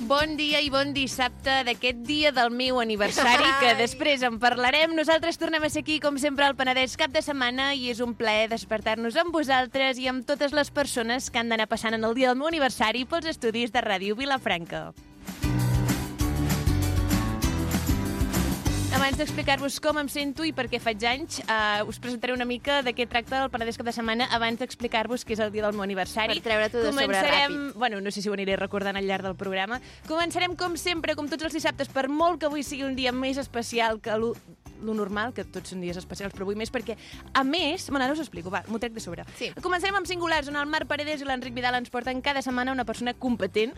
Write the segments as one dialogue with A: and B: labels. A: Bon dia i bon dissabte d'aquest dia del meu aniversari, que després en parlarem. Nosaltres tornem a ser aquí, com sempre, al Penedès cap de setmana i és un plaer despertar-nos amb vosaltres i amb totes les persones que han d'anar passant en el dia del meu aniversari pels estudis de Ràdio Vilafranca. Abans d'explicar-vos com em sento i per què faig anys, eh, us presentaré una mica de què tracta el Penedès cap de setmana abans d'explicar-vos que és el dia del meu aniversari.
B: Per treure-t'ho de sobre
A: ràpid. Bueno, no sé si ho aniré recordant al llarg del programa. Començarem, com sempre, com tots els dissabtes, per molt que avui sigui un dia més especial que l'1 lo normal, que tots són dies especials, però avui més, perquè, a més... Bueno, ara us explico, va, m'ho trec de sobre.
B: Sí.
A: Començarem amb singulars, on el Marc Paredes i l'Enric Vidal ens porten cada setmana una persona competent,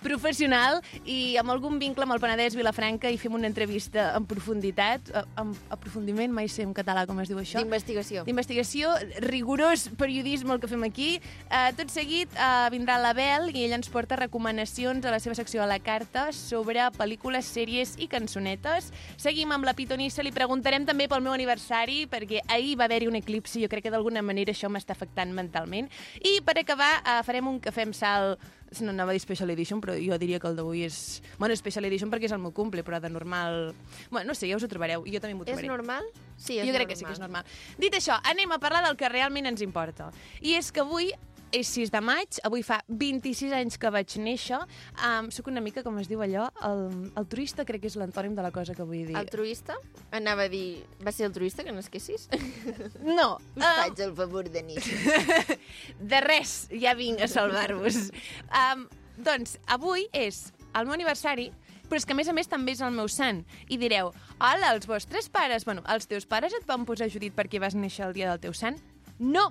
A: professional i amb algun vincle amb el Penedès Vilafranca i fem una entrevista en profunditat, eh, en aprofundiment, mai sé en català com es diu això.
B: D'investigació.
A: D'investigació, rigorós periodisme el que fem aquí. Uh, tot seguit uh, vindrà l'Abel i ell ens porta recomanacions a la seva secció a la carta sobre pel·lícules, sèries i cançonetes. Seguim amb la pitonissa, li preguntarem també pel meu aniversari, perquè ahir va haver-hi un eclipsi i jo crec que d'alguna manera això m'està afectant mentalment. I per acabar uh, farem un cafè amb sal no anava a dir Special Edition, però jo diria que el d'avui és... Bueno, Special Edition perquè és el meu cumple, però de normal... Bueno, no sé, ja us ho trobareu, i jo també m'ho
B: És
A: trobaré.
B: normal? Sí, és
A: Jo crec que sí que és normal. Dit això, anem a parlar del que realment ens importa. I és que avui és 6 de maig, avui fa 26 anys que vaig néixer. Um, soc una mica, com es diu allò, el, el turista crec que és l'antònim de la cosa que vull dir.
B: Altruista? Anava a dir... Va ser altruista que nasquessis?
A: No, um,
B: Us faig el favor de nit.
A: de res, ja vinc a salvar-vos. Um, doncs, avui és el meu aniversari, però és que, a més a més, també és el meu sant. I direu, hola, els vostres pares... Bueno, els teus pares et van posar Judit perquè vas néixer el dia del teu sant? No!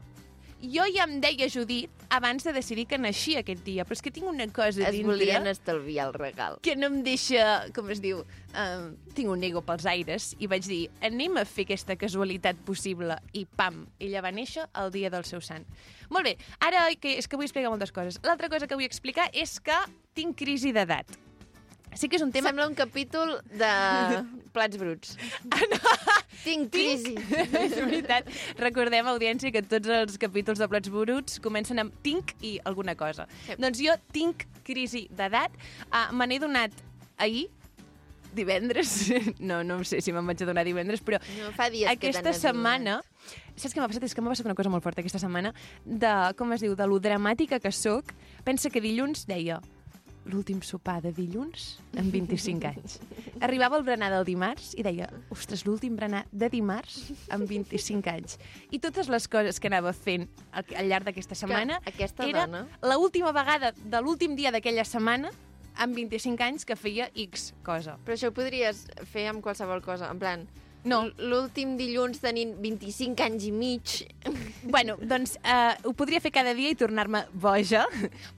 A: Jo ja em deia Judit abans de decidir que naixia aquest dia, però és que tinc una cosa
B: Es
A: dintre
B: volien estalviar el regal.
A: que no em deixa, com es diu, um, tinc un ego pels aires, i vaig dir, anem a fer aquesta casualitat possible, i pam, ella va néixer el dia del seu sant. Molt bé, ara que és que vull explicar moltes coses. L'altra cosa que vull explicar és que tinc crisi d'edat. Sí que és un tema...
B: Sembla un capítol de plats bruts.
A: Ah, no.
B: Tinc crisi.
A: és veritat. Recordem, audiència, que tots els capítols de Plats Bruts comencen amb tinc i alguna cosa.
B: Sí.
A: Doncs jo tinc crisi d'edat. Uh, me n'he donat ahir, divendres, no, no sé si me'n vaig adonar divendres, però
B: No, fa dies que te
A: aquesta
B: n'has
A: setmana... Saps què m'ha passat? És que m'ha passat una cosa molt forta aquesta setmana, de, com es diu, de lo dramàtica que sóc. Pensa que dilluns deia l'últim sopar de dilluns en 25 anys. Arribava el berenar del dimarts i deia, ostres, l'últim berenar de dimarts en 25 anys. I totes les coses que anava fent al, al llarg d'aquesta setmana
B: aquesta
A: era
B: dona-
A: l'última vegada de l'últim dia d'aquella setmana amb 25 anys que feia X cosa.
B: Però això ho podries fer amb qualsevol cosa, en plan...
A: No.
B: l- L'últim dilluns tenint 25 anys i mig.
A: Bueno, doncs eh, ho podria fer cada dia i tornar-me boja,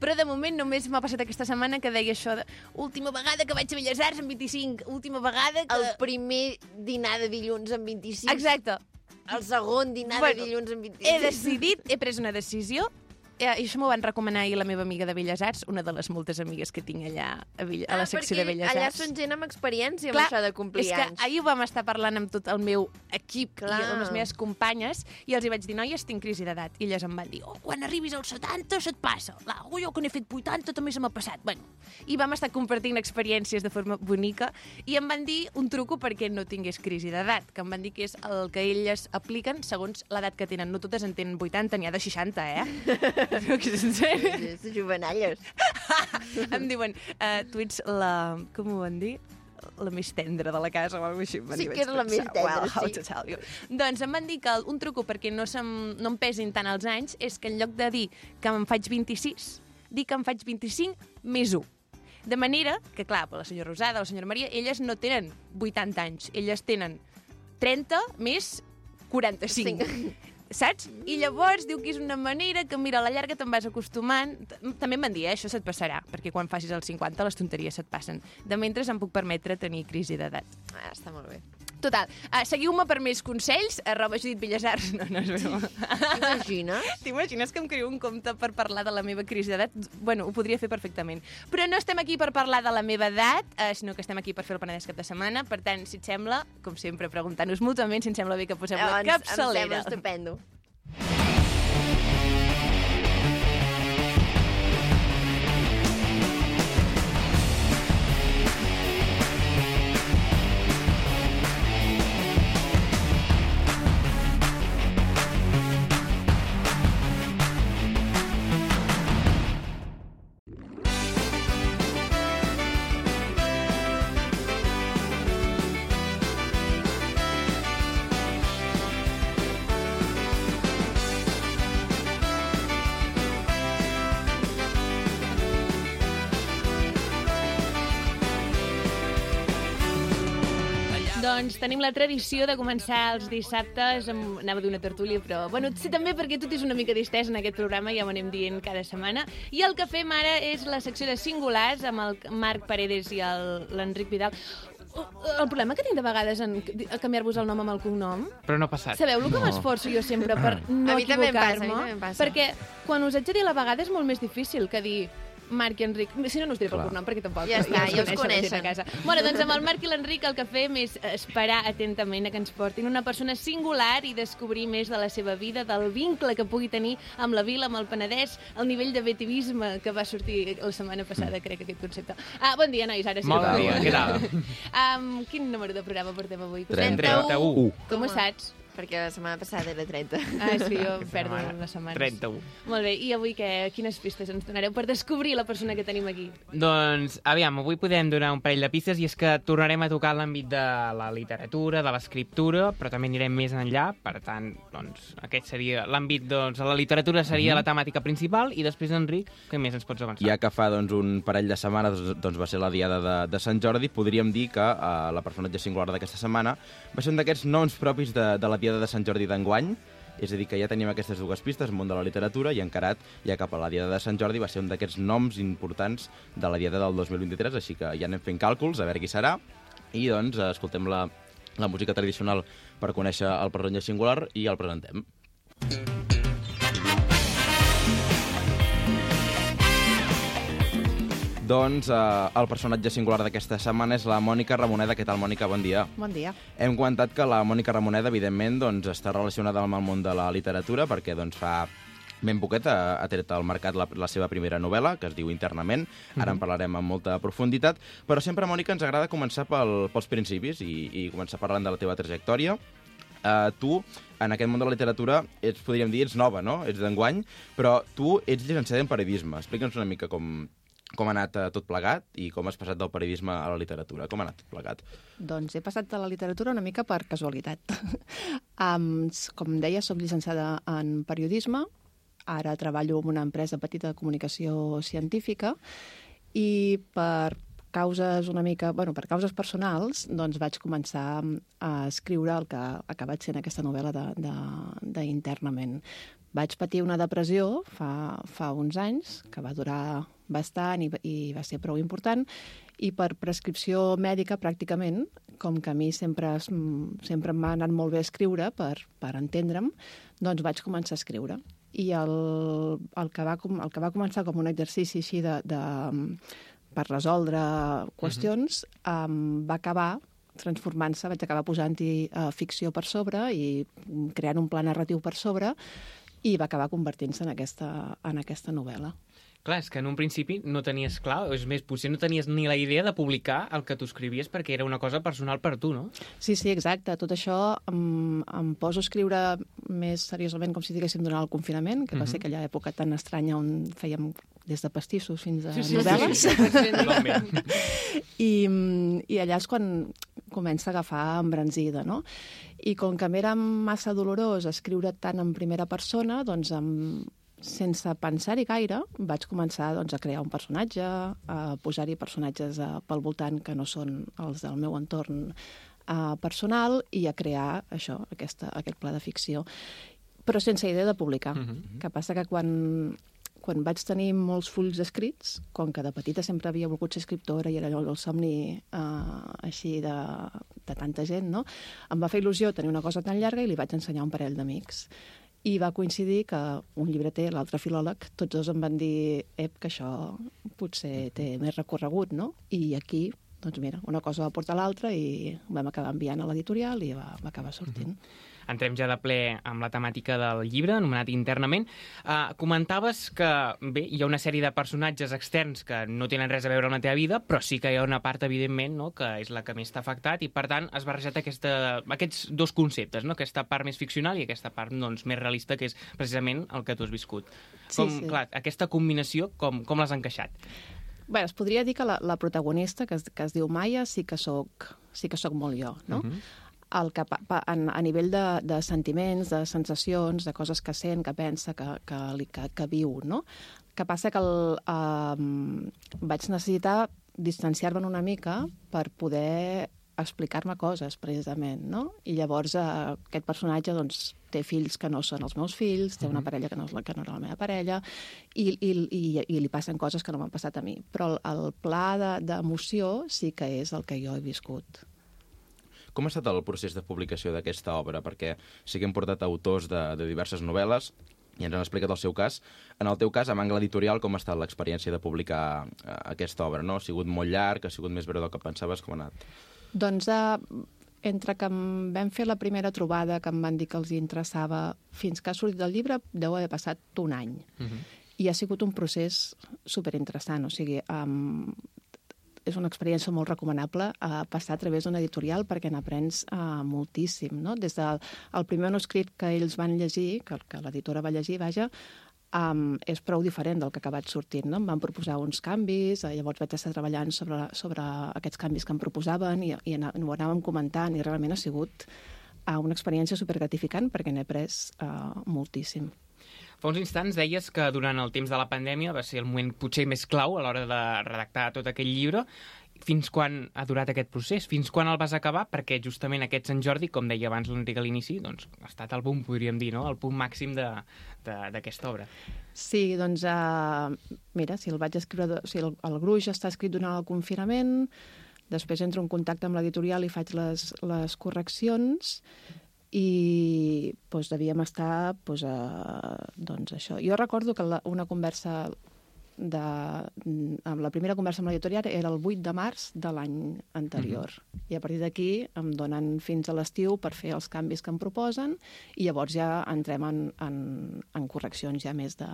A: però de moment només m'ha passat aquesta setmana que deia això de última vegada que vaig a Belles Arts en 25, última vegada que...
B: El primer dinar de dilluns en 25.
A: Exacte.
B: El segon dinar
A: Bueno,
B: de dilluns en 25.
A: He decidit, he pres una decisió, eh, i això m'ho van recomanar ahir la meva amiga de Belles Arts, una de les moltes amigues que tinc allà a, Bell a la secció de
B: Ah, perquè
A: Belles
B: allà
A: Arts.
B: són gent amb experiència
A: Clar,
B: amb això de complir
A: és que
B: anys.
A: ahir ho vam estar parlant amb tot el meu equip Clar.
B: Clar.
A: i amb les meves companyes i els hi vaig dir, noies, tinc crisi d'edat. I elles em van dir, oh, quan arribis als 70 se't passa. La, oh, jo que n'he fet 80 també se m'ha passat. Bueno, I vam estar compartint experiències de forma bonica i em van dir un truco perquè no tingués crisi d'edat, que em van dir que és el que elles apliquen segons l'edat que tenen. No totes en tenen 80, n'hi ha de 60, eh? no, que és en sèrio.
B: És jovenalles.
A: em diuen, uh, tu ets la... com ho van dir? la més tendra de la casa o alguna cosa així. em van
B: Sí
A: dir,
B: que
A: vaig
B: és la més
A: pensar,
B: tendra,
A: "Well, how
B: sí."
A: to tell you." Doncs em van dir que el- un truco perquè no, se'm, no em pesin tant els anys és que en lloc de dir que em faig 26, dir que em faig 25 més 1. De manera que, clar, per la senyora Rosada, la senyora Maria, elles no tenen 80 anys, elles tenen 30 més 45. Saps? I llavors diu que és una manera que, mira, a la llarga te'n vas acostumant. T- També em van dir, eh, això se't passarà, perquè quan facis els 50 les tonteries se't passen. De mentre em puc permetre tenir crisi d'edat.
B: Ah, està molt bé.
A: Total, uh, seguiu-me per més consells, Eh, arroba Judit Villasars. No, no, és broma.
B: T'imagines?
A: T'imagines que em creu un compte per parlar de la meva crisi d'edat? Bueno, ho podria fer perfectament. Però no estem aquí per parlar de la meva edat, eh, sinó que estem aquí per fer el Penedès cap de setmana. Per tant, si et sembla, com sempre, preguntant-nos mútuament si em sembla bé que posem la
B: Em sembla
A: capçalera.
B: estupendo.
A: Doncs tenim la tradició de començar els dissabtes amb... Anava a dir una tertúlia, però... Bueno, sí, també perquè tot és una mica distès en aquest programa, ja ho anem dient cada setmana. I el que fem ara és la secció de singulars amb el Marc Paredes i el- l'Enric Vidal. Oh, El problema que tinc de vegades en a canviar-vos el nom amb el cognom...
C: Però no ha passat.
A: Sabeu lo que
D: No.
A: m'esforço jo sempre per no
B: A mi també em passa, a mi
A: equivocar-me?
B: també em passa.
A: Perquè quan us haig de dir la vegada és molt més difícil que dir Marc i Enric. Si no, no us diré pel
D: Clar.
A: cognom, perquè tampoc...
B: Ja està, ja els
A: la gent a Casa. Bueno, doncs amb el Marc i l'Enric el que fem és esperar atentament a que ens portin una persona singular i descobrir més de la seva vida, del vincle que pugui tenir amb la vila, amb el Penedès, el nivell de vetivisme que va sortir la setmana passada, crec, aquest concepte. Ah, bon dia, nois, ara sí.
C: Mm. Molt
A: que
C: dia,
A: podem.
C: què tal?
A: Um, quin número de programa portem avui?
D: Trenta.
C: 31.
D: U.
A: Com ho saps?
B: Perquè la setmana passada era 30.
A: Ah, és que jo perdo les setmanes.
C: 31.
A: Molt bé, i avui què, quines pistes ens donareu per descobrir la persona que tenim aquí?
C: Doncs, aviam, avui podem donar un parell de pistes i és que tornarem a tocar l'àmbit de la literatura, de l'escriptura, però també anirem més enllà, per tant, doncs, aquest seria l'àmbit, doncs, de la literatura seria la temàtica principal i després, Enric, què més ens pots avançar?
D: Ja que fa doncs, un parell de setmanes doncs, doncs va ser la diada de, de Sant Jordi, podríem dir que eh, la personatge singular d'aquesta setmana va ser un d'aquests noms propis de, de la diada de Sant Jordi d'enguany, és a dir, que ja tenim aquestes dues pistes, món de la literatura i encarat ja cap a la Diada de Sant Jordi va ser un d'aquests noms importants de la Diada del 2023, així que ja anem fent càlculs, a veure qui serà, i doncs eh, escoltem la, la música tradicional per conèixer el personatge singular i el presentem. Doncs eh, el personatge singular d'aquesta setmana és la Mònica Ramoneda. Què tal, Mònica? Bon dia.
E: Bon dia.
D: Hem comentat que la Mònica Ramoneda, evidentment, doncs, està relacionada amb el món de la literatura perquè doncs, fa ben poquet ha, ha tret al mercat la, la seva primera novel·la, que es diu Internament. Ara en parlarem amb molta profunditat. Però sempre, Mònica, ens agrada començar pel, pels principis i, i començar parlant de la teva trajectòria. Uh, tu, en aquest món de la literatura, ets, podríem dir, ets nova, no? Ets d'enguany, però tu ets llicenciada en periodisme. Explica'ns una mica com, com ha anat eh, tot plegat i com has passat del periodisme a la literatura. Com ha anat tot plegat?
E: Doncs he passat de la literatura una mica per casualitat. um, com deia, sóc llicenciada en periodisme, ara treballo en una empresa petita de comunicació científica i per causes una mica, bueno, per causes personals, doncs vaig començar a escriure el que ha acabat sent aquesta novel·la d'internament. Vaig patir una depressió fa, fa uns anys, que va durar bastant i, i va ser prou important, i per prescripció mèdica, pràcticament, com que a mi sempre, es- mm, sempre m'ha anat molt bé escriure, per, per entendre'm, doncs vaig començar a escriure. I el, el, que, va, com- el que va començar com un exercici així de, de, per resoldre qüestions, uh -huh. um, va acabar transformant-se, vaig acabar posant-hi uh, ficció per sobre i mm, creant un pla narratiu per sobre i va acabar convertint-se en aquesta, en aquesta novel·la.
C: Clar, és que en un principi no tenies clar, o és més, potser no tenies ni la idea de publicar el que tu escrivies perquè era una cosa personal per tu, no?
E: Sí, sí, exacte. Tot això em, em poso a escriure més seriosament com si diguéssim durant el confinament, que va ser aquella època tan estranya on fèiem des de pastissos fins a novel·les.
C: Totalment.
E: I, mm, I allà és quan comença a agafar embranzida, no? I com que m'era massa dolorós escriure tant en primera persona, doncs em, sense pensar-hi gaire, vaig començar doncs, a crear un personatge, a posar-hi personatges eh, pel voltant que no són els del meu entorn eh, personal i a crear això, aquesta, aquest pla de ficció però sense idea de publicar. Mm -hmm. Que passa que quan, quan vaig tenir molts fulls escrits, com que de petita sempre havia volgut ser escriptora i era allò el somni eh, així de, de tanta gent, no? em va fer il·lusió tenir una cosa tan llarga i li vaig ensenyar a un parell d'amics. I va coincidir que un llibreter, l'altre filòleg, tots dos em van dir ep, que això potser té més recorregut, no? I aquí, doncs mira, una cosa va portar l'altra i ho vam acabar enviant a l'editorial i va, va acabar sortint. Mm -hmm.
C: Entrem ja de ple amb la temàtica del llibre, anomenat internament. Uh, comentaves que, bé, hi ha una sèrie de personatges externs que no tenen res a veure amb la teva vida, però sí que hi ha una part, evidentment, no?, que és la que més t'ha afectat i, per tant, has barrejat aquesta, aquests dos conceptes, no?, aquesta part més ficcional i aquesta part, doncs, més realista, que és precisament el que tu has viscut.
E: Sí,
C: com,
E: sí.
C: Clar, aquesta combinació, com, com l'has encaixat?
E: Bé, es podria dir que la, la protagonista, que es, que es diu Maia, sí que sóc, sí que sóc molt jo, no? Uh -huh. El que, pa, pa- en, a nivell de, de sentiments, de sensacions, de coses que sent, que pensa, que, que, li- que, que viu, no? Que passa que el, ehm, eh, vaig necessitar distanciar-me'n una mica per poder explicar-me coses, precisament, no? I llavors eh, aquest personatge, doncs, té fills que no són els meus fills, té una parella que no, és la, que no era la meva parella, i, i, i, i li passen coses que no m'han passat a mi. Però el, el pla de- d'emoció de, sí que és el que jo he viscut.
D: Com ha estat el procés de publicació d'aquesta obra? Perquè sí que hem portat autors de, de diverses novel·les i ens han explicat el seu cas. En el teu cas, amb angle editorial, com ha estat l'experiència de publicar eh, aquesta obra? No? Ha sigut molt llarg, ha sigut més breu del que pensaves, com ha anat?
E: Doncs eh, entre que em vam fer la primera trobada, que em van dir que els hi interessava, fins que ha sortit el llibre, deu haver passat un any. Uh -huh. I ha sigut un procés superinteressant, o sigui, um, és una experiència molt recomanable eh, passar a través d'un editorial perquè n'aprens eh, moltíssim, no? Des del el primer manuscrit que ells van llegir, que, que l'editora va llegir, vaja, um, és prou diferent del que ha acabat sortint. No? Em van proposar uns canvis, eh, llavors vaig estar treballant sobre, la- sobre aquests canvis que em proposaven i, i ana- ho anàvem comentant i realment ha sigut eh, una experiència supergratificant perquè n'he après eh, moltíssim.
C: Fa uns instants deies que durant el temps de la pandèmia va ser el moment potser més clau a l'hora de redactar tot aquell llibre. Fins quan ha durat aquest procés? Fins quan el vas acabar? Perquè justament aquest Sant Jordi, com deia abans l'Enric a l'inici, doncs, ha estat el boom, podríem dir, no? el punt màxim de- de- d'aquesta obra.
E: Sí, doncs, uh, mira, si el vaig escriure... de- O sigui, el, el gruix està escrit durant el confinament, després entro en contacte amb l'editorial i faig les, les correccions i doncs, devíem estar doncs, a, doncs això. Jo recordo que la, una conversa de, amb la primera conversa amb l'editorial era el 8 de març de l'any anterior. Mm
F: Mm-hmm.
E: -hmm. I a partir d'aquí em donen fins a l'estiu per fer els canvis que em proposen i llavors ja entrem en, en, en correccions ja més de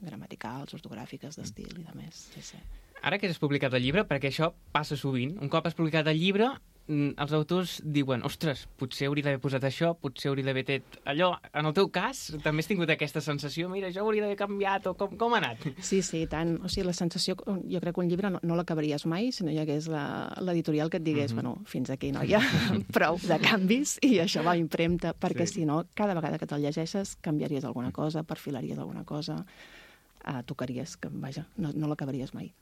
E: gramaticals, ortogràfiques, d'estil i de més. Sí, sí.
C: Ara que has publicat el llibre, perquè això passa sovint, un cop has publicat el llibre, mm, els autors diuen, ostres, potser hauria d'haver posat això, potser hauria d'haver tret allò. En el teu cas, també has tingut aquesta sensació, mira, jo hauria d'haver canviat, o com, com ha anat?
E: Sí, sí, i tant. O sigui, la sensació... Jo crec que un llibre no, no l'acabaries mai si no hi hagués la- l'editorial que et digués, mm -hmm. bueno, fins aquí, noia, prou de canvis, i això va a impremta, perquè
C: Sí.
E: sí. si no, cada vegada que te'l llegeixes canviaries alguna cosa, perfilaries alguna cosa, eh, tocaries, que, vaja, no, no l'acabaries mai.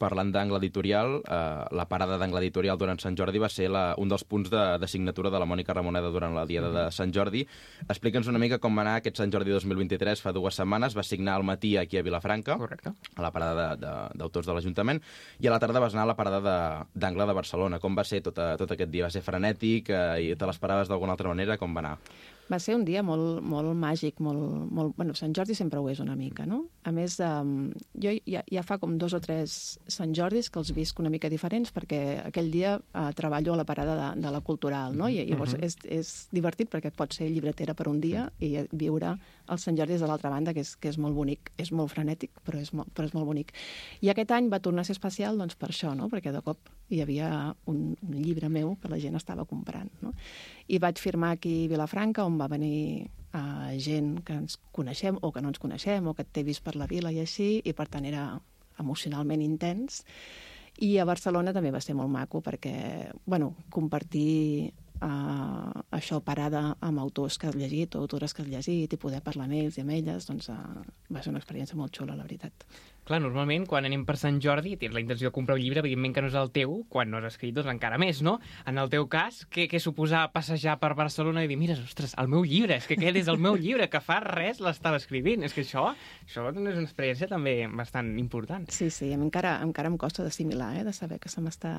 D: Parlant d'angle editorial, eh, la parada d'angle editorial durant Sant Jordi va ser la, un dels punts de, de signatura de la Mònica Ramoneda durant la diada de Sant Jordi. Explica'ns una mica com va anar aquest Sant Jordi 2023. Fa dues setmanes va signar al matí aquí a Vilafranca,
C: Correcte.
D: a la parada de- de- d'autors de, de l'Ajuntament, i a la tarda vas anar a la parada de- d'angle de, de Barcelona. Com va ser tot, a, tot aquest dia? Va ser frenètic? Eh, I te l'esperaves d'alguna altra manera? Com va anar?
E: Va ser un dia molt, molt màgic, molt, molt... Bueno, Sant Jordi sempre ho és una mica, no? A més, um, jo ja, ja fa com dos o tres Sant Jordis que els visc una mica diferents perquè aquell dia uh, treballo a la parada de, de la cultural, no? I llavors és, és divertit perquè pot ser llibretera per un dia i viure els Sant Jordis de l'altra banda, que és, que és molt bonic. És molt frenètic, però és molt, però és molt bonic. I aquest any va tornar a ser especial doncs, per això, no? Perquè de cop hi havia un, un llibre meu que la gent estava comprant, no? i vaig firmar aquí a Vilafranca, on va venir eh, gent que ens coneixem o que no ens coneixem o que et té vist per la vila i així, i per tant era emocionalment intens. I a Barcelona també va ser molt maco perquè, bueno, compartir eh, això parada amb autors que has llegit o autores que has llegit i poder parlar amb ells i amb elles, doncs eh, va ser una experiència molt xula, la veritat.
C: Clar, normalment, quan anem per Sant Jordi, tens la intenció de comprar un llibre, evidentment que no és el teu, quan no has escrit, doncs encara més, no? En el teu cas, què, què suposava passejar per Barcelona i dir, mira, ostres, el meu llibre, és que aquest és el meu llibre, que fa res l'estava escrivint. És que això, això és una experiència també bastant important.
E: Sí, sí, a mi encara, encara em costa d'assimilar, eh, de saber que se m'està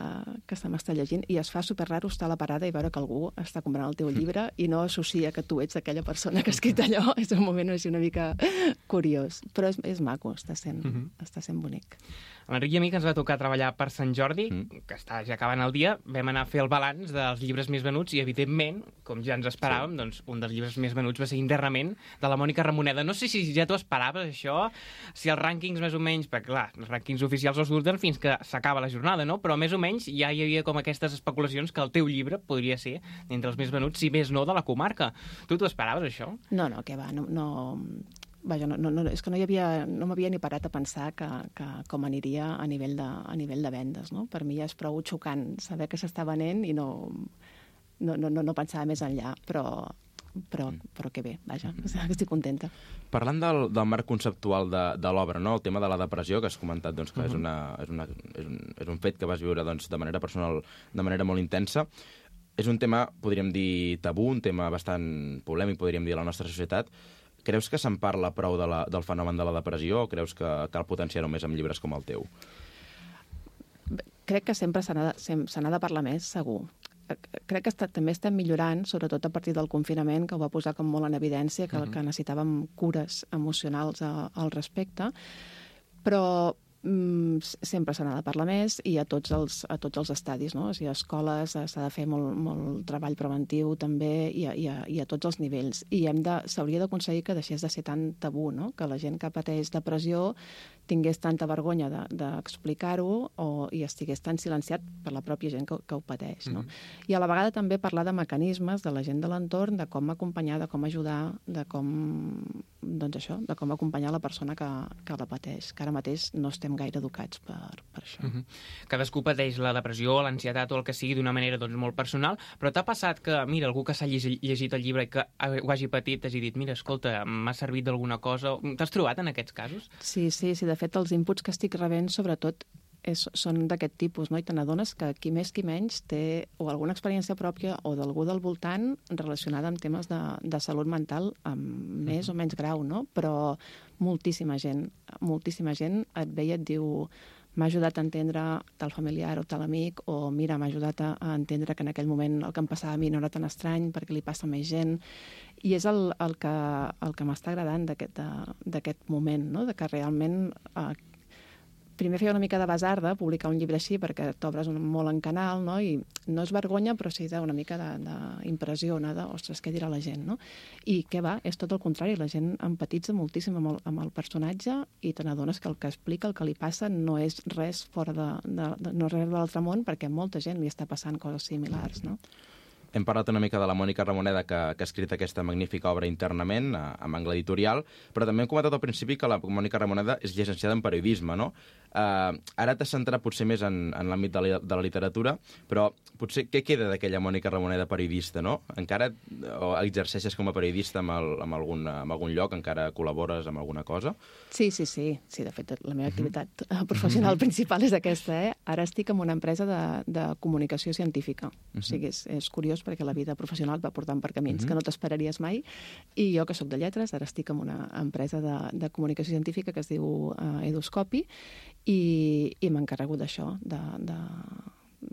E: que se m'està llegint i es fa super raro estar a la parada i veure que algú està comprant el teu llibre i no associa que tu ets aquella persona que ha escrit allò. És un moment així una mica curiós, però és, és maco, està sent, està sent bonic.
C: A L'Enric i a mi, que ens va tocar treballar per Sant Jordi, mm. que està ja acabant el dia, vam anar a fer el balanç dels llibres més venuts i, evidentment, com ja ens esperàvem, sí. doncs un dels llibres més venuts va ser Internament, de la Mònica Ramoneda. No sé si ja t'ho esperaves, això, si els rànquings més o menys, perquè, clar, els rànquings oficials els surten fins que s'acaba la jornada, no? Però més o menys ja hi havia com aquestes especulacions que el teu llibre podria ser entre els més venuts, si més no, de la comarca. Tu t'ho esperaves, això?
E: No, no, que va, no... no Vaja, no, no, no, és que no hi havia, no m'havia ni parat a pensar que, que com aniria a nivell de, a nivell de vendes, no? Per mi ja és prou xocant saber que s'està venent i no, no, no, no, no pensava més enllà, però però, però que bé, vaja, estic contenta.
D: Parlant del, del marc conceptual de, de l'obra, no? el tema de la depressió, que has comentat doncs, que és, una, és, una, és, un, és un fet que vas viure doncs, de manera personal, de manera molt intensa, és un tema, podríem dir, tabú, un tema bastant polèmic, podríem dir, a la nostra societat. Creus que se'n parla prou de la, del fenomen de la depressió o creus que cal potenciar-ho més amb llibres com el teu?
E: Bé, crec que sempre se n'ha de, sem- se n'ha de parlar més, segur. Eh, Crec que està, també estem millorant, sobretot a partir del confinament, que ho va posar com molt en evidència, que, que necessitàvem cures emocionals a, al respecte, però mm, s- sempre se n'ha de parlar més i a tots els, a tots els estadis, no? O sigui, a escoles eh, s'ha de fer molt, molt treball preventiu també i a, i a, i a tots els nivells. I hem de- s'hauria d'aconseguir que deixés de ser tan tabú, no? Que la gent que pateix depressió tingués tanta vergonya de- d'explicar-ho o i estigués tan silenciat per la pròpia gent que, ho- que ho pateix, no? I a la vegada també parlar de mecanismes de la gent de l'entorn, de com acompanyar, de com ajudar, de com doncs això, de com acompanyar la persona que, que la pateix, que ara mateix no estem gaire educats per, per això. Mm -hmm.
C: Cadascú pateix la depressió, l'ansietat o el que sigui d'una manera doncs, molt personal, però t'ha passat que, mira, algú que s'ha llegit, llegit el llibre i que ha- ho hagi patit, t'hagi dit, mira, escolta, m'ha servit d'alguna cosa... T'has trobat en aquests casos?
E: Sí, sí, sí. De fet, els inputs que estic rebent, sobretot, és, són d'aquest tipus, no? I te n'adones que qui més qui menys té o alguna experiència pròpia o d'algú del voltant relacionada amb temes de, de salut mental amb més o menys grau, no? Però moltíssima gent, moltíssima gent et ve i et diu m'ha ajudat a entendre tal familiar o tal amic, o mira, m'ha ajudat a, a entendre que en aquell moment el que em passava a mi no era tan estrany perquè li passa a més gent. I és el, el que, el que m'està agradant d'aquest de- d'aquest moment, no? de que realment eh, primer feia una mica de basarda publicar un llibre així perquè t'obres un- molt en canal, no? I no és vergonya, però sí d'una mica d'impressió, no? De, ostres, què dirà la gent, no? I què va? És tot el contrari. La gent empatitza moltíssim amb el, amb el personatge i te n'adones que el que explica, el que li passa, no és res fora de, de, de no és res de l'altre món perquè a molta gent li està passant coses similars, no?
D: Hem parlat una mica de la Mònica Ramoneda, que, que ha escrit aquesta magnífica obra internament, a, amb angle editorial, però també hem comentat al principi que la Mònica Ramoneda és llicenciada en periodisme, no? Uh, ara t'has centrat potser més en, en l'àmbit de, la, de la literatura, però potser què queda d'aquella Mònica Ramoneda periodista, no? Encara eh, o exerceixes com a periodista amb, el, amb, algun, amb algun lloc, encara col·labores amb alguna cosa?
E: Sí, sí, sí. Sí, de fet, la meva activitat eh, professional principal és aquesta, eh? Ara estic en una empresa de, de comunicació científica. O sigui, és, és curiós perquè la vida professional et va portant per camins que no t'esperaries mai. I jo, que sóc de lletres, ara estic en una empresa de, de comunicació científica que es diu eh, Eduscopi i, i m'encarrego d'això, de, de,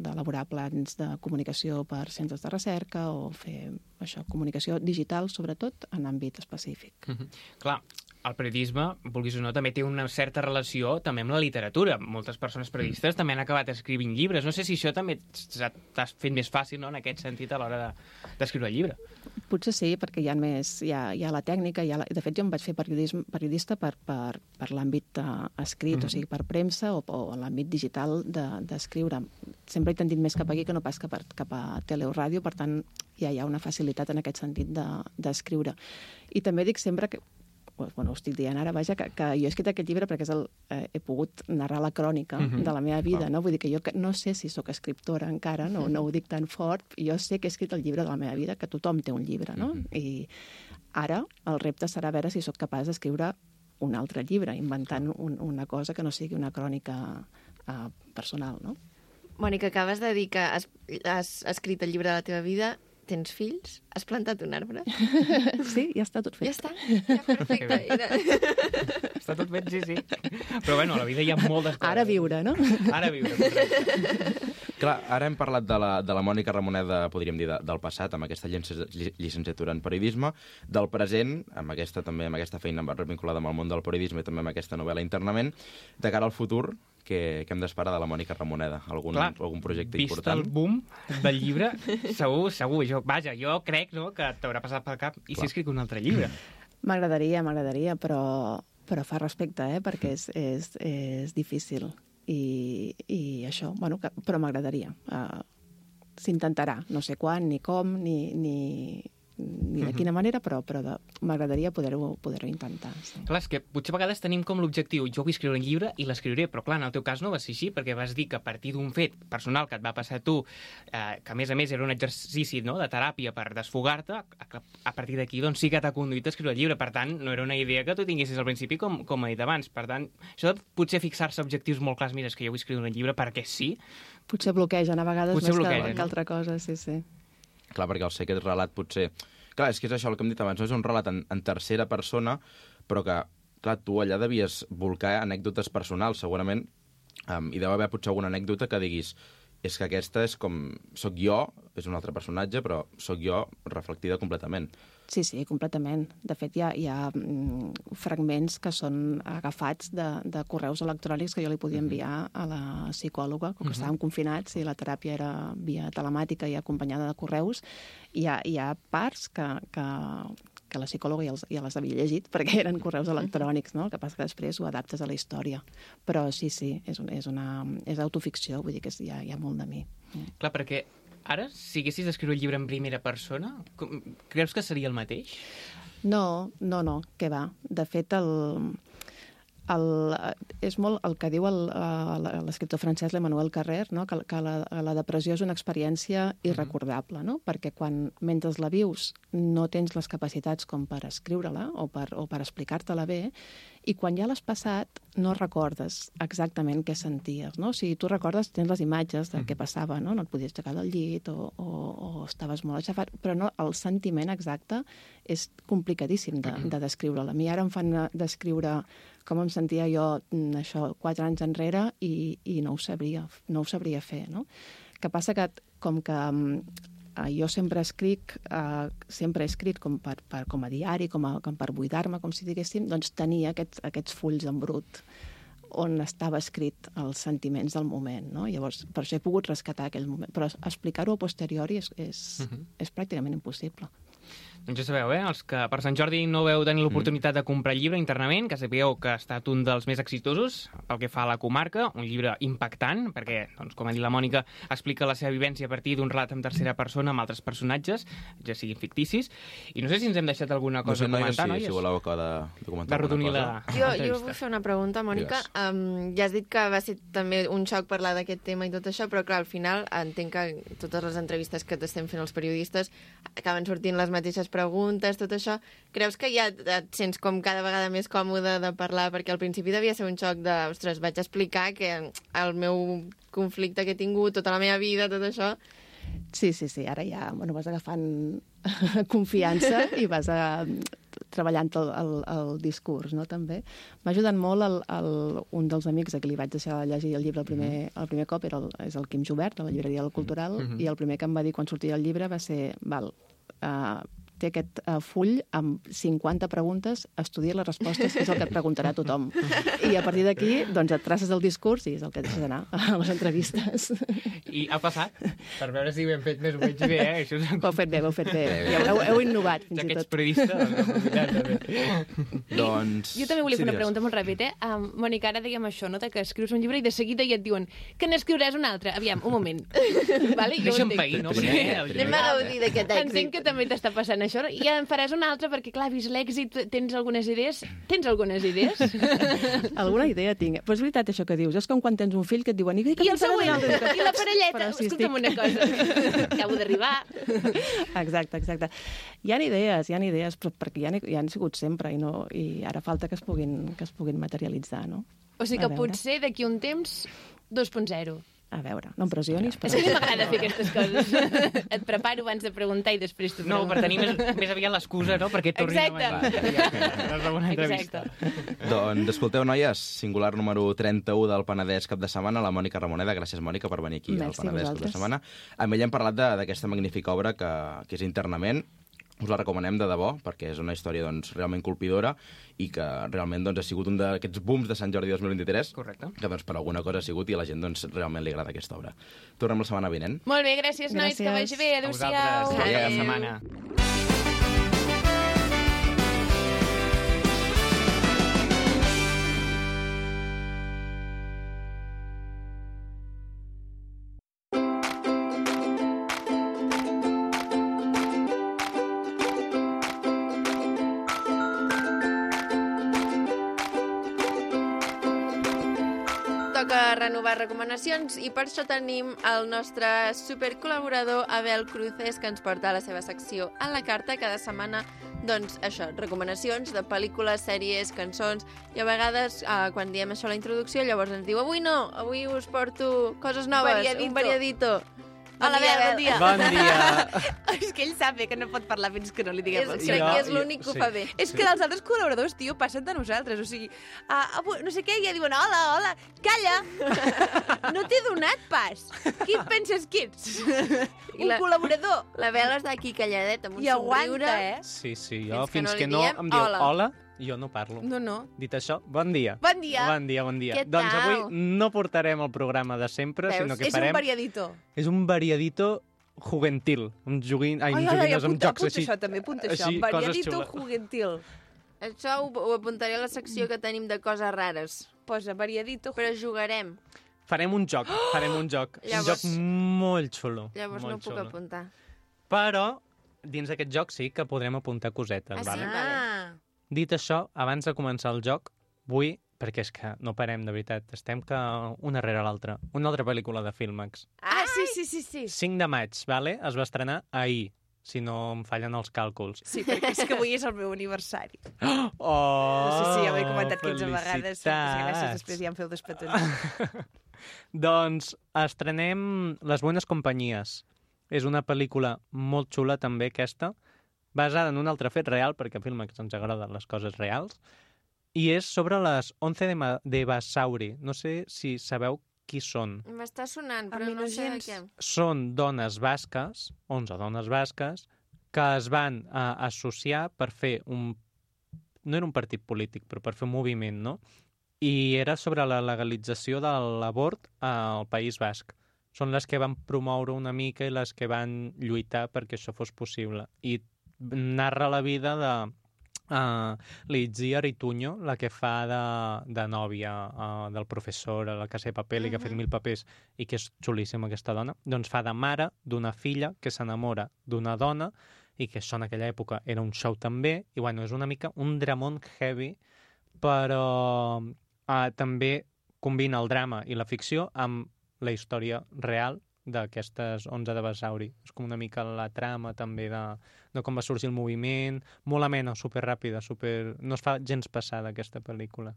E: d'elaborar plans de comunicació per centres de recerca o fer això, comunicació digital, sobretot en àmbit específic.
C: Mhm. Clar, el periodisme, vulguis o no, també té una certa relació també amb la literatura. Moltes persones periodistes també han acabat escrivint llibres. No sé si això també s'ha- t'ha fet més fàcil, no?, en aquest sentit, a l'hora de- d'escriure el llibre.
E: Potser sí, perquè hi ha més, hi ha, hi ha la tècnica, hi ha la... de fet jo em vaig fer periodisme, periodista per, per, per l'àmbit uh, escrit, mm -hmm. o sigui, per premsa o, o en l'àmbit digital de- d'escriure. De, Sempre he tendit més cap aquí que no pas cap a, cap a tele o ràdio, per tant ja hi ha una facilitat en aquest sentit de- d'escriure. De, I també dic sempre que pues, bueno, ho estic dient ara, vaja, que, que jo he escrit aquest llibre perquè és el, eh, he pogut narrar la crònica mm -hmm. de la meva vida, no? Vull dir que jo que- no sé si sóc escriptora encara, no, no ho dic tan fort, jo sé que he escrit el llibre de la meva vida, que tothom té un llibre, no? I ara el repte serà veure si sóc capaç d'escriure un altre llibre, inventant un, una cosa que no sigui una crònica eh, personal, no?
B: Mònica, acabes de dir que has, has escrit el llibre de la teva vida, tens fills, has plantat un arbre...
E: Sí, ja està tot fet.
B: Ja està, ja, perfecte. I de...
C: Està tot fet, sí, sí. Però bueno, a la vida hi ha moltes coses.
E: Ara viure, no?
C: Ara viure. correcte.
D: Clar, ara hem parlat de la, de la Mònica Ramoneda, podríem dir, de, del passat, amb aquesta llicen- lli- llicenciatura en periodisme, del present, amb aquesta, també, amb aquesta feina vinculada amb el món del periodisme i també amb aquesta novel·la internament, de cara al futur, que, que hem d'esperar de la Mònica Ramoneda? Algun,
C: Clar,
D: algun projecte
C: Vist
D: important?
C: el boom del llibre, segur, segur. Jo, vaja, jo crec no, que t'haurà passat pel cap i
D: Clar.
C: si escric un altre llibre.
E: M'agradaria, m'agradaria, però, però fa respecte, eh? perquè és, és, és difícil. I, i això, bueno, que, Eh, però m'agradaria. Uh, S'intentarà, no sé quan, ni com, ni, ni, ni de quina manera, però, però de- m'agradaria poder-ho poder intentar. Sí.
C: Clar, és que potser a vegades tenim com l'objectiu jo vull escriure un llibre i l'escriuré, però clar, en el teu cas no va ser així, perquè vas dir que a partir d'un fet personal que et va passar a tu, eh, que a més a més era un exercici no, de teràpia per desfogar-te, a, a partir d'aquí doncs, sí que t'ha conduït a escriure el llibre. Per tant, no era una idea que tu tinguessis al principi, com, com he dit abans. Per tant, això de potser fixar-se objectius molt clars, mira, és que jo vull escriure un llibre perquè sí,
E: Potser bloquegen a vegades
C: Potser
E: més
C: bloquegen,
E: que,
C: no?
E: que altra cosa, sí, sí.
D: Clar, perquè el secret relat potser... Clar, és que és això el que hem dit abans, no és un relat en, en tercera persona, però que, clar, tu allà devies volcar anècdotes personals, segurament, um, i deu haver potser alguna anècdota que diguis és que aquesta és com... Soc jo, és un altre personatge, però soc jo reflectida completament.
E: Sí, sí, completament. De fet, hi ha, hi ha mm, fragments que són agafats de, de correus electrònics que jo li podia enviar a la psicòloga, com que estàvem confinats i la teràpia era via telemàtica i acompanyada de correus. Hi ha, hi ha parts que, que, que la psicòloga ja, els, ja les havia llegit perquè eren correus electrònics, no? El que passa que després ho adaptes a la història. Però sí, sí, és, un, és, una, és autoficció, vull dir que és, hi, ha, hi ha molt de mi.
C: clar, perquè ara, si haguessis d'escriure el llibre en primera persona, com, creus que seria el mateix?
E: No, no, no, què va. De fet, el, el, és molt el que diu el- eh, l'escriptor francès l'Emmanuel Carrer, no? que, que la, la depressió és una experiència irrecordable, no? perquè quan, mentre la vius no tens les capacitats com per escriure-la o per, o per explicar-te-la bé, i quan ja l'has passat no recordes exactament què senties. No? O sigui, tu recordes, tens les imatges de què passava, no, no et podies aixecar del llit o, o, o estaves molt aixafat, però no, el sentiment exacte és complicadíssim de, de descriure-la. A mi ara em fan eh, descriure com em sentia jo mm, això quatre anys enrere i, i no, ho sabria, no ho sabria fer, no? Que passa que, com que mm, eh, jo sempre escric, eh, sempre he escrit com, per, per, com a diari, com, a, com per buidar-me, com si diguéssim, doncs tenia aquests, aquests fulls en brut on estava escrit els sentiments del moment, no? Llavors, per això he pogut rescatar aquell moment. Però explicar-ho a posteriori és, és, és pràcticament impossible.
C: Doncs ja sabeu, eh? Els que per Sant Jordi no veu tenir l'oportunitat de comprar el llibre internament, que sapigueu que ha estat un dels més exitosos pel que fa a la comarca, un llibre impactant, perquè, doncs, com ha dit la Mònica, explica la seva vivència a partir d'un relat en tercera persona amb altres personatges, ja siguin ficticis. I no sé si ens hem deixat alguna cosa a
D: no sé,
C: comentar,
D: noies, si, si
C: noies.
D: voleu acabar de, de
C: de
D: comentar
C: redonir la...
B: Jo, jo
C: l'entrevista.
B: vull fer una pregunta, Mònica.
D: Digues.
B: Um, ja has dit que va ser també un xoc parlar d'aquest tema i tot això, però clar, al final entenc que totes les entrevistes que t'estem fent els periodistes acaben sortint les mateixes preguntes, tot això. Creus que ja et sents com cada vegada més còmode de parlar? Perquè al principi devia ser un xoc de, ostres, vaig explicar que el meu conflicte que he tingut tota la meva vida, tot això...
E: Sí, sí, sí, ara ja bueno, vas agafant confiança i vas a, treballant el, el, el discurs, no?, també. M'ha ajudat molt el, el, un dels amics a qui li vaig deixar llegir el llibre el primer, el primer cop, era el, és el Quim Jobert, de la llibreria del Cultural, i el primer que em va dir quan sortia el llibre va ser, val, uh, té aquest uh, full amb 50 preguntes, estudia les respostes, que és el que et preguntarà tothom. I a partir d'aquí, doncs, et traces el discurs i és el que deixes anar a les entrevistes.
C: I ha passat, per veure si ho hem fet més o menys bé, eh? Això és...
E: Ho heu fet bé, ho heu fet bé. Ja heu, heu innovat, fins
C: Ja
E: i
C: que ets
E: tot.
C: periodista, doncs, aprofitat, també.
D: Doncs...
A: Jo
D: Sí,
A: també volia fer una
D: digues.
A: pregunta molt ràpid, eh? Um, Mònica, ara dèiem això, no? De que escrius un llibre i de seguida ja et diuen que n'escriuràs un altre. Aviam, un moment. vale, jo ho
C: Deixa'm
A: entenc.
C: pair, no?
D: Primer,
C: Primer, el
B: Anem a gaudir d'aquest èxit.
A: Entenc que també t'està passant això. I ja en faràs un altre, perquè, clar, vist l'èxit, tens algunes idees? Tens algunes idees?
E: Alguna idea tinc. Però és veritat això que dius. És com quan tens un fill que et diuen... I, què
A: I el
E: pensaràs de
A: següent?
E: l'altre?"
A: I la parelleta?
E: Però si
A: Escolta'm una cosa. Acabo d'arribar.
E: Exacte, exacte. Hi ha idees, hi ha idees, però perquè hi han, hi han sigut sempre i, no, i ara falta que es puguin, que es puguin materialitzar, no?
A: O sigui
E: A
A: que
E: veure.
A: potser d'aquí un temps 2.0.
E: A veure, no em pressionis,
A: És
E: però...
A: que a mi m'agrada fer aquestes coses. Et preparo abans de preguntar i després t'ho
C: No,
A: pregunto.
C: per tenir més, més aviat l'excusa, no? Perquè torni
A: Exacte.
C: Exacte.
A: Exacte.
C: Exacte.
D: Doncs, escolteu, noies, singular número 31 del Penedès cap de setmana, la Mònica Ramoneda. Gràcies, Mònica, per venir aquí
E: Merci
D: al
E: a
D: Penedès cap de
E: vosaltres.
D: setmana. Amb ella hem parlat de- d'aquesta magnífica obra que, que és internament. Us la recomanem de debò, perquè és una història doncs, realment colpidora i que realment doncs, ha sigut un d'aquests booms de Sant Jordi 2023,
C: Correcte.
D: que doncs, per alguna cosa ha sigut i a la gent doncs, realment li agrada aquesta obra. Tornem la setmana vinent.
A: Molt bé, gràcies, nois, que
E: Gràcies.
A: vagi bé.
C: A
A: Adéu-siau.
C: vosaltres. Fins la
D: Adéu.
C: setmana.
B: toca renovar recomanacions i per això tenim el nostre supercol·laborador Abel Cruces que ens porta a la seva secció a la carta cada setmana doncs això, recomanacions de pel·lícules, sèries, cançons i a vegades eh, quan diem això a la introducció llavors ens diu avui no, avui us porto coses noves,
A: Variadito.
B: un variadito.
A: Hola,
B: Bon dia,
A: Abel, bon
B: Abel.
A: dia.
C: Bon dia.
A: és que ell sap bé que no pot parlar fins que no li
B: És,
A: diguem el
B: crec
C: Jo-
B: que és
C: jo-
B: l'únic que ho
C: sí.
B: fa bé.
A: És que dels altres col·laboradors, tio, passen de nosaltres. O sigui, uh, avui, no sé què, ja diuen hola, hola, calla! No t'he donat pas! Qui et penses que ets?
B: I
A: Un
B: la-
A: col·laborador!
B: La Bel està aquí calladeta amb un
A: I aguanta,
B: somriure.
A: eh?
G: Sí, sí, jo
B: Fins que no
G: fins
B: li
G: que no,
B: diem
G: em diu
B: hola.
G: hola. jo no parlo.
A: No, no.
G: Dit això, bon dia.
A: Bon dia!
G: Bon dia, bon dia.
B: Què
G: doncs
B: tal?
G: avui no portarem el programa de sempre,
B: Veus?
G: sinó que
A: és
G: farem...
A: un variadito.
G: És un variadito juventil. Amb juguin... Ai, amb joguines, amb
A: apunta,
G: jocs
A: apunta
G: així.
A: això també, apunta això.
G: així, coses
A: variadito
G: xules.
A: juguentil.
B: Això ho, ho apuntaré a la secció que tenim de coses rares.
A: Posa variadito
B: Però jugarem.
G: Farem un joc, farem un joc.
B: Llavors-
G: Un joc molt xulo.
B: Llavors
G: molt
B: no puc
G: xulo.
B: apuntar.
G: Però dins d'aquest joc sí que podrem apuntar cosetes.
B: Ah, sí?
G: vale?
B: Ah.
G: Dit això, abans de començar el joc, vull, perquè és que no parem, de veritat, estem que una rere l'altra, una altra pel·lícula de Filmax.
A: Ah, sí, sí, sí, sí.
G: 5 de maig, vale? es va estrenar ahir, si no em fallen els càlculs.
A: Sí, perquè és que avui és el meu aniversari.
G: Oh,
A: no sé si ja ho he comentat 15 vegades. moltes Gràcies,
G: felicitats.
A: després ja em feu dos petons.
G: Doncs estrenem Les Bones Companyies. És una pel·lícula molt xula, també, aquesta, basada en un altre fet real, perquè a Filmex ens agraden les coses reals, i és sobre les 11 de, Ma de Basauri. No sé si sabeu qui són.
B: M'està sonant,
A: A
B: però
A: mi
B: no
A: no
B: sé de
A: gens.
B: què.
G: Són dones basques, 11 dones basques, que es van eh, associar per fer un... No era un partit polític, però per fer un moviment, no? I era sobre la legalització de l'abort al País Basc. Són les que van promoure una mica i les que van lluitar perquè això fos possible. I narra la vida de uh, Ligia Rituño, la que fa de, de nòvia uh, del professor, a la que sé paper, i que ha fet
B: Mhm.
G: mil papers, i que és xulíssima aquesta dona, doncs fa de mare d'una filla que s'enamora d'una dona i que això en aquella època era un show també, i bueno, és una mica un dramón heavy, però eh, també combina el drama i la ficció amb la història real d'aquestes 11 de Basauri. És com una mica la trama també de, de com va sorgir el moviment, molt amena, superràpida, super... no es fa gens passada aquesta pel·lícula.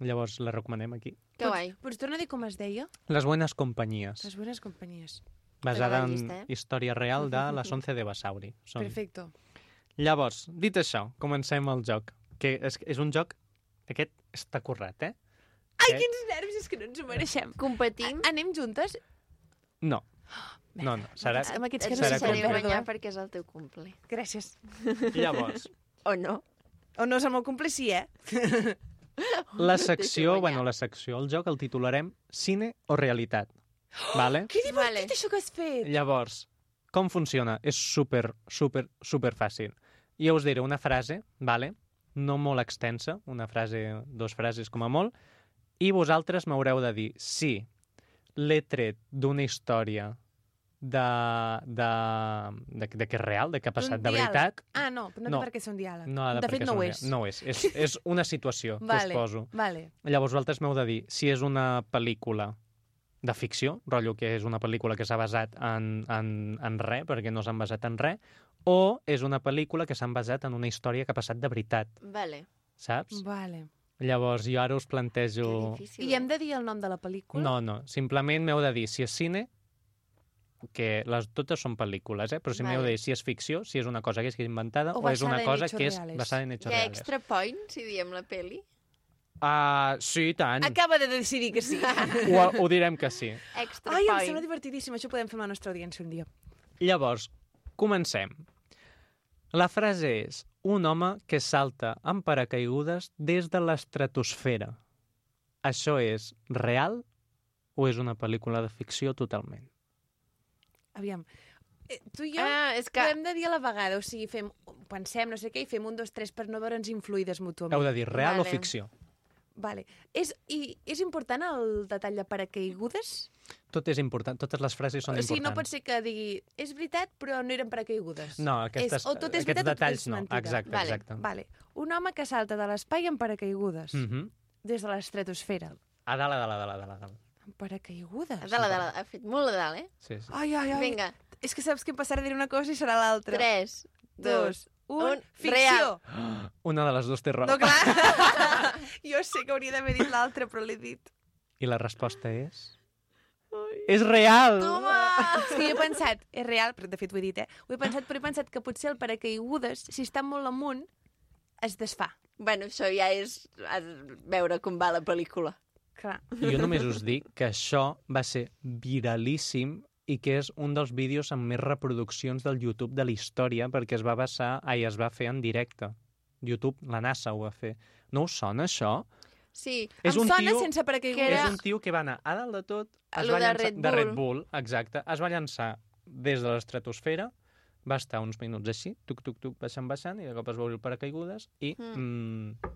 G: Llavors la recomanem aquí.
B: Que guai.
A: Pots tornar a dir com es deia?
G: Les bones companyies.
A: Les bones companyies.
G: Basada
B: Pegada
G: en
B: llista, eh?
G: història real de les 11 de Basauri. Són.
A: Perfecto.
G: Llavors, dit això, comencem el joc. Que és, és un joc... Aquest està currat, eh?
A: Ai,
G: Aquest-
A: quins nervis, és que no ens ho mereixem.
B: Competim.
A: Anem juntes?
G: No. No, no, serà...
A: Amb aquests
B: Et
A: que
G: no serà
B: deixaré
G: complicat.
B: guanyar
A: perdó.
B: perquè és el teu cumple.
A: Gràcies.
G: Llavors,
B: O no?
A: O no és el meu complici, eh?
G: la
B: guanyar.
G: secció, bueno, la secció, el joc el titularem Cine o Realitat. Vale?
A: Que divertit
B: Vale.
A: vale. això que has fet!
G: Llavors, com funciona? És super, super, super fàcil. Jo us diré una frase, vale? no molt extensa, una frase, dos frases com a molt, i vosaltres m'haureu de dir si l'he tret d'una història de, de, de, de que és real, de que ha passat de
A: diàleg.
G: veritat.
A: Ah, no, però no,
G: No.
A: té per què ser un diàleg.
G: No, ha
A: de
G: perquè
A: fet, no ho
G: una-
A: és.
G: No ho és. És, és una situació,
A: Vale.
G: que us poso.
A: Vale.
G: Llavors, vosaltres m'heu de dir si és una pel·lícula de ficció, rotllo que és una pel·lícula que s'ha basat en, en, en res, perquè no s'han basat en res, o és una pel·lícula que s'han basat en una història que ha passat de veritat,
B: Vale.
G: saps?
A: Vale.
G: Llavors, jo ara us
B: Que
G: plantejo...
B: difícil. eh?
A: I hem de dir el nom de la pel·lícula?
G: No, no, simplement m'heu de dir si és cine, que les, totes són pel·lícules, eh? però si m'heu
B: Vale.
G: de dir si és ficció, si és una cosa que és inventada
A: O
G: o, és
A: basada
G: una
A: en
G: cosa
A: hechos
G: que és
A: reales.
G: basada en hechos
B: Hi ha
G: reales.
B: extra point, si diem la peli?
G: Ah, sí, i tant.
A: Acaba de decidir que sí.
G: Ho, ho direm que sí.
B: Extra
A: Ai, em
B: point.
A: sembla divertidíssim. Això ho podem fer amb la nostra audiència un dia.
G: Llavors, comencem. La frase és un home que salta amb paracaigudes des de l'estratosfera. Això és real o és una pel·lícula de ficció totalment?
A: Aviam. Eh, tu i jo ah,
B: Ah, és
A: que...
B: que...
A: ho hem de dir a la vegada. O sigui, fem, pensem, no sé què, i fem un, dos, tres per no veure'ns influïdes mútuament.
G: Heu de dir real
B: Vale.
G: o ficció.
A: Vale. És, i, és important el detall de paracaigudes?
G: Tot és important, totes les frases són
A: o sigui,
G: importants.
A: no pot ser que digui és veritat, però no eren paracaigudes.
G: No, aquestes,
A: És, o tot és
G: aquests
A: veritat o tot
G: detalls
A: és mentida.
G: no. Exacte,
B: Vale.
G: exacte.
A: Vale. Un home que salta de l'espai en paracaigudes,
G: Mhm.
A: des de l'estratosfera.
G: A dalt, a dalt, a dalt, a dalt, a dalt.
A: Paracaigudes.
B: A dalt, a dalt. Ha fet molt de dalt, eh?
G: Sí, sí.
A: Ai, ai, ai.
B: Vinga,
A: És que saps que em passarà a dir una cosa i serà l'altra.
B: 3, 2...
A: dos, un,
B: un,
A: ficció.
B: real.
G: Una de les dues té raó.
A: No, clar. jo sé que hauria d'haver dit l'altra, però l'he dit.
G: I la resposta és... És real!
A: Toma! És que jo he pensat, és real, però de fet ho he dit, eh? Ho he pensat, però he pensat que potser el paracaigudes, si està molt amunt, es desfà.
B: Bueno, això ja és a veure com va la pel·lícula.
A: Clar.
G: I jo només us dic que això va ser viralíssim i que és un dels vídeos amb més reproduccions del YouTube de la història perquè es va basar, ai, es va fer en directe. YouTube, la NASA ho va fer. No us sona això?
B: Sí,
A: És em
G: un
A: sona
G: tio,
A: sense
B: que
A: paracaigudes.
B: era-
G: És un tio que va anar a dalt de tot,
B: A
G: es
B: lo
G: va
B: de
G: llançar,
B: Red
G: de
B: Bull.
G: Red Bull, exacte, es va llançar des de l'estratosfera, va estar uns minuts així, tuc, tuc, tuc, baixant, baixant, i de cop es va obrir el paracaigudes i
B: Mm.
G: mm.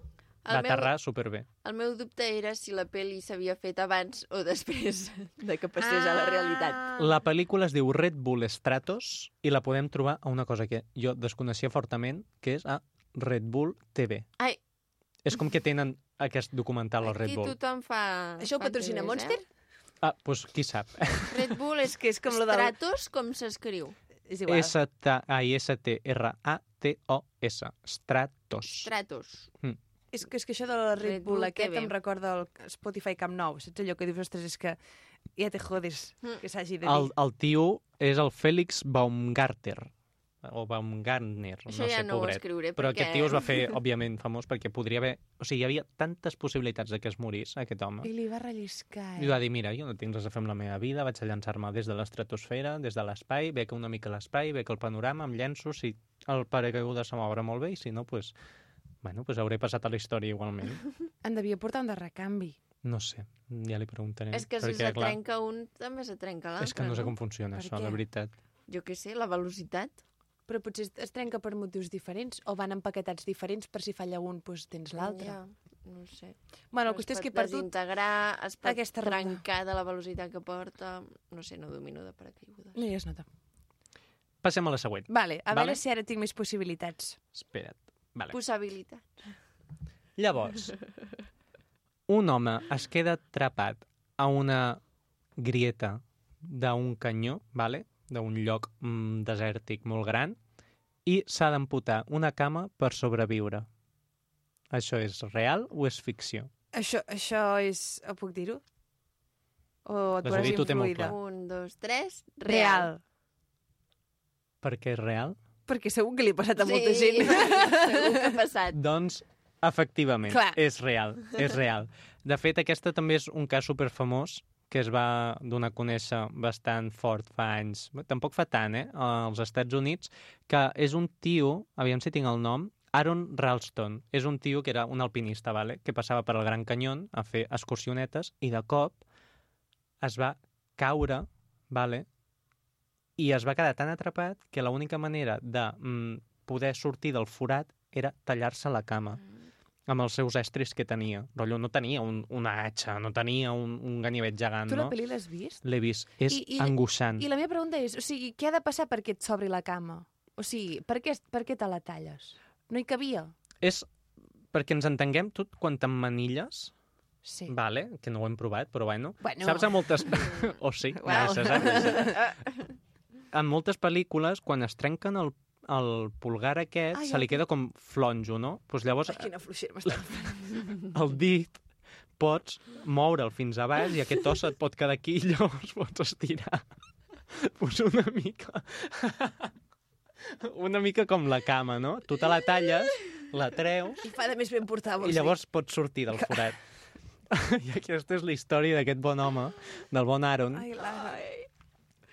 B: El
G: va
B: meu-
G: aterrar superbé.
B: el meu dubte era si la pel·li s'havia fet abans o després de que passés ah. a la realitat.
G: La pel·lícula es diu Red Bull Stratos i la podem trobar a una cosa que jo desconeixia fortament, que és a Red Bull TV.
B: Ai.
G: És com que tenen aquest documental al Red
B: Aquí
G: Bull.
B: tothom fa...
A: Això ho
B: fa
A: patrocina
B: teories,
A: Monster?
G: Ah, doncs qui sap.
B: Eh? Red Bull és,
A: És que és com lo del-
B: Stratos, com s'escriu?
A: És igual. És...
G: S-T-R-A-T-O-S. Stratos.
B: Stratos.
G: Hm.
A: És, que, és que això de la Red
B: Red Bull
A: Bull aquest
B: TV.
A: em recorda el Spotify Camp Nou. Saps allò que dius, ostres, és que ja te jodes
B: Mm.
A: que s'hagi de dir.
G: El, el tio és el Félix Baumgartner. O Baumgartner,
B: Això
G: no
B: ja
G: sé,
B: no ho
G: pobret.
B: escriuré
G: Però
B: perquè...
G: aquest tio es va fer, òbviament, famós perquè podria haver... O sigui, hi havia tantes possibilitats de que es morís, aquest home.
A: I li va relliscar, eh?
G: I va dir, mira, jo no tinc res a fer amb la meva vida, vaig a llançar-me des de l'estratosfera, des de l'espai, veig una mica l'espai, veig el panorama, em llenço, si el paracaigudes se m'obre molt bé i si no, doncs... Bueno, doncs hauré passat a la història igualment.
A: En devia portar un de recanvi.
G: No sé, ja li preguntarem.
B: És que si se trenca un, també se trenca l'altre.
G: és que no sé com funciona
A: Per
G: això,
A: què?
G: la veritat.
B: Jo què sé, la velocitat.
A: Però potser es trenca per motius diferents o van empaquetats diferents per si falla un, doncs tens l'altre.
B: Ja, no ho sé.
A: Bueno, el
B: Però
A: que és
B: es
A: que he
B: pot
A: perdut...
B: desintegrar, es pot
A: aquesta ronda.
B: trencar de la velocitat que porta... No sé, no domino de paracaigudes.
A: No hi es nota.
G: Passem a la següent.
A: Vale, a
G: Vale.
A: veure si ara tinc més possibilitats.
G: Espera't. Vale.
B: Possibilitat.
G: Llavors, un home es queda atrapat a una grieta d'un canyó, vale? d'un lloc mm, desèrtic molt gran, i s'ha d'amputar una cama per sobreviure. Això és real o és ficció?
A: Això, això és... Ho puc dir-ho? O et
G: Vas
A: veuràs
G: dir, tu té molt
A: influïda?
G: clar.
B: Un, dos, tres...
A: Real.
B: Real.
G: Per què és real?
A: Perquè segur que li ha passat a molta gent.
B: Segur que ha passat.
G: Doncs, efectivament,
A: Clar.
G: és real, és real. De fet, aquesta també és un cas superfamós que es va donar a conèixer bastant fort fa anys, tampoc fa tant, eh?, als Estats Units, que és un tio, aviam si tinc el nom, Aaron Ralston. És un tio que era un alpinista, vale? que passava per el Gran Canyón a fer excursionetes i de cop es va caure, vale? i es va quedar tan atrapat que l'única manera de mm, poder sortir del forat era tallar-se la cama
A: Mm.
G: amb els seus estris que tenia. Rotllo, no tenia un, una atxa, no tenia un, un ganivet gegant,
A: Tu la
G: Ah, no?
A: pel·li l'has vist?
G: L'he vist. És
A: I- i-
G: angoixant.
A: I la meva pregunta és, o sigui, què ha de passar perquè et s'obri la cama? O sigui, per què, per què te la talles? No hi cabia?
G: És perquè ens entenguem tot quan t'emmanilles,
A: Sí.
G: vale, que no ho hem provat, però bueno,
A: Bueno.
G: Saps a moltes... o sí,
A: Uau.
G: gràcies, eh, gràcies. En moltes pel·lícules, quan es trenquen el, el pulgar aquest,
A: Ai,
G: se li
A: el-
G: queda com flonjo, no? Pues llavors,
A: Ai, quina fluixera m'està
G: el dit pots moure'l fins a baix i aquest os et pot quedar aquí i llavors pots estirar. Pues una mica... una mica com la cama, no? Tu te la talles, la treus
A: I fa de més ben portar, vols
G: i llavors pot sortir del forat. I aquesta és la història d'aquest bon home, del bon Aaron.
A: dir? Ai, l'Ara.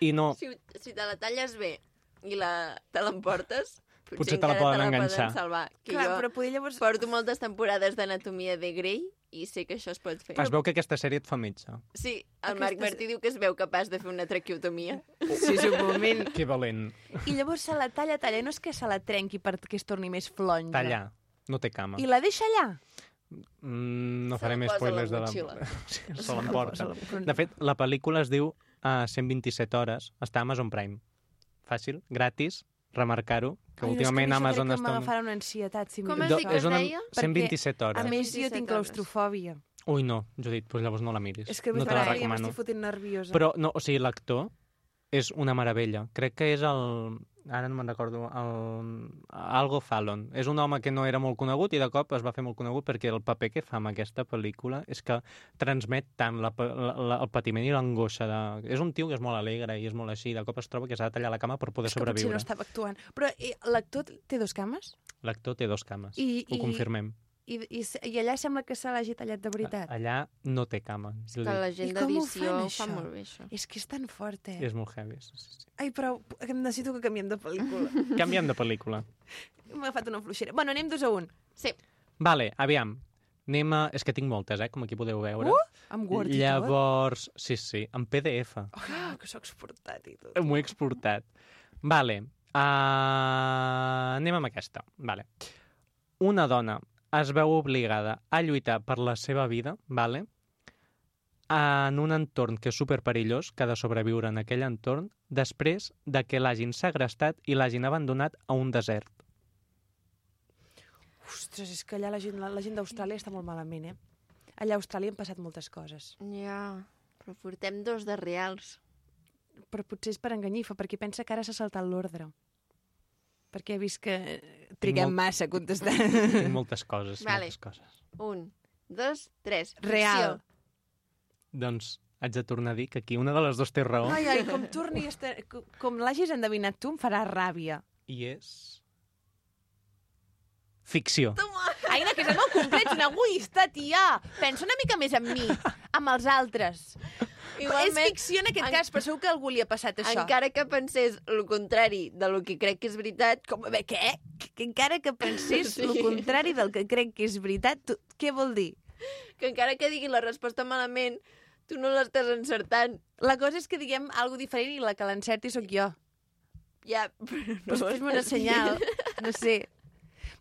G: I no,
B: Si, si te la talles bé i la, te l'emportes, potser,
G: Potser te la
B: encara
G: poden
B: te la
G: enganxar.
B: poden salvar. Que
A: Clar,
B: jo
A: però poder llavors...
B: porto moltes temporades d'anatomia de Grey i sé que això es pot fer.
G: es veu que aquesta sèrie et fa metge.
B: Sí, el Marc
A: Aquestes-
B: Martí diu que es veu capaç de fer una traqueotomia.
A: Sí, és un moment.
G: Que valent.
A: I llavors se la talla, talla. No és que se la trenqui perquè es torni més flonja.
G: Tallar. No té cama.
A: I la deixa allà.
G: Mm, no
B: Se la
G: faré més
B: posa a la
G: spoilers de la...
B: motxilla.
G: Sí, se l'emporta. De fet, la pel·lícula es diu a 127 hores. Està a Amazon Prime. Fàcil, gratis, remarcar-ho, que últimament Amazon
A: està...
G: està...
A: M'agafarà una ansietat, si
B: Com
A: miro
B: has
G: Do-
B: dit que
A: això.
B: es
G: és una...
B: deia?
A: Perquè,
G: 127
A: A
G: hores.
A: més, jo
B: 27
A: tinc
B: hores.
A: claustrofòbia.
G: Ui, no, Judit, doncs llavors no la miris.
A: És que
G: no te la
A: veritat, ja
G: recomano.
A: m'estic fotent nerviosa.
G: Però, no, o sigui, l'actor és una meravella. Crec que és el... Ara no me'n recordo. El... Algo Fallon. És un home que no era molt conegut i de cop es va fer molt conegut perquè el paper que fa amb aquesta pel·lícula és que transmet tant la, pa- la, la, el patiment i l'angoixa. De... És un tio que és molt alegre i és molt així. i De cop es troba que s'ha de tallar la cama per poder
A: és que potser
G: sobreviure.
A: no estava actuant. Però eh, l'actor té dos cames?
G: L'actor té dos cames.
A: I-
G: Ho
A: i-
G: confirmem.
A: I, i, s- i allà sembla que se l'hagi tallat de veritat.
G: A- Allà no té cama.
B: És
G: Judit.
B: que la
A: I
B: gent
A: com ho
B: d'edició
A: fan,
B: ho fa
A: això?
B: molt bé, això.
A: És que és tan fort, eh?
G: És molt heavy. sí, sí, sí.
A: Ai, però em necessito que canviem de pel·lícula.
G: Canviem de pel·lícula.
A: M'ha agafat una fluixera. Bueno, anem dos a un.
B: Sí,
G: Vale, aviam. Anem a... És que tinc moltes, eh, com aquí podeu veure.
A: Uh! Amb Word i tot.
G: Llavors, sí, sí, en PDF.
A: Ah, que sóc exportat i tot.
G: M'ho he exportat. Vale, uh, anem amb aquesta. Vale. Una dona es veu obligada a lluitar per la seva vida, vale? en un entorn que és superperillós, que ha de sobreviure en aquell entorn, després de que l'hagin segrestat i l'hagin abandonat a un desert.
A: Ostres, és que allà la gent, la, la gent d'Austràlia està molt malament, eh? Allà a Austràlia han passat moltes coses.
B: ja... Però portem dos de reals.
A: Però potser és per enganyifa, perquè pensa que ara s'ha saltat l'ordre. Perquè he vist que eh, triguem
G: molt-
A: molt... massa a contestar.
G: Tinc moltes coses,
B: Vale.
G: moltes coses.
B: Un, dos, tres.
A: Real.
B: Ficció.
G: Doncs haig de tornar a dir que aquí una de les dues té raó
A: Ai, ai, com torni... a Estar... com- Com l'hagis endevinat tu, em farà ràbia.
G: i és... Ficció.
A: Aina, que és el meu complet, ets una egoista, tia. Pensa una mica més en mi, amb els altres. Igualment, és ficció en aquest
B: en-
A: en... cas, però segur que a algú li ha passat això.
B: Encara que pensés el contrari de lo que crec que és veritat,
A: Com, a veure, què? Que encara que pensés sí.
B: Sí.
A: el contrari del que crec que és veritat, tu, què vol dir?
B: que encara que digui la resposta malament, tu no l'estàs encertant.
A: La cosa és que diguem alguna diferent i la que l'encerti sóc jo.
B: Ja, però no.
A: Pues fes-me un senyal, no sé.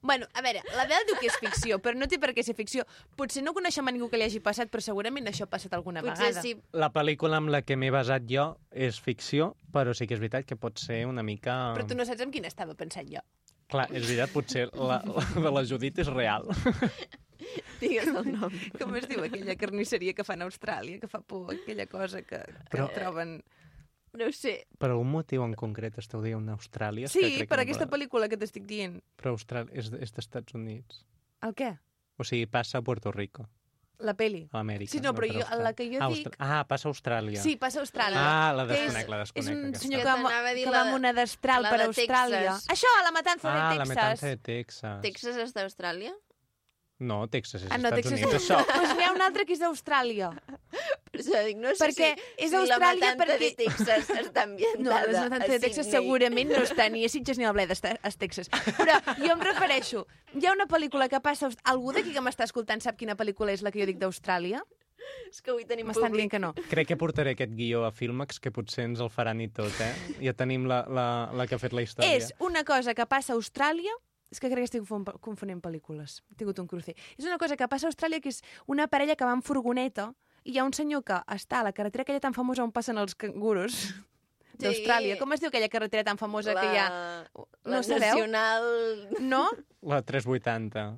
A: Bueno, a veure, la Bel diu que és ficció, però no té per què ser ficció. Potser no coneixem a ningú que li hagi passat, però segurament això ha passat alguna
B: Potser
A: vegada.
B: sí,
G: La pel·lícula amb la que m'he basat jo és ficció, però sí que és veritat que pot ser una mica...
A: Però tu no saps en quina estava pensant jo.
G: Clar, és veritat, potser la, la de la Judit és real.
B: digues el nom.
A: Com es diu aquella carnisseria que fan a Austràlia, que fa por, aquella cosa que, que
G: Però- eh,
A: troben...
B: No ho sé.
G: Per algun motiu en concret esteu dient Austràlia? És que
A: Sí,
G: crec
A: per
G: que no
A: aquesta
G: m'agrada.
A: pel·lícula que t'estic dient.
G: Però Austràlia és, és d'Estats Units.
A: El què?
G: O sigui, passa a Puerto Rico,
A: La peli.
G: a l'Amèrica.
A: Sí, no, però
G: per
A: jo-
G: Austràlia.
A: la que jo
G: Ah,
A: dic-
G: Austra- Ah, passa a Austràlia.
A: Sí, passa a Austràlia.
G: Ah, la
A: que és-
G: desconec, la
A: És
G: desconec.
A: un
G: aquesta.
A: senyor
B: aquesta.
A: que, va,
B: T'anava a dir
A: que
B: la
A: va amb
B: de-
A: una destral
B: la
A: per
B: de
A: Austràlia.
B: Texas.
A: Això, la matanza
G: Ah, la
A: de
G: matança
A: Texas.
G: de Texas.
B: Texas és d'Austràlia?
G: No, Texas és
A: Ah, no,
G: Estats
A: Texas.
G: Units. Això,
A: Doncs n'hi ha un altre que és d'Austràlia.
B: Per això dic, no sé
A: Perquè
B: si,
A: és
B: si
A: Austràlia
B: la matança
A: perquè-
B: de Texas està
A: No,
B: ambientada
A: la matanza
B: a
A: de Texas
B: Sydney.
A: segurament no està ni a Sitges ni a Bleda, està a Texas. Però jo em refereixo, hi ha una pel·lícula que passa... a Aust- Algú d'aquí que m'està escoltant sap quina pel·lícula és la que jo dic d'Austràlia?
B: És que avui tenim
A: M'estan
B: públic.
A: dient que no.
G: Crec que portaré aquest guió a Filmex, que potser ens el faran i tot, eh? Ja tenim la, la, la que ha fet la història.
A: És una cosa que passa a Austràlia... És que crec que estic confon- confonent pel·lícules. He tingut un crucer. És una cosa que passa a Austràlia, que és una parella que va en furgoneta i hi ha un senyor que està a la carretera aquella tan famosa on passen els canguros d'Austràlia. Com es diu aquella carretera tan famosa que hi ha?
B: La
A: No sabeu?
B: nacional...
A: No?
G: La 380.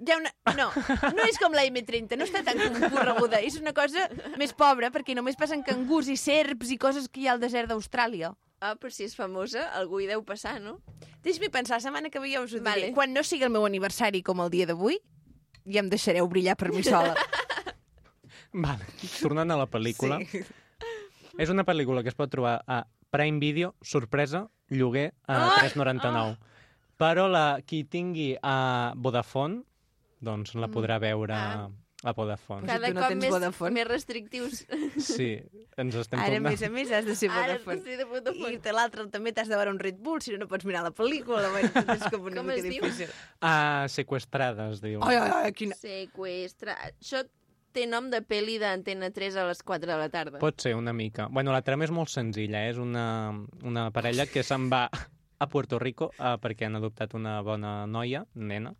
A: Hi ha una... No, no és com la M30, no està tan concorreguda. És una cosa més pobra, perquè només passen cangurs i serps i coses que hi ha al desert d'Austràlia.
B: Ah, però si és famosa, algú hi deu passar, no?
A: Deixa'm pensar, la setmana que ve ja us ho diré.
B: Vale.
A: Quan no sigui el meu aniversari com el dia d'avui, ja em deixareu brillar per mi sola.
G: Vale. Tornant a la pel·lícula. Sí. És una pel·lícula que es pot trobar a Prime Video, sorpresa, lloguer, a 3,99. Però la, qui tingui a Vodafone, doncs la podrà veure
B: Ah.
G: a Vodafone.
A: Clar.
B: Cada
A: tu no
B: cop
A: tens
B: més,
A: Vodafone.
B: més restrictius.
G: Sí, ens estem
A: Ara, a
G: tornant...
A: més a més, has de ser
B: Ara
A: Vodafone.
B: sí, de
A: I
B: Vodafone.
A: de l'altre també t'has de veure un Red Bull, si no, no pots mirar la pel·lícula. Bueno, tot és com una
B: Com
A: mica
B: es diu?
A: difícil.
G: A sequestrada, es diu.
A: Ai, ai, ai, quina...
B: Sequestra... Això té nom de pel·li d'Antena 3 a les 4 de la tarda.
G: Pot ser, una mica. Bueno, la trama és molt senzilla. eh? És una, una parella que se'n va a Puerto Rico eh, perquè han adoptat una bona noia, nena,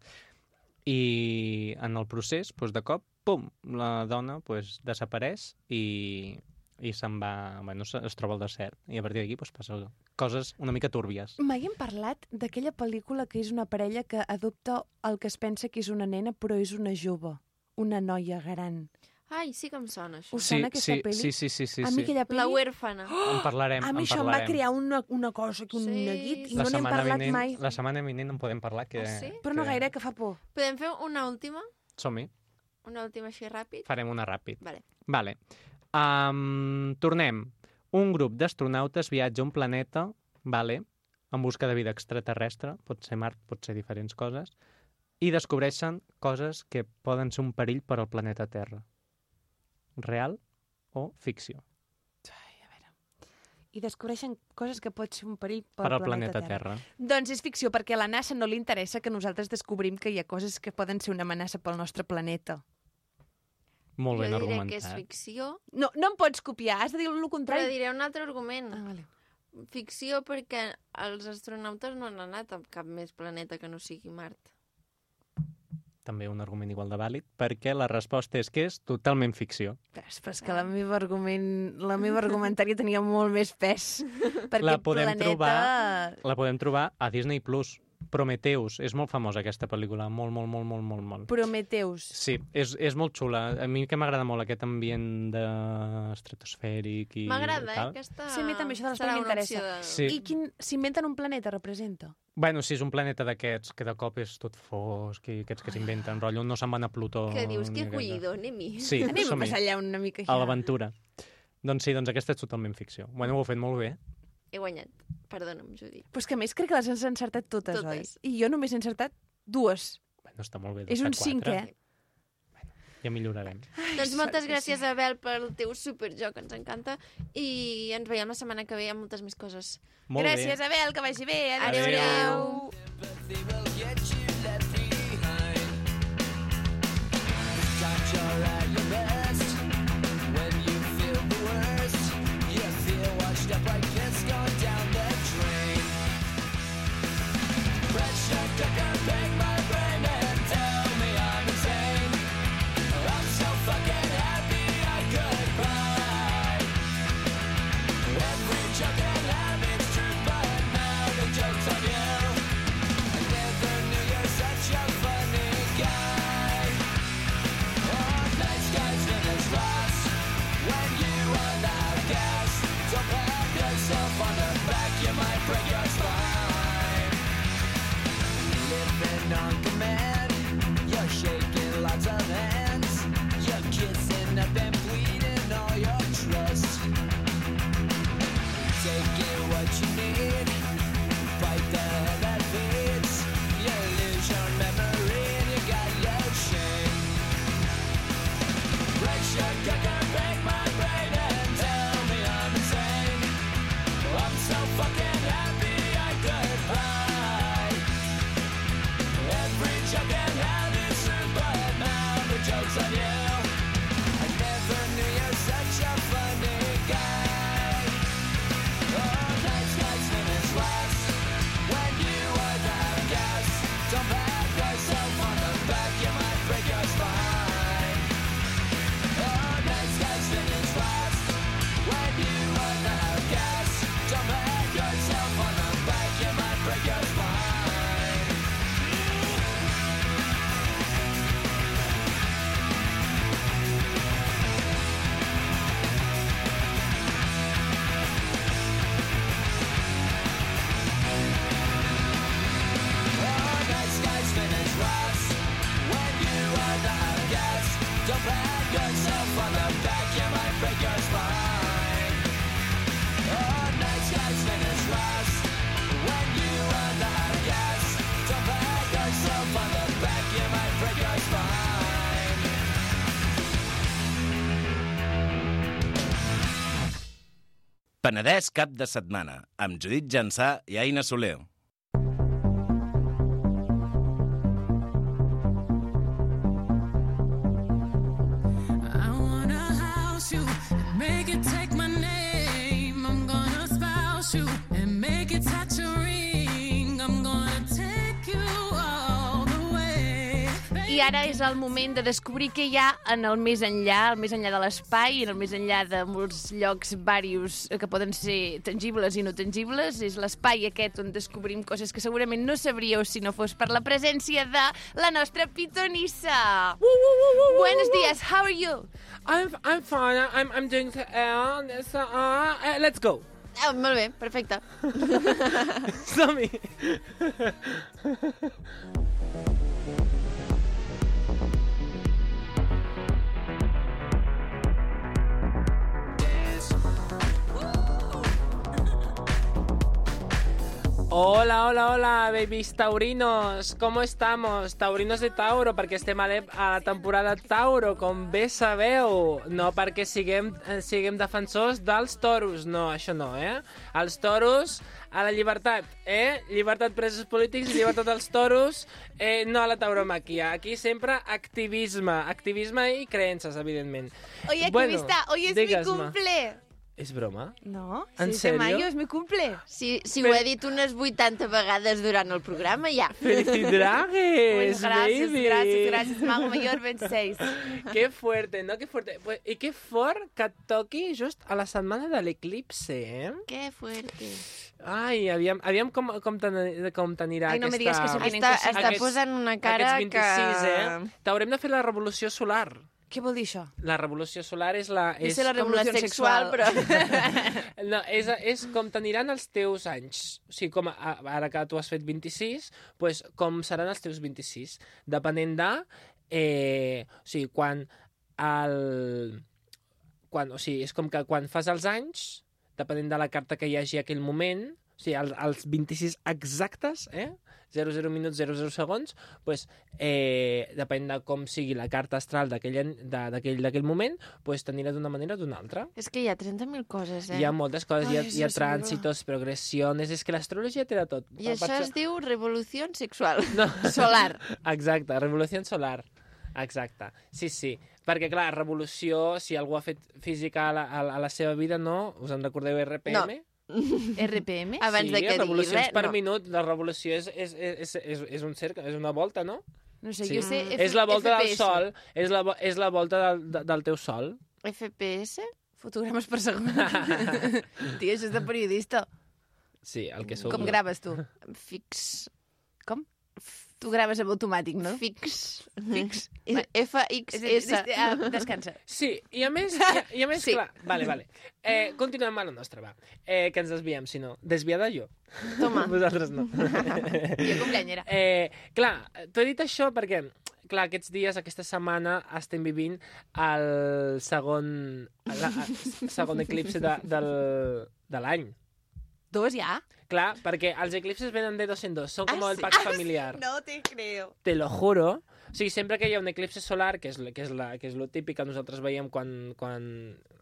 G: i en el procés, doncs, de cop, pum, la dona doncs, desapareix i, i se'n va... Bueno, se- es troba al desert. I a partir d'aquí doncs, passa coses una mica túrbies.
A: Mai hem parlat d'aquella pel·lícula que és una parella que adopta el que es pensa que és una nena, però és una jove. una noia gran.
B: Ai, sí que em sona, això.
A: Us sona aquesta
G: sí,
A: pel·li?
G: sí, sí, sí, sí,
A: a mi
G: sí.
A: aquella pel·li...
B: La huérfana. Oh!
G: En parlarem,
A: a mi
G: en
A: això em
G: parlarem.
A: va crear una, una cosa, que un
B: Sí,
A: neguit, i
B: La
A: no n'hem parlat
G: vinent,
A: mai.
G: La setmana vinent en podem parlar, que...
B: Ah, sí?
A: Però no
G: que-
A: gaire, que fa por.
B: Podem fer una última?
G: Som-hi,
B: Una última així ràpid?
G: farem una ràpid.
B: Vale.
G: Vale. Um, tornem. Un grup d'astronautes viatja a un planeta, vale, en busca de vida extraterrestre, pot ser Mart, pot ser diferents coses, i descobreixen coses que poden ser un perill per al planeta Terra. Real o ficció?
A: I descobreixen coses que pot ser un perill
G: Per,
A: pel
G: al planeta, Terra.
A: Doncs és ficció, perquè a la NASA no li interessa que nosaltres descobrim que hi ha coses que poden ser una amenaça pel nostre planeta.
G: Molt ben
B: jo diré que és
G: argumentat.
B: ficció,
A: No, no em pots copiar, has de dir el
B: però
A: contrari.
B: diré un altre argument.
A: Ah, vale.
B: Ficció perquè els astronautes no han anat a cap més planeta que no sigui Mart.
G: També un argument igual de vàlid, perquè la resposta és que és totalment ficció.
A: Però és, però és que la meva, argument, la meva argumentària tenia molt més pes. Perquè
G: La podem
A: planeta...
G: trobar- La podem trobar a Disney+. Plus. Prometeus. És molt famosa aquesta pel·lícula. Molt, molt, molt, molt, molt, molt.
A: Prometeus.
G: Sí, és, és molt xula. A mi que m'agrada molt aquest ambient de... estratosfèric i
B: M'agrada, eh?
G: tal.
B: Aquesta
A: Sí, a mi també això de les
B: serà
A: pel·lis
B: una opció
A: m'interessa.
B: de...
G: Sí.
A: I quin s'inventen un planeta representa?
G: Bueno, sí, és un planeta d'aquests que de cop és tot fosc i aquests que s'inventen, rotllo, no se'n van a Plutó.
B: Ah. Que dius,
G: Oh, ni
B: que
G: aquest-
B: collido, anem-hi.
G: Sí,
A: Anem a
G: som-hi,
A: passar allà una mica.
G: a l'aventura. Doncs sí, doncs aquesta és totalment ficció. Bueno, ho heu fet molt bé.
B: He guanyat. Perdona'm, Judit.
A: Però és que a més crec que les has encertat totes,
B: Totes.
A: oi? I jo només he encertat dues.
G: Bueno, està molt bé.
A: És
G: dos de
A: un
G: quatre.
A: cinquè.
G: Ja millorarem.
B: doncs moltes
A: sort que
B: gràcies, Abel, pel teu superjoc, ens encanta. I ens veiem la setmana que ve amb moltes més coses.
G: Molt
A: gràcies,
G: bé.
A: Abel, que vagi bé.
G: Adéu.
A: Adéu. Adéu.
H: They will get you left behind. The doctor at your best. When you feel the worst, you feel washed up like piss gone down the drain. Pressure cooker, bang my brain and tell me I'm insane. Oh, I'm so fucking happy I could cry. Every joke and habit's true, but now the joke's on you. I never knew you're such a funny guy. Oh, nice guys finish last when you run out gas. So pat yourself on the back, you might break your spine. Living on command, you're shaking lots of hands. You're kissing up and bleeding all your trust. Taking what you need fight the hell that fits. You lose your memory and you got no shame. Pressure cooker, break my brain and tell me I'm insane. I'm so fucking happy I could cry. Every joke and how this is, but now the joke's on you. I never knew you're such a funny guy. Oh, nice guys finish last. When you are down, yes, don't pat yourself on the back, you might break your spine. Oh, nice guys finish last. When you are down, yes, don't pat yourself on the back, you might break your spine.
I: Penedès cap de setmana, amb Judit Jansà i Aina Soler.
J: I wanna house you and make it take my name. I'm gonna spouse you and make it touch your ring. I'm gonna take you all the way.
B: I
A: I ara és el moment de descobrir què hi ha en el més enllà, el més enllà de l'espai, en el més enllà de molts llocs varios eh, que poden ser tangibles i no tangibles. És l'espai aquest on descobrim coses que segurament no sabríeu si no fos per la presència de la nostra pitonissa. uh, Buenos días, how are you?
K: I'm I'm fine. I'm I'm doing so, uh, so, uh, uh, let's go.
B: Ah, molt bé, perfecte.
K: Som-hi. Hola, hola, hola, babies taurinos. ¿Cómo estamos? Taurinos de Tauro, perquè estem a l'ep- a la temporada Tauro, com bé sabeu. No perquè siguem, eh, siguem defensors dels toros. No, això no, eh? Els toros a la llibertat, eh? Llibertat presos polítics i llibertat als toros, eh, no a la tauromàquia. Aquí sempre activisme, activisme i creences, evidentment.
A: Oye, aquí
K: Bueno,
A: está, hoy es mi
K: digues-me.
A: cumple.
K: És broma?
A: No,
K: ¿En
A: 6 de
K: serio?
A: mayo es mi cumple.
B: Si, si ho he dit unes 80 vegades durant el programa, ja.
K: ¡Felicidades,
A: Pues gracias,
K: baby!
A: gracias, gracias, Mago Mayor 26.
K: Qué fuerte, ¿no? Qué fuerte. Pues, I què fort que toqui just a la setmana de l'eclipse, eh?
B: Que fuerte.
K: Ai, aviam, aviam com, com, t'an- com t'anirà
A: Ai, no me
K: aquesta...
A: digues que se vienen
B: Està,
A: cositas.
B: està
K: Aquests-
B: posant una cara
K: aquests 26,
B: que...
K: eh? T'haurem de fer la revolució solar.
A: Què vol dir això?
K: La revolució solar és la...
A: Jo
K: És,
A: sé la
B: Com la
A: revolució sexual,
B: sexual, però...
K: no, és, és com t'aniran els teus anys. O sigui, com a, ara que tu has fet 26, pues, com seran els teus 26. Depenent de... Eh, o sigui, quan el... Quan, o sigui, és com que quan fas els anys, depenent de la carta que hi hagi aquell moment, o sigui, els, els 26 exactes, eh? 00 minuts, 00 segons, pues, eh, depèn de com sigui la carta astral d'aquell any- de- d'aquell d'aquell moment, pues, t'anirà d'una manera o d'una altra.
B: És que hi ha 30.000 coses, eh?
K: Hi ha moltes coses, hi ha,
B: Ai,
K: hi ha
B: sí, sí,
K: trànsitos, progressions... És que l'astrologia té de tot.
B: I això es diu revolució sexual.
K: No.
B: Solar.
K: Exacte, revolució solar. Exacte, sí, sí. Perquè, clar, revolució, si algú ha fet física a la, a, la- a la seva vida, no? Us en recordeu RPM? No.
A: RPM?
B: Abans
K: sí,
B: de que digui
K: revolucions
B: res,
K: per
B: no.
K: minut. La revolució és, és, és, és, és un cercle, és una volta, no?
A: No sé,
K: Sí.
A: jo
B: Mm.
A: sé...
K: és la volta del sol, és la, vo- és la volta del, de- del teu sol.
B: FPS?
A: Fotogrames per segon. Tio, això és de periodista.
K: Sí, el que sou.
A: Com graves tu?
B: Fix.
A: Tu graves amb automàtic, no?
B: Fix.
A: Fix. És a dir,
B: F-X-S.
A: des- ah, descansa.
K: Sí, i a més, i a, i a més sí.
A: Sí.
K: clar... Vale, vale. Eh, continuem amb la nostra, va. Eh, que ens desviem, si no. Desviada jo.
B: Toma.
K: Vosaltres no.
A: Ah. Jo com llenyera.
K: Eh, clar, t'ho he dit això perquè, clar, aquests dies, aquesta setmana, estem vivint el segon, la, segon eclipse de, del, de l'any.
A: Dos ja?
K: Clar, perquè els eclipses venen de dos en dos, són com
A: Ah,
K: el
A: sí?
K: pack familiar.
A: No te creo.
K: Te lo juro. O sigui, sempre que hi ha un eclipse solar, que és, l- que és, la, que és lo típic que nosaltres veiem quan, quan,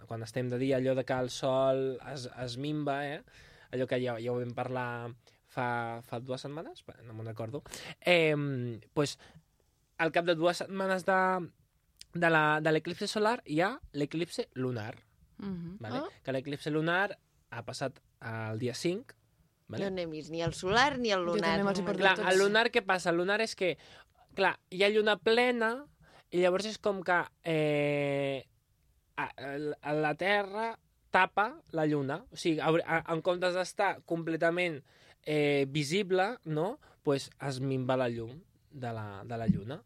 K: quan estem de dia, allò de que el sol es, es mimba, eh? allò que ja, ja ho vam parlar fa, fa dues setmanes, va, no me'n recordo, eh, pues, al cap de dues setmanes de, de la- de l'eclipse solar hi ha l'eclipse lunar.
A: Mm
K: Vale?
B: Oh,
K: Que l'eclipse lunar ha passat el dia 5,
B: Jo
K: vale?
B: no he vist ni el solar ni el
A: Jo
B: lunar.
A: també me'ls he perdut
K: Clar,
A: tots.
K: el lunar què passa? El lunar és que, clar, hi ha lluna plena i llavors és com que eh, a, a, la Terra tapa la lluna. O sigui, a, a, en comptes d'estar completament eh, visible, no? pues es minva la llum de la, de la lluna.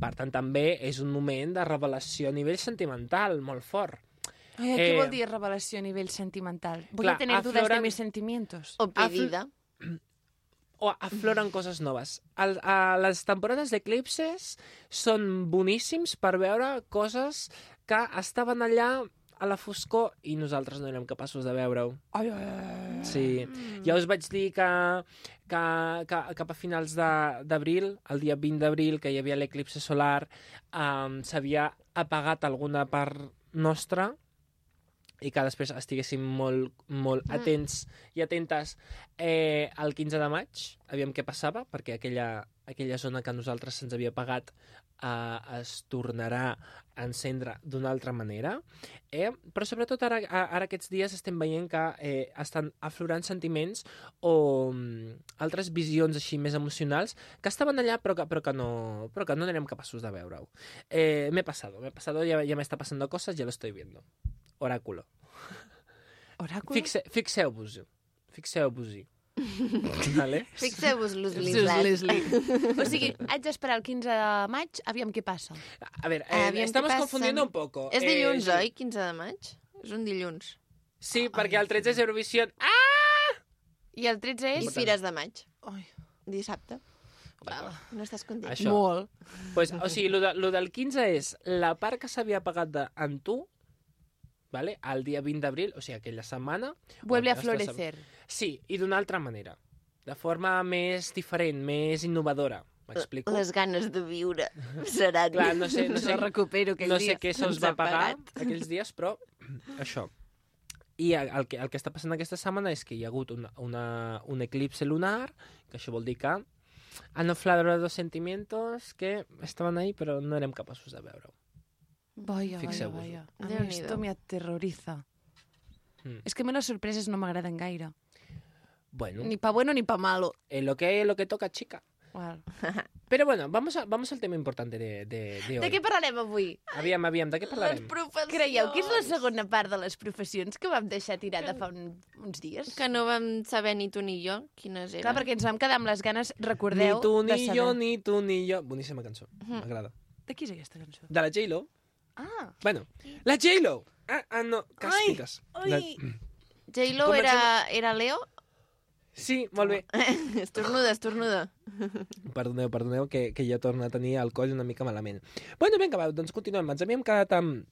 K: Per tant, també és un moment de revelació a nivell sentimental molt fort.
A: Ai, què
K: Eh,
A: vol dir revelació a nivell sentimental? Voy
K: clar,
A: a tener dudas de
K: afloran-
A: mis sentimientos.
B: O pedida.
K: o afloren coses noves. El, a les temporades d'eclipses són boníssims per veure coses que estaven allà a la foscor i nosaltres no érem capaços de veure-ho.
A: Ai, ai, ai.
K: Sí. Ja us vaig dir que, que, que cap a finals de- d'abril, el dia 20 d'abril, que hi havia l'eclipse solar, um, s'havia apagat alguna part nostra i que després estiguéssim molt, molt
B: Mm.
K: atents i atentes eh, el 15 de maig, aviam què passava, perquè aquella, aquella zona que a nosaltres se'ns havia pagat eh, es tornarà a encendre d'una altra manera. Eh? Però sobretot ara, a- ara aquests dies estem veient que eh, estan aflorant sentiments o mm, altres visions així més emocionals que estaven allà però que, però que, no, però que no n'érem capaços de veure-ho. Eh, m'he passado, m'he passado, ya, ya me está pasando cosas, ya lo estoy viendo. Oráculo.
A: Oràcul?
K: Fixe, fixeu-vos-hi. Fixeu-vos-hi. vale?
B: Fixeu-vos, Luz
A: O sigui, haig d'esperar el 15 de maig, aviam què passa.
K: A veure, eh,
B: Ah, aviam què
K: estamos
B: passa.
K: confundiendo un poco.
B: És dilluns,
K: eh,
B: oi? 15 de maig? És un dilluns.
K: Sí, perquè el 13 és Eurovisió. Ah!
A: I el 13
B: I
A: és...
B: fires de maig.
A: Ai.
B: Dissabte. No estàs content?
K: Això.
A: Molt.
K: Pues, o sigui, lo, de, lo del 15 és la part que s'havia pagat de, en tu, vale? el dia 20 d'abril, o sigui, aquella setmana.
A: Vuelve a
K: Ostres,
A: florecer.
K: Sí, i d'una altra manera. De forma més diferent, més innovadora. M'explico?
B: Les ganes de viure seran...
K: Clar, no sé, no
A: Se
K: sé,
A: recupero aquells
K: no sé
A: dies.
K: què se'ls
B: Ens
K: va
B: ha
K: pagar
B: pagat.
K: aquells dies, però això. I el el que, el que està passant aquesta setmana és que hi ha hagut una, una, un eclipse lunar, que això vol dir que han aflorat dos sentimientos que estaven ahí, però no érem capaços de veure-ho.
A: Vaya, vaya,
K: Fixeu-vos.
A: vaya. A mi
B: Déu-n'hi-do.
A: esto me aterroriza.
K: Mm.
A: És que a mi les sorpreses no m'agraden gaire.
K: Bueno,
A: Ni pa bueno ni pa malo.
K: eh, lo que lo que toca, chica.
A: Igual.
K: Però bueno, vamos, a, vamos al tema importante de, de, de
B: De què
K: hoy.
B: parlarem avui?
K: Aviam, aviam, de què
B: Les
K: parlarem?
B: professions.
A: Creieu que és la segona part de les professions que vam deixar tirada fa un, uns dies?
B: Que no vam saber ni tu ni jo quines eren.
A: Clar, perquè ens vam quedar amb les ganes,
K: Ni
A: recordeu,
K: tu
A: de
K: ni
A: saber.
K: jo, ni tu ni jo. Boníssima cançó, m'agrada.
A: De qui és aquesta cançó?
K: De la J-Lo.
A: Ah,
K: Bueno, la J-Lo! Ah, ah, no, càspiques. La...
A: ui.
B: J-Lo
K: Comencem-
B: era, era Leo?
K: Sí, molt bé.
B: Estornuda, estornuda.
K: Perdoneu, perdoneu, que, que ja torna a tenir el coll una mica malament. Bueno, vinga, va, doncs continuem. Ens havíem quedat amb,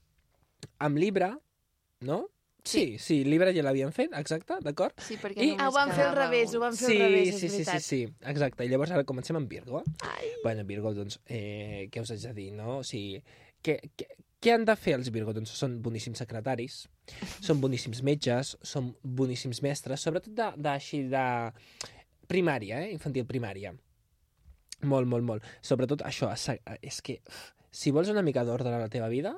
K: amb Libra, no? Sí, sí, Libra ja l'havien fet, exacte, d'acord?
B: Sí, perquè
K: I-
B: només
A: Ah, ho van fer al
B: quedava
A: revés,
B: un.
A: ho van fer
K: Sí,
A: al revés, és
K: sí, sí, sí,
A: veritat.
K: sí, exacte. I llavors ara comencem amb Virgo.
B: Ai.
K: Bueno, Virgo, doncs, eh, què us haig de dir, no? O sigui, què, què, què han de fer els Virgo? Doncs són boníssims secretaris, són boníssims metges, són boníssims mestres, sobretot de, de, així de primària, eh? infantil primària. Molt, molt, molt. Sobretot això, se- és que uf, si vols una mica d'ordre a la teva vida,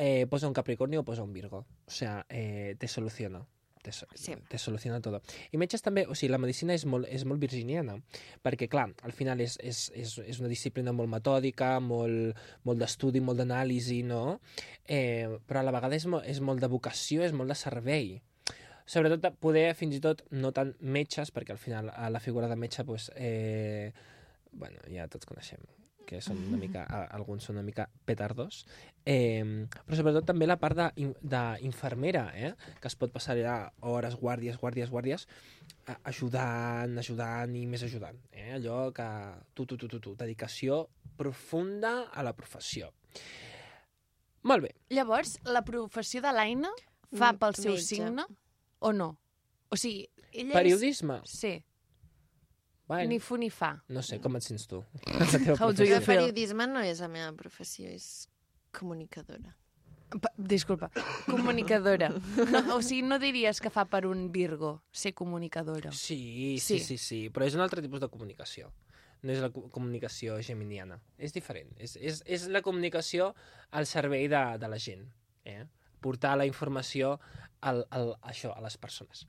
K: eh, posa un Capricornio o posa un Virgo. O sea, eh, te soluciona. Te, so
B: Sí.
K: te soluciona todo. I metges també, o sigui, la medicina és molt, és molt virginiana, perquè, clar, al final és, és, és, és una disciplina molt metòdica, molt, molt d'estudi, molt d'anàlisi, no? Eh, però a la vegada és, mo és molt de vocació, és molt de servei. Sobretot de poder, fins i tot, no tant metges, perquè al final a la figura de metge, doncs, eh, bueno, ja tots coneixem que són una mica, a- alguns són una mica petardos, eh, però sobretot també la part d'in- d'infermera, eh, que es pot passar allà hores, guàrdies, guàrdies, guàrdies, a- ajudant, ajudant i més ajudant. Eh? Allò que... Tu, tu, tu, tu, tu, dedicació profunda a la professió. Molt bé.
A: Llavors, la professió de l'Aina fa
B: Mm,
A: pel seu
B: metge.
A: signe o no? O sigui, ella
K: Periodisme.
A: és... Sí,
K: Bueno,
A: ni fu ni fa.
K: No sé, com et sents tu? La teva
A: How do
K: professió.
A: you
B: El
A: feel?
B: periodisme no és la meva professió, és comunicadora.
A: Pa- Disculpa, comunicadora. No, o sigui, no diries que fa per un Virgo ser comunicadora.
K: Sí, sí, sí,
A: Sí.
K: sí, però és un altre tipus de comunicació. No és la co- comunicació geminiana. És diferent. És, és, és la comunicació al servei de, de la gent. Eh? Portar la informació al, al, a això, a les persones.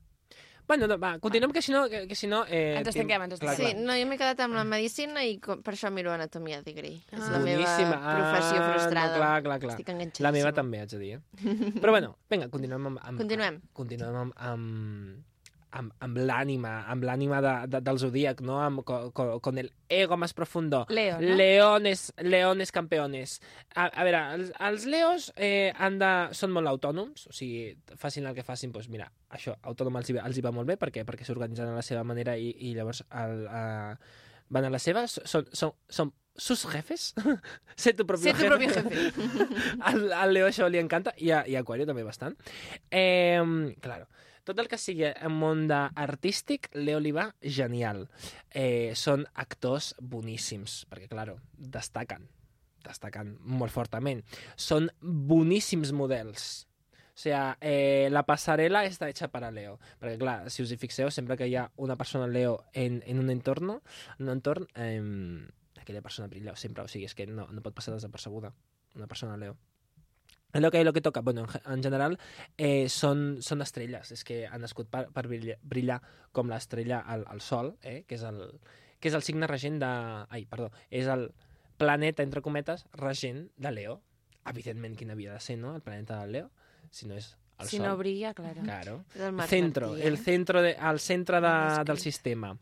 K: Bueno, no, va, continuem, que si no... Que, que si no eh,
A: Ens
K: tinc-
A: estanquem, ens
K: clar,
A: estanquem.
B: Sí,
K: clar.
B: no, jo m'he quedat amb la medicina i com, per això miro Anatomia de Grey. És la
K: Boníssima.
B: meva professió
K: Ah,
B: frustrada.
K: No, clar, clar, clar.
B: Estic enganxadíssima.
K: La meva també, haig de dir. Eh? Però bueno, vinga, continuem amb... amb
B: Continuem.
K: Amb, continuem amb... amb amb, amb l'ànima, amb l'ànima de, de, del Zodíac, no? Amb, co, co, con el ego más profundo.
A: Leo, no?
K: Leones, leones campeones. A, a veure, els, els leos eh, han de, són molt autònoms, o sigui, facin el que facin, doncs mira, això, autònom els hi, va- els hi va molt bé perquè perquè s'organitzen a la seva manera i, i llavors el, eh, van a la seva, són, són, són sus jefes, sé tu propio
A: Sé tu propio jefe.
K: al, al Leo això li encanta i a, i a Aquario també bastant. Eh, claro. Tot el que sigui en món de artístic, Leo li va genial. Eh, són actors boníssims, perquè, claro, destaquen. Destaquen molt fortament. Són boníssims models. O sea, eh, la pasarela está hecha para Leo. Perquè, clar, si us hi fixeu, sempre que hi ha una persona Leo en, en un entorn, en un entorn eh, aquella persona brilla sempre. O sigui, és que no, no pot passar desapercebuda una persona Leo. És lo que, lo que toca. Bueno, en, ge- en general, eh, són, són estrelles. És que han nascut per, per brillar, brillar com l'estrella al, al Sol, eh, que, és el, que és el signe regent de... Ai, perdó. És el planeta, entre cometes, regent de Leo. Evidentment, quin havia de ser, no?, el planeta de Leo, si no és el
A: Si
K: Sol.
A: no brilla, claro.
K: Claro.
B: És el Marc
K: centro,
B: Martí, eh?
K: el centro de, al centre de, del sistema.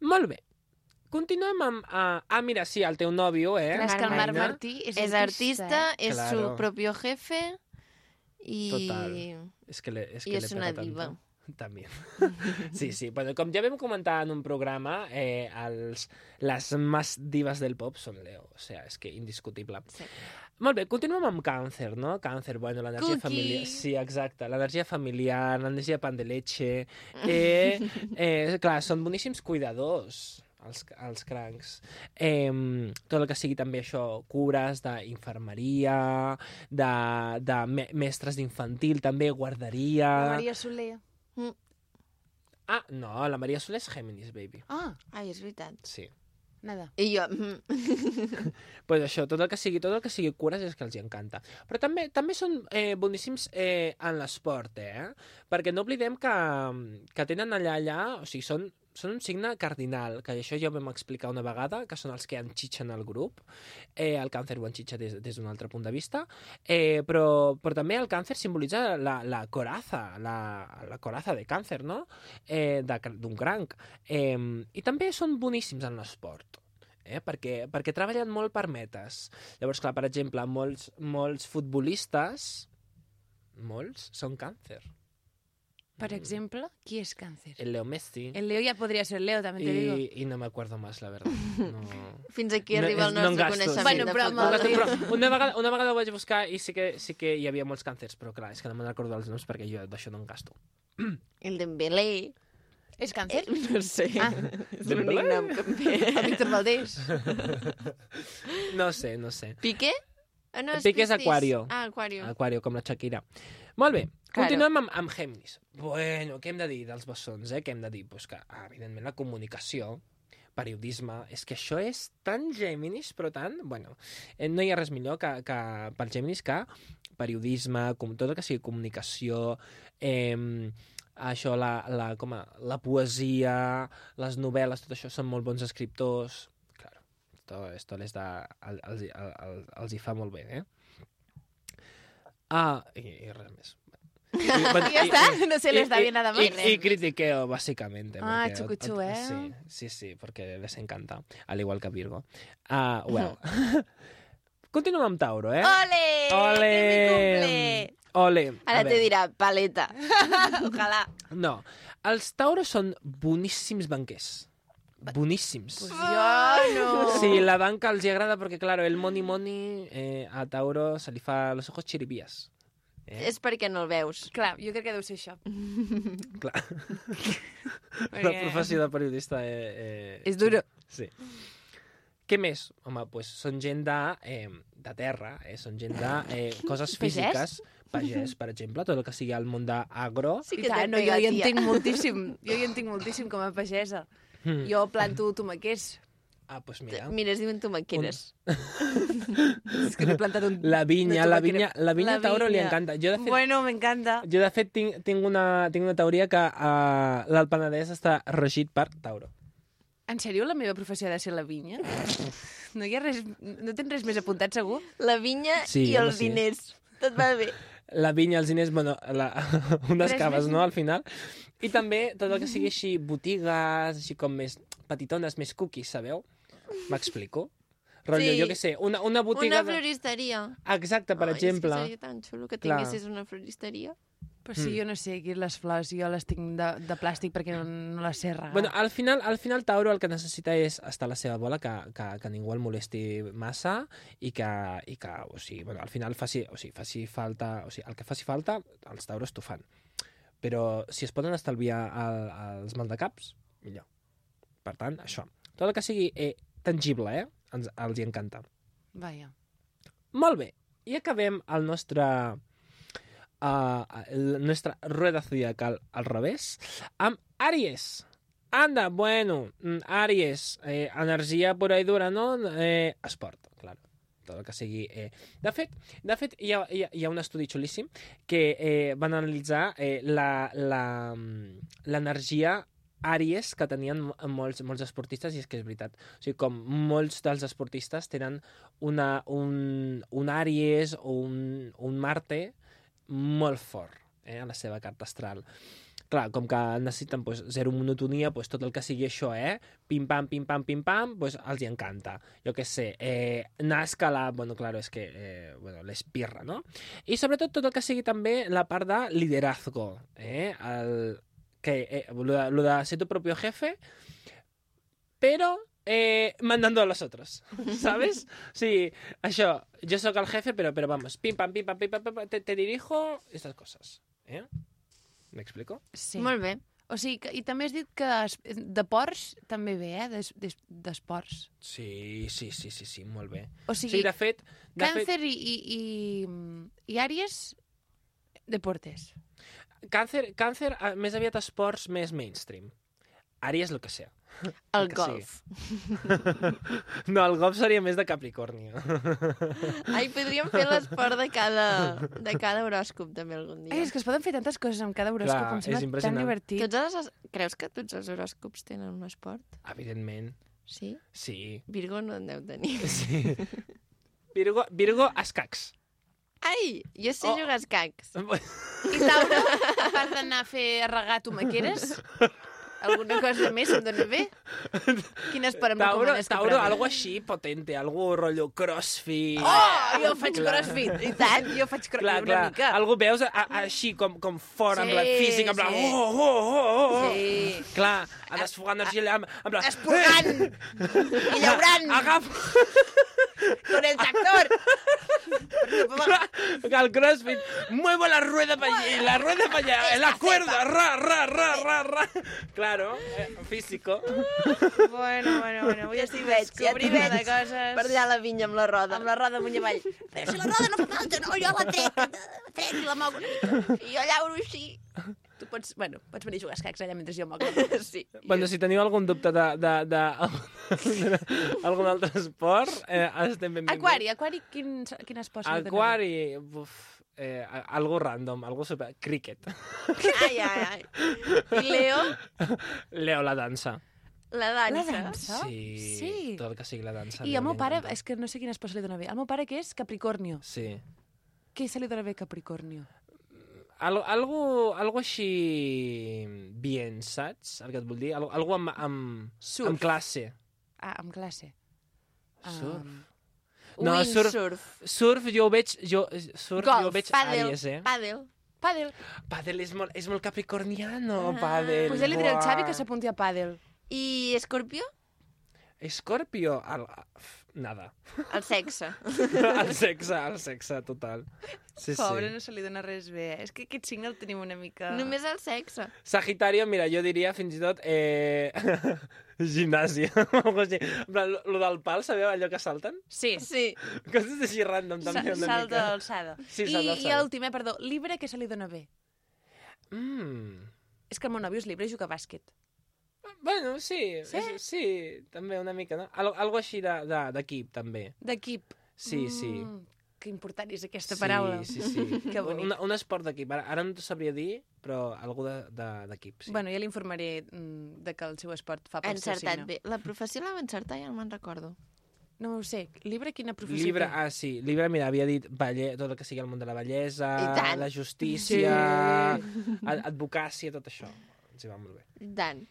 K: Molt bé. Continuem amb... Uh, ah, mira, sí, el teu nòvio, eh?
A: Clar, és que el Marc
K: Aina.
A: Martí és,
B: Es artista, es
K: Claro.
B: su propio jefe y...
K: Total. És que le- és
B: I
K: que
B: és
K: le
B: una
K: peta
B: diva.
K: Tant. eh? També. Sí, sí. Bueno, com ja vam comentar en un programa, eh, els, les més divas del pop són Leo. O sea, és que indiscutible.
B: Sí.
K: Molt bé, continuem amb càncer, no? Càncer, bueno, l'energia
A: Cookie.
K: familiar... Sí, exacte. L'energia familiar, l'energia pan de leche... Eh, eh, clar, són boníssims cuidadors, els, els crancs. Eh, tot el que sigui també això, cures d'infermeria, de, de me mestres d'infantil, també guarderia...
A: Soler.
K: Ah, no, la Maria Soler és Géminis, baby.
A: Ah,
B: Ai, és veritat.
K: Sí.
A: nada.
B: I jo... mm,
K: pues això, tot el que sigui, tot el que sigui cures és que els hi encanta. Però també també són eh, boníssims eh, en l'esport, eh? Perquè no oblidem que, que tenen allà, allà, o sigui, són, són un signe cardinal, que això ja ho vam explicar una vegada, que són els que enxitxen el grup. Eh, el càncer ho enxitxa des, des d'un altre punt de vista. Eh, però, però també el càncer simbolitza la, la coraza, la, la coraza de càncer, no? Eh, de cr- D'un cranc. Eh, I també són boníssims en l'esport eh? perquè, perquè treballen molt per metes. Llavors, clar, per exemple, molts, molts futbolistes, molts, són càncer.
A: Per
K: Mm.
A: exemple, qui és càncer?
K: El Leo Messi.
A: El Leo ya podría ser Leo, también te digo.
K: I, I no m'acuerdo més, la verdad. No...
B: Fins aquí
K: No, és-
B: arriba el
K: no en
B: nostre
K: gastos.
B: coneixement
A: Bueno,
B: de
A: però
B: futbol.
A: amb el-
K: Però una vegada, una vegada ho vaig buscar i sí que, sí que hi havia molts càncers, però clar, és que no me'n recordo els noms perquè jo d'això no en gasto.
B: El Dembélé.
A: ¿Es
B: Eh,
A: càncer?
B: no sé.
A: Ah.
B: És l'únic nom que em ve.
A: Víctor Valdés.
K: No sé, no sé.
B: Piqué? Ah, no,
K: Piqué és
B: Piscis.
K: Aquario.
B: Ah, Aquario.
K: Aquario, com la Shakira. Molt bé,
B: Claro.
K: continuem amb, amb Géminis. Bueno, què hem de dir dels bessons, eh? Què hem de dir? Pues que, ah, evidentment, la comunicació, periodisme, és que això és tan Géminis, però tant... Bueno, eh, no hi ha res millor que, que pel Géminis que periodisme, com tot el que sigui comunicació, eh, això, la, la, com a, la poesia, les novel·les, tot això, són molt bons escriptors. Claro, tot, esto les da, el, els, hi- el, el, els hi fa molt bé, eh? Ah, i, i res més. I,
A: Ya está, no se les da bien nada más.
K: Y, y critiqueo, básicamente.
A: Ah,
K: porque-
A: chucuchú, ¿eh?
K: Sí, sí, sí, porque les encanta. Al igual que a Virgo. Ah, well. Continuem amb Tauro, eh?
A: ¡Ole!
K: Ole! Ole! A
B: Ara te
K: veure.
B: dirà paleta.
A: Ojalá.
K: No. Els Tauros són boníssims banquers. Boníssims. Sí, la banca els hi agrada perquè, claro, el money money eh, a Tauro se li fa los ojos chiribias. Eh?
B: És perquè no el veus.
A: Clar, jo crec que deu ser això.
K: Clar. La
A: Perquè-
K: professió de periodista eh, eh,
B: És duro.
K: Sí. Què més? Home, pues, són gent de, eh, de terra, eh? són gent de eh, coses físiques. Pagès, per exemple, tot el que sigui al món d'agro.
B: Sí
A: I
B: que
A: tant,
B: te'n
A: no, jo
B: pega,
A: hi
B: tia.
A: entenc moltíssim. Jo hi entenc moltíssim com a pagesa.
K: Mm.
A: Jo planto tomaquers.
K: Ah, doncs mira.
B: Mira, es diuen tomaqueres.
A: És que n'he plantat un...
K: La vinya,
A: una
K: la vinya, la vinya
A: La
K: a Tauro li
A: vinya.
K: encanta. Jo, de fet,
A: Bueno, m'encanta.
K: jo de fet tinc, tinc, una, tinc una teoria que uh, l'Alt Penedès està regit per Tauro.
A: En sèrio, la meva professió ha de ser la vinya? No hi ha res... No tens res més apuntat, segur?
B: La vinya
K: Sí,
B: sí, i
K: home,
B: els
K: sí.
B: sí. diners. Tot va bé.
K: La vinya, els diners, bueno, la, unes
A: Res
K: caves,
A: més.
K: no?, al final. I també tot el que sigui així, botigues, així com més petitones, més cookies, sabeu? M'explico? Rotllo,
B: Sí.
K: jo què sé, una, una botiga...
B: Una floristeria.
K: De... Exacte, per
B: Ai,
K: exemple.
B: És que seria tan xulo que
K: Clar. Mm.
B: tinguessis una floristeria.
A: Però si jo no sé aquí les flors, jo les tinc de, de plàstic perquè no, no les sé regar.
K: Bueno, al final, al final Tauro el que necessita és estar a la seva bola, que, que, que ningú el molesti massa i que, i que o sigui, bueno, al final faci, o sigui, faci falta, o sigui, el que faci falta, els Tauros t'ho fan. Però si es poden estalviar el, els maldecaps, millor. Per tant, això. Tot el que sigui eh, tangible, eh? Ens, els hi encanta.
A: Vaja.
K: Molt bé. I acabem el nostre a la nuestra rueda zodiacal al revés, amb Aries. Anda, bueno, mm, Aries, eh, energia pura i dura, no? Eh, esport, claro. Tot el que sigui... Eh. De fet, de fet hi, ha, hi, ha, hi ha un estudi xulíssim que eh, van analitzar eh, la- la- mm, l'energia àries que tenien mo- molts, molts esportistes, i és que és veritat. O sigui, com molts dels esportistes tenen una, un, un àries o un, un Marte molt fort eh, a la seva carta astral. Clar, com que necessiten pues, zero monotonia, pues, tot el que sigui això, eh? Pim-pam, pim-pam, pim-pam, pues, els hi encanta. Jo què sé, eh, anar a escalar, bueno, claro, és que, eh, bueno, l'espirra, no? I sobretot tot el que sigui també la part de liderazgo, eh? El, que, eh, lo, de, lo de ser tu propio jefe, pero eh, mandando a los otros, ¿sabes? Sí, això, jo sóc el jefe, però, però vamos, pim, pam, pim, pam, pim, pam, pam, pam, te, te dirijo estas cosas, ¿eh? ¿Me explico?
A: Sí.
B: Molt bé.
A: O sigui, que, i també has dit que es- de ports també ve, eh? Des- des- D'esports.
K: Sí, sí, sí, sí, sí, molt bé.
A: O sigui,
K: sí, de fet... De
A: Càncer i, i, i, i àries, deportes.
K: Fet, càncer, càncer, eh, més aviat esports més mainstream. Àries, lo que sea.
B: El
K: que
B: golf.
K: No, el golf seria més de Capricornio.
B: Ai, podríem fer l'esport de cada, de cada horòscop, també, algun dia.
A: Ai, és que es poden fer tantes coses amb cada horòscop,
K: Clar,
A: em
K: és
A: sembla tan
K: impressionant.
A: divertit.
B: Tots els, creus que tots els horòscops tenen un esport?
K: Evidentment,
B: Sí?
K: sí.
B: Virgo no en deu tenir.
K: sí. Virgo, Virgo, escacs.
B: Ai, jo sé
K: Oh.
B: jugar a escacs.
A: I Tauro, a part d'anar a fer a regar tomaqueres, alguna cosa més em dóna bé? Quin esport em
K: Tauro,
A: recomanes que
K: Tauro
A: provi?
K: algo així potente, algo rotllo crossfit.
A: Oh, jo faig
K: Clar.
A: crossfit, i tant, jo faig crossfit
K: Clar,
A: una
K: clar,
A: mica.
K: algú veus a, a, així com, com fort, amb la
A: Sí,
K: física, amb la...
A: sí.
K: Oh, oh, oh, oh, oh.
A: Sí.
K: Clar, a desfogar energia allà, amb, amb la...
A: Esporgant i llaurant
K: Agafa
A: con el tractor.
K: clar, el crossfit, muevo la rueda pa allí, la rueda pa allá, la cuerda, ra, ra, ra, ra, ra. Claro, eh, físico.
A: Bueno, bueno, bueno, avui estic veig,
B: ja t'hi
A: descobrint de
B: veig.
A: coses.
B: Per allà a la vinya amb la roda.
A: amb la roda amunt i avall. Però si la roda no fa falta, no, jo la trec, la trec i la moc una mica. I jo llauro així. Tu pots, bueno, pots venir a jugar a escacs allà mentre jo moc. Sí.
K: Bueno, si teniu algun dubte de, de, de, algun altre esport, eh, estem ben benvinguts.
A: Aquari, Aquari, quin, quin esport? s'ha de tenir?
K: Aquari, uf, eh, a- algo random, algo super... Cricket.
B: Ai, ai, ai. I Leo,
K: Leo, la dansa.
B: la dansa.
A: La dansa?
K: Sí,
A: Sí.
K: Tot el que sigui la dansa.
A: I
K: a
A: el
K: mi
A: meu pare,
K: m'encanta.
A: és que no sé quin esport se li dona bé. El meu pare que és Capricornio.
K: eh? Sí.
A: Què se li dona bé a Capricornio?
K: Al, algo, algo així bien, saps? El que et vull dir? Algo, algo amb, amb,
A: Surf.
K: amb classe.
A: Ah, amb classe.
K: Surf.
A: Um,
K: No, surf,
B: Windsurf.
K: surf jo ho veig, jo, surf, jo ho
A: Golf,
K: veig
B: Pàdel.
K: àries, eh?
B: Pàdel.
A: pàdel.
K: Pàdel és molt, és molt capricorniano, pàdel.
A: Ah. Pues ja li diré
K: Oh,
A: al
K: buah.
A: Xavi que s'apunti a pàdel.
B: I escorpió?
K: Escorpio, el, f- nada.
B: El sexe.
K: el sexe, el sexe, total. Sí, sí.
A: no se li dona res bé. És que aquest signe el tenim una mica...
B: Només el sexe.
K: Sagitario, mira, jo diria fins i tot eh... gimnàsia. o algo així. En plan, lo- lo del pal, sabeu allò que salten?
A: Sí,
B: Sí.
K: Coses així random,
A: Sa
K: també, una
A: salt
K: mica.
A: d'alçada.
K: Sí,
A: I,
K: salt
A: I
K: d'alçada.
A: l'últim, eh, perdó, llibre que se li dona bé.
K: Mm.
A: És que el meu nòvio és llibre i juga a bàsquet.
K: Bueno, sí, sí,
A: Sí?
K: és, sí, també una mica, no? Al, algo així de- de- d'equip, també.
A: D'equip.
K: Sí, sí.
A: Mm, que important és aquesta paraula.
K: Sí, sí, sí.
A: Que bonic.
K: Un, un esport d'equip. Ara, ara no t'ho sabria dir, però algú de- de- d'equip, de, sí.
A: Bueno, ja l'informaré mm, de que el seu esport fa
B: Ha
A: pel seu
B: encertat
A: signe.
B: bé. La professió la va encertar, ja no me'n recordo.
A: No ho sé. Llibre, quina professió
K: Llibre,
A: té?
K: ah, sí, llibre, mira, havia dit balle, tot el que sigui el món de la
B: I
K: bellesa,
B: tant.
K: la justícia, ad advocàcia, tot això. Ens hi va molt bé.
B: I tant.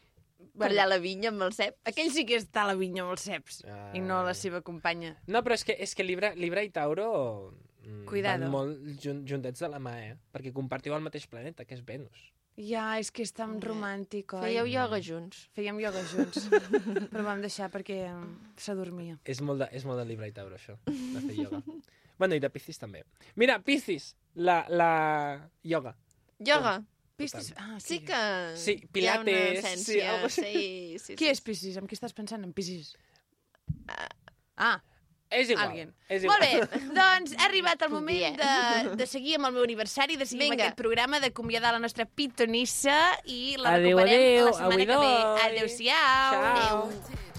B: Per
A: Bueno.
B: allà a la vinya amb el cep.
A: Aquell sí que està a la vinya amb els ceps.
K: Ah.
A: I no la seva companya.
K: No, però és que, és que Libra, Libra i Tauro mm,
A: Cuidado.
K: van molt jun, juntets de la mà, eh? Perquè compartiu el mateix planeta, que és Venus.
A: Ja, és que és tan romàntic, oi?
B: Fèieu ioga junts.
A: Fèiem ioga junts. però vam deixar perquè mm, s'adormia.
K: És molt de, és molt de Libra i Tauro, això, de fer ioga. bueno, i de Piscis també. Mira, Piscis, la, la ioga.
B: Ioga.
A: Piscis... Ah,
B: Sí que
K: Sí,
B: hi ha
K: pilates,
B: una
K: sí,
B: essència.
K: algo així.
B: sí, sí, sí.
A: Qui és Piscis? En qui estàs pensant? En Piscis? Ah,
K: És igual.
A: Alguien.
K: És igual.
A: Molt bé, doncs ha arribat el moment de, de seguir amb el meu aniversari, de seguir amb
B: Vinga.
A: aquest programa, de acomiadar la nostra pitonissa i la
K: Adéu,
A: recuperem
K: adéu,
A: la setmana
K: avui
A: que ve.
K: doi.
A: Adéu-siau.
K: Ciao.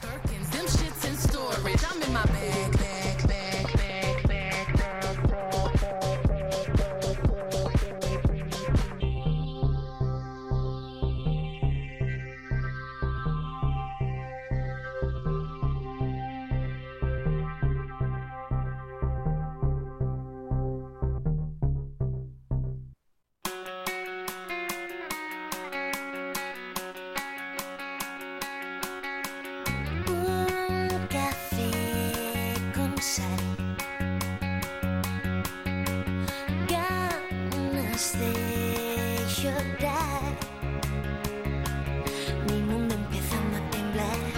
J: Birkins, them shits in storage. I'm in my bag, bag, bag, bag, bag, bag, bag, bag.
H: Un café con sal, ganas de llorar. Mi mundo empezando a temblar.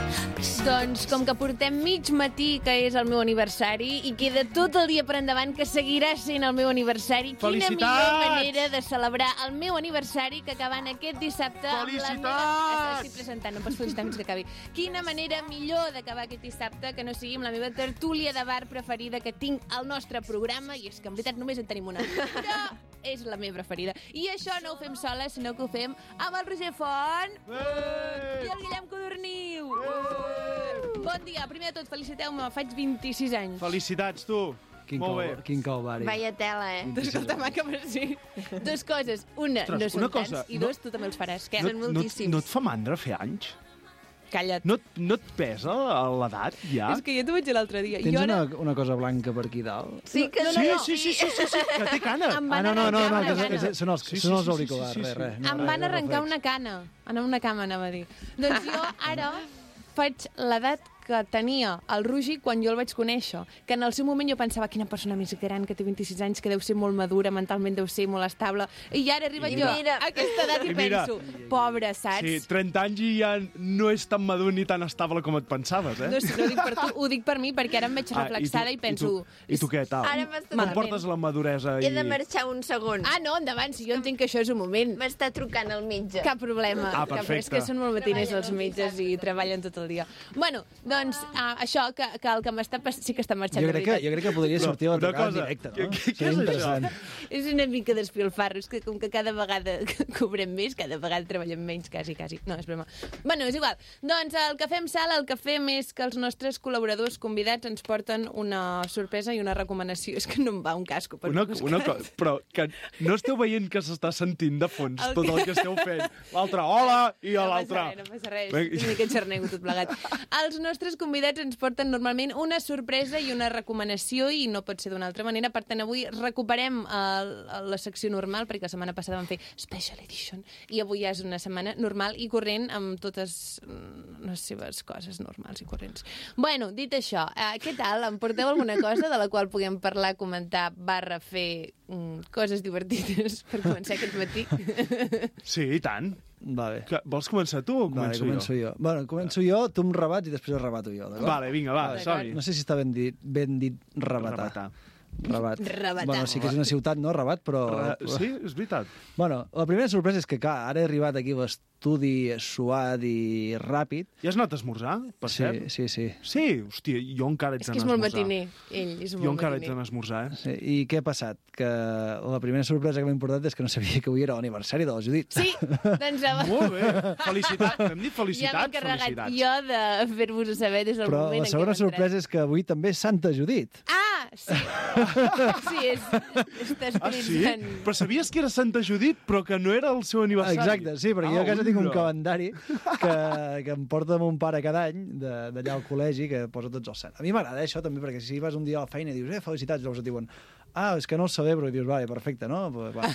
A: Doncs com que portem mig matí, que és el meu aniversari, i queda tot el dia per endavant que seguirà sent el meu aniversari, quina millor
L: Felicitats!
A: manera de celebrar el meu aniversari que acabant aquest dissabte amb la meva... Estic presentant, no em pots felicitar fins que acabi. Quina manera millor d'acabar aquest dissabte que no sigui amb la meva tertúlia de bar preferida que tinc al nostre programa, i és que en veritat només en tenim una. Però és la meva preferida. I això no ho fem sola, sinó que ho fem amb el Roger Font i el Guillem Codorniu. Bon dia. Primer de tot, feliciteu-me, faig 26 anys.
L: Felicitats, tu. Quin Molt bé. Quin calvari.
B: Vaya tela, eh?
A: Escolta'm, que per Tota sí. Dues coses. Una,
L: Ostres,
A: no són
L: una
A: tants,
L: cosa,
A: i
L: no-
A: dos, tu també els faràs. Que
L: no, no, no et fa mandra fer anys?
A: Calla't.
L: No, et- no et pesa l'edat, ja?
A: És que jo t'ho vaig dir l'altre dia.
F: Tens
A: I ara...
F: una, una cosa blanca per aquí dalt?
A: Sí, que no,
L: sí,
A: no, no.
L: Sí, sí, sí, sí, sí, que té cana.
A: Em
F: Ah,
A: van
F: no, no, no,
A: arrencar
F: no,
A: una
F: que, que,
A: gana.
F: que són els,
L: Sí, sí,
F: són els
L: sí, sí,
F: auriculars,
L: sí, sí,
F: res, res.
L: sí.
F: No,
A: Em
F: res,
A: van
F: res,
A: arrencar
F: reflex.
A: una cana. En una cama, anava a dir. Doncs jo ara faig l'edat que tenia el Rugi quan jo el vaig conèixer. Que en el seu moment jo pensava, quina persona més gran, que té 26 anys, que deu ser molt madura, mentalment deu ser molt estable. I ara arriba
L: I
A: jo
B: mira.
A: a aquesta edat i,
L: I mira.
A: penso, pobre, saps?
L: Sí, 30 anys i ja no és tan madur ni tan estable com et pensaves, eh?
A: No, sé, no ho dic per tu, ho dic per mi, perquè ara em veig reflexada ah, i, tu, i penso...
L: I tu, i tu què tal?
B: Ara m'has
L: Com
B: donat-
L: portes la maduresa i...
B: He de marxar un segon.
A: Ah, no, endavant, si jo entenc que això és un moment.
B: M'està trucant el metge.
A: Cap problema.
L: Ah,
A: Cap, és que
L: perfecte.
A: són molt matiners els metges i treballen tot el dia. Bueno, doncs ah, això, que, que el que m'està passant... Sí que està marxant,
F: Jo
A: de
F: crec que,
A: veritat.
F: jo crec que podria
L: Però,
F: sortir a la
L: una
F: trucada en
L: cosa,
F: directe, no?
L: què- què- què
F: Seria
L: és això?
F: interessant.
A: És una mica d'espilfarro, és que com que cada vegada que cobrem més, cada vegada treballem menys, quasi, quasi. No, és broma. Bueno, és igual. Doncs el Cafè amb Sal, el que fem és que els nostres col·laboradors convidats ens porten una sorpresa i una recomanació. És que no em va un casco per
L: Una,
A: buscar.
L: una co... Però que no esteu veient que s'està sentint de fons
A: El
L: tot el que esteu fent. L'altre, hola, i a l'altre...
A: No passa res, no passa
L: Vinga.
A: res. Una mica xarnego tot plegat. Els nostres convidats ens porten normalment una sorpresa i una recomanació i no pot ser d'una altra manera. Per tant, avui recuperem eh, la secció normal perquè la setmana passada vam fer Special Edition i avui ja és una setmana normal i corrent amb totes mm, les seves coses normals i corrents. Bueno, dit això, eh, què tal? Em porteu alguna cosa de la qual puguem parlar, comentar, barra, fer mm, coses divertides per començar aquest matí?
L: Sí, i tant.
F: Va bé.
L: Que, vols començar tu o
F: Vale,
L: començo,
F: començo
L: jo?
F: jo. Bueno, començo jo, tu em rebats i després rebato jo, d'acord?
L: Vale, vinga, va, som-hi.
F: No sé si està ben dit, ben dit rebatar.
L: Rebatar.
F: Rebat.
A: Rebatar.
F: Bueno, sí que és una ciutat, no? Rebat, però...
L: Re... Sí, és veritat.
F: Bueno, la primera sorpresa és que, clar, ara he arribat aquí a l'estudi suat i ràpid.
L: Ja has anat a esmorzar, per
F: Sí,
L: cert?
F: sí, sí.
L: Sí, hòstia, jo encara haig
A: És que és
L: d'anar a
A: molt
L: esmorzar.
A: matiner, ell. És molt
L: Jo encara haig
A: matiner.
L: d'anar a esmorzar, eh?
F: Sí, I què ha passat? Que la primera sorpresa que m'ha importat és que no sabia que avui era l'aniversari de la Judit.
A: Sí, doncs
L: Molt bé, felicitats.
A: ja
L: Hem dit
A: m'he
L: felicitats,
A: encarregat
L: felicitats.
A: jo de fer-vos-ho saber des del
F: Però
A: moment
F: la
A: en què hem
F: segona
A: entrat.
F: sorpresa és que avui també és Santa Judit.
A: Ah, sí. sí, és, està
L: Ah,
A: escrit
L: sí?
A: en...
L: Però sabies que era Santa Judit, però que no era el seu aniversari?
F: Exacte, sí, perquè
L: ah,
F: jo a casa tinc un
L: unda.
F: calendari que, que em porta mon pare cada any de- d'allà al col·legi, que posa tots els sants. A mi m'agrada eh, això també, perquè si vas un dia a la feina i dius, eh, felicitats, llavors et diuen, ah, és que no el celebro, i dius, vale, perfecte, no? Pues, va.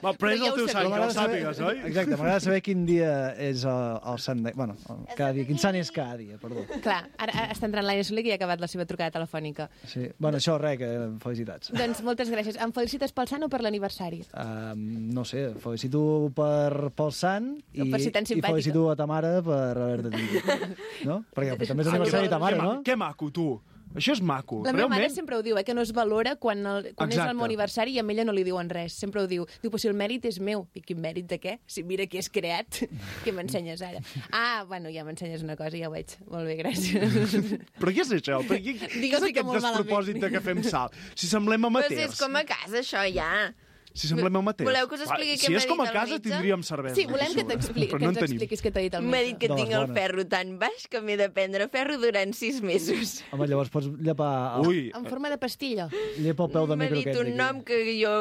L: Va, però
A: Però
L: és
A: ja
L: el
A: ho
L: teu sant,
A: sabia.
L: que ho
F: M'agrada saber-
L: sàpigues, oi?
F: Exacte, m'agrada saber quin dia és el, el sant de... Bueno, el, cada dia, quin sant és cada dia, perdó.
A: Clar, ara ara està entrant l'Aina Soler que ja ha acabat la seva trucada telefònica.
F: Sí. Bueno, això, res, que felicitats.
A: Doncs moltes gràcies. Em felicites pel sant o per l'aniversari?
F: Um, no sé, felicito per, pel Sant i,
A: Per ser tan
F: i
A: simpàtica.
F: felicito a ta mare per haver-te tingut. No? Perquè també és
A: Sí,
F: aniversari de ta mare,
L: Que ma-
F: no?
L: Que maco, tu. Això és maco.
A: La meva
L: Realment,
A: mare sempre ho diu, eh, que no es valora quan, el, quan és
L: Exacte.
A: el meu aniversari i a ella no li diuen res. Sempre ho diu. Diu, però si el mèrit és meu. I quin mèrit de què? Si mira qui has creat. Què m'ensenyes ara? Ah, bueno, ja m'ensenyes una cosa, ja ho veig. Molt bé, gràcies.
L: Però què és això? Per què, què
A: Digues-li
L: és
A: que
L: aquest
A: molt malament.
L: despropòsit de que fem salt? Si semblem
B: Però si
L: amateurs.
B: és com a casa, això, ja.
L: Si semblem amateurs.
B: Voleu que us expliqui
L: Va,
B: què
L: Si
B: m'ha
L: és com
B: dit
L: a
B: el
L: casa,
B: metge?
L: tindríem cervesa.
A: Sí, volem que,
L: sobre,
A: t'expli-
L: però
A: que
L: no
A: ens
L: en tenim.
A: expliquis què t'ha dit el
B: M'ha dit
A: metge.
B: que
F: De les
B: tinc el
F: bones.
B: ferro tan baix que m'he de prendre ferro durant sis mesos.
F: Home, llavors pots llepar...
L: Ah. Ui,
A: En forma de pastilla.
F: llepa el peu de
B: M'ha
F: micro
B: dit
F: aquest
B: un
F: d'aquí.
B: nom que jo,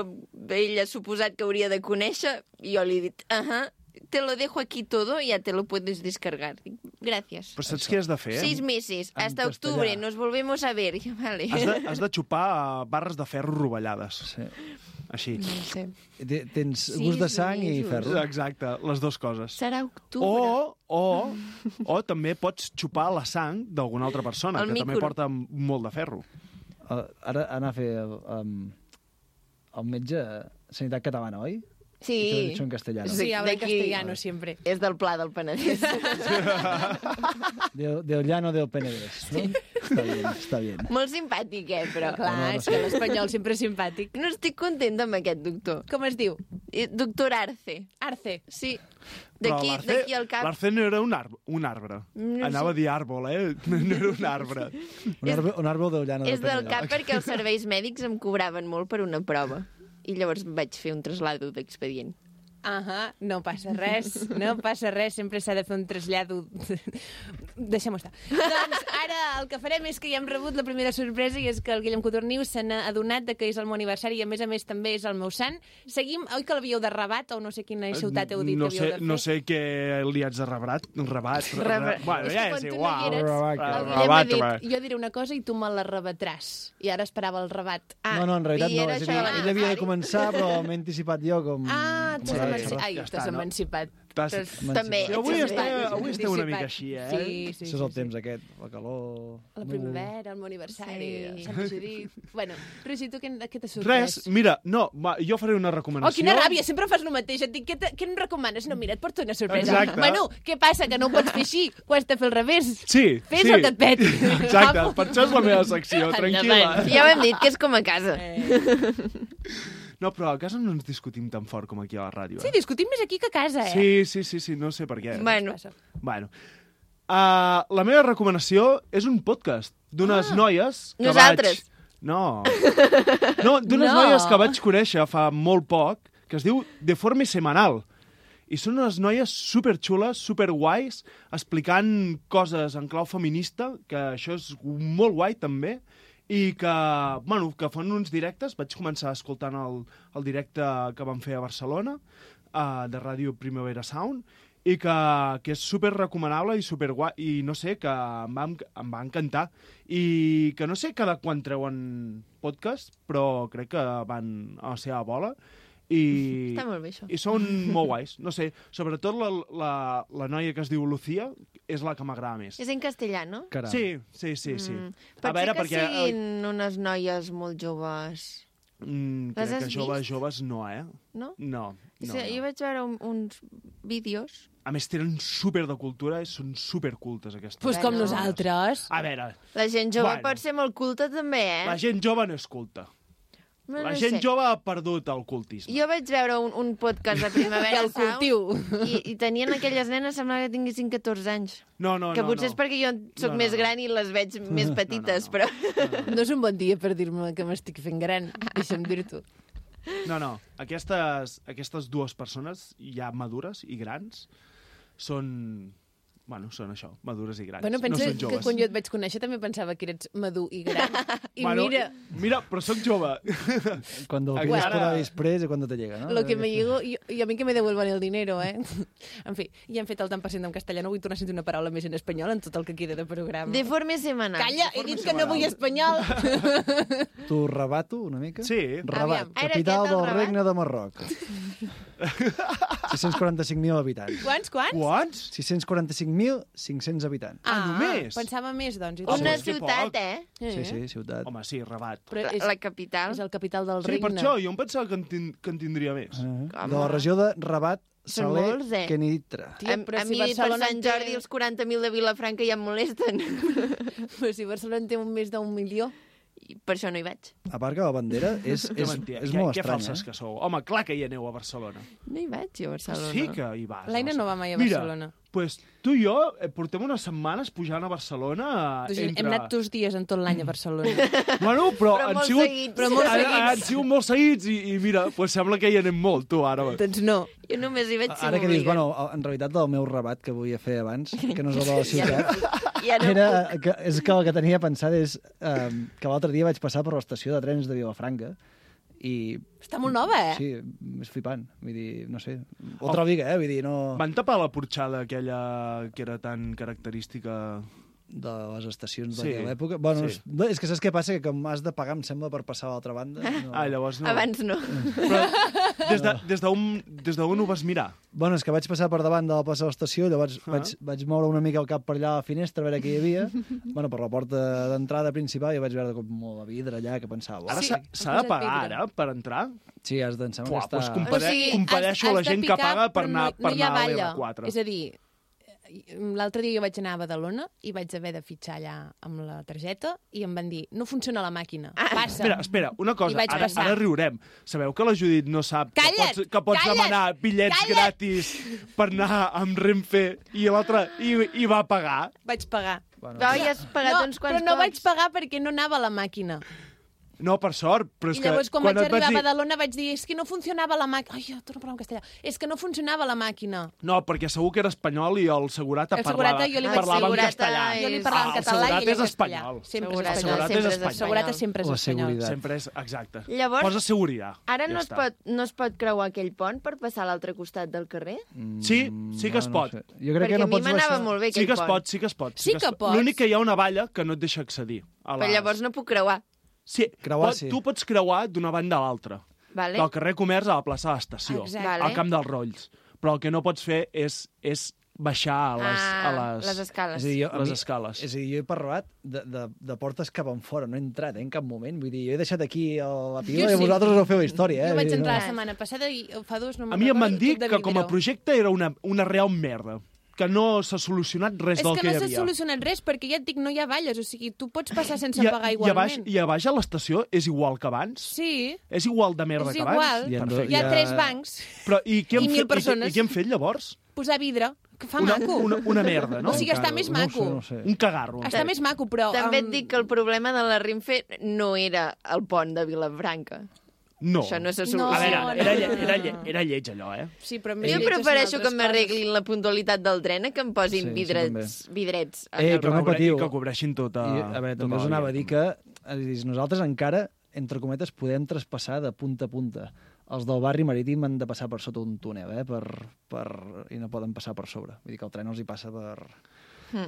B: ell ha suposat que hauria de conèixer, i jo li he dit, ahà, te lo dejo aquí todo, ya te lo puedes descargar. Dic, Gràcies.
L: Però saps què has de fer?
B: Seis meses,
L: en
B: hasta
L: castellà.
B: octubre, nos volvemos a ver. Ja, Vale.
L: Has de, has de xupar eh, barres de ferro rovellades.
F: Sí.
L: Així.
B: No sé.
F: Té- Tens
B: Sis
F: gust de sang i
B: mesos.
F: ferro.
L: Exacte, les dues coses.
B: Serà octubre.
C: Oh,
L: O, o, o també pots xupar la sang d'alguna altra persona,
B: El
L: que també
B: micro.
L: porta molt de ferro.
F: Uh, ara anar a fer el, um, el metge Sanitat Catalana, oi?
B: Sí.
F: I te lo he dicho en castellano.
A: Sí, habla en
B: D'aquí-
A: castellano, siempre.
B: És del Pla del Penedès.
F: De, de Ollano de Penedès, no? Està bien, està bien.
B: Molt simpàtic, eh, però...
A: Clar,
F: No, no
A: és que l'espanyol sempre és simpàtic.
B: No estic contenta amb aquest doctor.
A: Com es diu?
B: Eh, Doctor Arce.
A: Arce.
B: Sí.
L: Però
B: D'aquí
L: l'Arce-
B: d'aquí al cap.
L: L'Arce no era un, arbre, un arbre.
B: No
L: Anava a dir àrbol, eh? No era un arbre.
F: Un, arbre, un àrbol d'Ollano de
B: És del
F: Penedès.
B: cap perquè els serveis mèdics em cobraven molt per una prova. I llavors vaig fer un traslado d'expedient.
A: Ahà, no passa res, no passa res, sempre s'ha de fer un trasllado... Deixem-ho estar. Doncs ara el que farem és que ja hem rebut la primera sorpresa i és que el Guillem Cotorniu se n'ha adonat de que és el meu aniversari i a més a més també és el meu sant. Seguim, oi que l'havíeu de Rabat o no sé quina ciutat heu dit
L: Eh, no
A: que havíeu
L: sé,
A: de fer?
L: no sé què li haig de rebrat, rebat. re-
B: Rebre-
L: Bueno,
A: És que
L: ja és
A: quan tu no
L: igual.
A: hi eres,
F: Rebat,
A: El
F: rebat.
A: Guillem ha
L: home.
A: dit, jo diré una cosa i tu me la rebatràs. I ara esperava el rebat. Ah,
F: No, no, en realitat
B: i
F: no.
B: era
F: És a
B: això
F: dir,
B: de
F: ell havia de
B: l'aniversari.
F: començar, però m'he anticipat jo com...
A: Ah,
F: com
A: t'has
F: m'agrada
A: emanci-
F: xerrar.
A: Ai,
L: ja està,
A: t'has
L: no?
A: emancipat.
L: T'has-
A: T'has-
B: També.
L: Sí, avui
B: ets
L: esteu-
B: bastant
L: avui esteu una
A: anticipat.
L: mica així, eh?
A: Sí, sí,
F: Això és el
A: sí,
F: temps aquest, la calor...
A: La primavera, el meu aniversari,
B: Sí.
A: sí. Sant Judit... Bueno, Roger, tu què, què t'ha sorprès?
L: Res, mira, no, va, jo faré una
A: Oh,
L: recomanació.
A: quina ràbia, sempre fas el mateix. Et dic, què, te- què em recomanes? No, mira, et porto una sorpresa.
L: Exacte.
A: Bueno, què passa, que no ho pots fer així? Ho has de fer al revés?
L: Sí,
A: Fes
L: sí.
A: el que et peti.
L: Exacte,
A: Vamos.
L: per això és la meva secció, tranquil·la.
B: Ja ho hem dit, que és com a casa.
A: Eh.
L: No, però a casa no ens discutim tan fort com aquí a la ràdio.
A: Sí,
L: Eh?
A: discutim més aquí que a casa, eh?
L: Sí, sí, sí, sí, no sé per què.
B: Bueno,
L: Bueno. Uh, la meva recomanació és un podcast d'unes ah, noies que
B: Nosaltres.
L: vaig... No. No, d'unes
A: No.
L: noies que vaig conèixer fa molt poc, que es diu De forma semanal. I són unes noies superxules, superguais, explicant coses en clau feminista, que això és molt guai també, i que, bueno, que fan uns directes. Vaig començar escoltant el, el directe que van fer a Barcelona, uh, de Ràdio Primavera Sound, i que, que és super recomanable i super guai, i no sé, que em va, enc- em va encantar. I que no sé cada quan treuen podcast, però crec que van a la seva bola. I,
B: està molt bé, això.
L: i són molt guais, no sé. Sobretot la, la, la noia que es diu Lucía és la que m'agrada més.
B: És en castellà, no?
F: Caram.
L: Sí, sí, sí. sí.
B: Mm,
L: Mm,
B: Potser
L: a veure,
B: que
L: perquè... eh,
B: siguin unes noies molt joves,
L: Mm,
B: Les
L: crec que
B: has
L: joves,
B: vist?
L: joves no, eh?
B: no?
L: No, no,
B: no, sí, Jo
L: no.
B: vaig veure un, uns vídeos.
L: A més, tenen super de cultura i són super cultes, aquestes.
A: Pues com
B: Bueno.
A: nosaltres.
L: A veure,
B: La gent jove
L: Bueno.
B: bueno. pot ser molt culta, també, eh?
L: la gent jove no és culta.
B: no,
L: la
B: no
L: gent
B: sé.
L: jove ha perdut el cultisme.
B: Jo vaig veure un, un podcast de
A: I
B: Primavera
A: el
B: Sound
A: cultiu.
B: i, i tenien aquelles nenes, semblava que tinguessin 14 anys.
L: No, no,
B: que
L: no.
B: potser
L: no.
B: és perquè jo sóc
L: No, no,
B: més
L: no.
B: gran i les veig més petites,
L: no.
B: però...
A: No és un bon dia per dir-me que m'estic fent gran. Deixa'm dir-t'ho.
L: No, no. Aquestes, aquestes dues persones, ja madures i grans, són... Bueno, són això, madures i grans.
A: Bueno,
L: no
A: pensa
L: són
A: que
L: joves.
A: quan jo et vaig conèixer també pensava que eres madur i gran. I
L: Bueno,
A: mira,
L: Mira, però sóc jove.
F: Quan el
L: Encara-
F: pides por la després i quan te llega,
L: Ah,
F: no?
A: lo que me llego, i, i a mi que me devuelvan el dinero, eh? En fi, ja hem fet el tant per cent en castellà, no vull tornar a sentir una paraula més en espanyol en tot el que queda de programa.
B: De forma semanal.
A: Calla, he dit que no vull espanyol!
F: T'ho rebato una mica?
L: Sí.
A: Aviam,
F: Rabat,
B: era
F: capital
B: aquest el
F: del
B: Rabat?
F: regne de Marroc. 645.000 habitants.
A: Quants, quants?
L: Quants?
F: 645.500 habitants.
L: Ah, només?
A: Pensava més, doncs. I tot.
B: Una
L: Home, que poc.
B: ciutat, eh?
A: Eh?
F: Sí, sí, ciutat.
L: Home, sí, rebat.
A: Però és,
B: La capital.
A: és el capital del
L: Sí, per
A: regne.
L: això, jo em pensava que en, tin- que en tindria
F: Ah,
L: més.
B: Home.
F: de la regió de Rabat
B: Són
F: Saler
B: molts, eh?
F: que nitra.
B: Tia, a, a mi per Sant Jordi els 40.000 de Vilafranca ja em molesten. però si Barcelona en té un més d'un milió, i per això no hi vaig.
F: A part que la bandera és,
L: Que
F: és,
L: mentida,
F: és
L: que-
F: molt eh?
L: que
F: estranya.
L: falses que sou. Home, clar que hi aneu a Barcelona.
B: No hi vaig, jo, a Barcelona.
L: Sí que hi vas.
A: L'Aina no va mai a
L: Mira,
A: Barcelona.
L: pues tu i jo eh, portem unes setmanes pujant a Barcelona.
A: Tu,
L: eh,
A: Gil,
L: Entre...
A: Doncs Hem anat dos dies en tot l'any a Barcelona.
L: Bueno, però,
A: Però
L: han
A: molt
L: sigut,
A: seguits. Però molt
L: han,
A: seguits.
L: han sigut molt seguits i, i mira, pues sembla que hi anem molt, tu, ara.
A: Doncs no.
B: Jo només hi vaig si
F: Ara que dius,
B: m'obliguen.
F: bueno, en realitat el meu rebat que volia fer abans, que no és el de la ciutat,
B: Ja no
F: era que, és que el que tenia pensat és eh, que l'altre dia vaig passar per l'estació de trens de Vilafranca i...
A: Està molt nova, eh? Oh.
F: Sí, és flipant. Vull dir, no sé,
L: Oh.
F: otra viga, eh? Vull dir, no...
L: Van tapar la porxada aquella que era tan característica...
F: De les estacions d'aquella època. Bueno, sí. és, és que saps què passa? Que com has de pagar, em sembla, per passar a l'altra banda... No. Mm.
L: Ah, llavors no.
B: Abans no.
L: Des de- des d'on des d'on ho vas mirar?
F: Bueno, és que vaig passar per davant de la plaça de l'estació, llavors
L: Ah.
F: ah. vaig, vaig moure una mica el cap per allà a la finestra a veure què hi havia. bueno, per la porta d'entrada principal i vaig veure com molt de vidre allà, que pensava... "Uau".
L: Ara s'ha s'ha de pagar, ara, per entrar?
F: Sí, has d'ençar
L: Uah,
F: està...
L: doncs compare-
A: O sigui,
L: compareixo
A: has-
L: la
A: has de
L: gent que
A: picar,
L: paga per
A: però
L: anar,
A: no,
L: per
A: no hi ha
L: anar a
A: balla.
L: l'R4.
A: És a dir, eh, l'altre dia jo vaig anar a Badalona i vaig haver de fitxar allà amb la targeta i em van dir, no funciona la màquina,
B: Ah.
A: passa.
L: Espera, espera, una
A: I
L: cosa,
A: vaig
L: ara,
A: passar.
L: ara riurem. Sabeu que la Judit no sap
A: Calla't,
L: que pots, que pots
A: calla't,
L: demanar bitllets gratis per anar amb Renfe i l'altre i, i va pagar?
A: Vaig pagar.
L: Bueno.
B: No, ja has pagat
A: no,
B: uns quants
A: però no
B: cops.
A: vaig pagar perquè no anava la màquina.
L: No, per sort, però és
A: I llavors,
L: que...
A: quan, vaig
L: et vas
A: arribar a
L: dir-
A: Badalona, vaig dir, és que no funcionava la màquina. Ai, ja, torno a parlar en castellà. És que no funcionava la màquina.
L: No, perquè segur que era espanyol i el segurata
A: El
L: parlava,
A: segurata jo li vaig
L: parlava
A: segurata
L: en castellà.
A: Jo li parlava en català
L: ah,
A: i ell
L: el segurata
A: en
L: és
A: castellà.
L: espanyol.
A: Sempre
B: Segurata,
A: és
L: El
A: espanyol.
L: segurata és espanyol.
A: Segurata sempre és espanyol.
L: Sempre és, exacte.
B: Llavors-
L: Posa seguretat.
B: Ara
L: ja
B: no, es
L: està.
B: pot, no es pot creuar aquell pont per passar a l'altre costat del carrer?
L: Mm, Sí, sí que es pot. No
F: Jo
B: crec Perquè que no a mi pots m'anava baixar- molt bé
L: sí
B: aquell
L: que es
B: pont.
L: pot, sí que es pot.
B: Sí
L: es
B: que
L: pot.
B: pots.
L: L'únic que hi ha una valla que no et deixa accedir. A
B: Però llavors no puc creuar.
L: Sí,
F: Creuar,
L: pot,
F: sí.
L: tu pots creuar d'una banda a l'altra.
B: Vale.
L: Del carrer Comerç a la plaça de l'estació,
B: Exacte.
L: al Camp dels Rolls. Però el que no pots fer és, és baixar a les,
A: Ah,
L: a les,
F: És a dir, jo, a
L: les
F: mi-
L: escales.
F: És a dir, jo he parlat de, de, de portes cap enfora, no he entrat eh, en cap moment. Vull dir, jo he deixat aquí el, la pila
A: Jo
F: i
A: sí.
F: vosaltres us feu la història. Eh?
A: Jo vaig
F: Vull dir,
A: entrar
F: no.
A: la setmana passada i fa dos no me'n
L: A mi em van
A: recordo,
L: dir
A: tub de
L: que com a
A: vidre.
L: projecte era una, una real merda, que no s'ha solucionat res
A: És
L: del
A: que
L: que,
A: no
L: hi
A: s'ha
L: havia.
A: solucionat res, perquè ja et dic, no hi ha valles, o sigui, tu pots passar sense
L: I a-
A: pagar
L: I a baix,
A: igualment.
L: i a baix a l'estació és igual que abans?
A: Sí.
L: És igual de merda
A: És
L: que abans?
A: igual. Hi ha-
L: Perfecte.
A: hi ha tres bancs.
L: Però, i, què
A: I
L: han
A: mil
L: fet,
A: persones.
L: I, què- I què han fet llavors?
A: Posar vidre, que fa
L: Una-
A: maco.
L: una- una merda, no?
A: O sigui, està
L: Encara,
A: més
L: no ho sé,
A: maco.
L: no ho sé. Un cagarro.
A: Està més maco, però...
B: També et
A: em-
B: dic que el problema de la Renfe no era el pont de Vilafranca.
L: No.
B: Això no se
L: A
B: soluciona.
L: veure, era, lle, era, lle, era lleig allò, eh?
A: Sí, però
B: Jo prefereixo que m'arreglin la puntualitat del tren a que em posin
L: Sí,
B: sí,
L: sí,
B: vidrets, vidrets.
F: Ei, Eh, però no patiu.
L: I que cobreixin tota...
F: I, a veure, també
L: tota
F: us
L: la
F: anava a dir que és a dir, nosaltres encara, entre cometes, podem traspassar de punta a punta. Els del barri marítim han de passar per sota un túnel, eh? Per, per... I no poden passar per sobre. Vull dir que el tren els hi passa per...
B: Mm.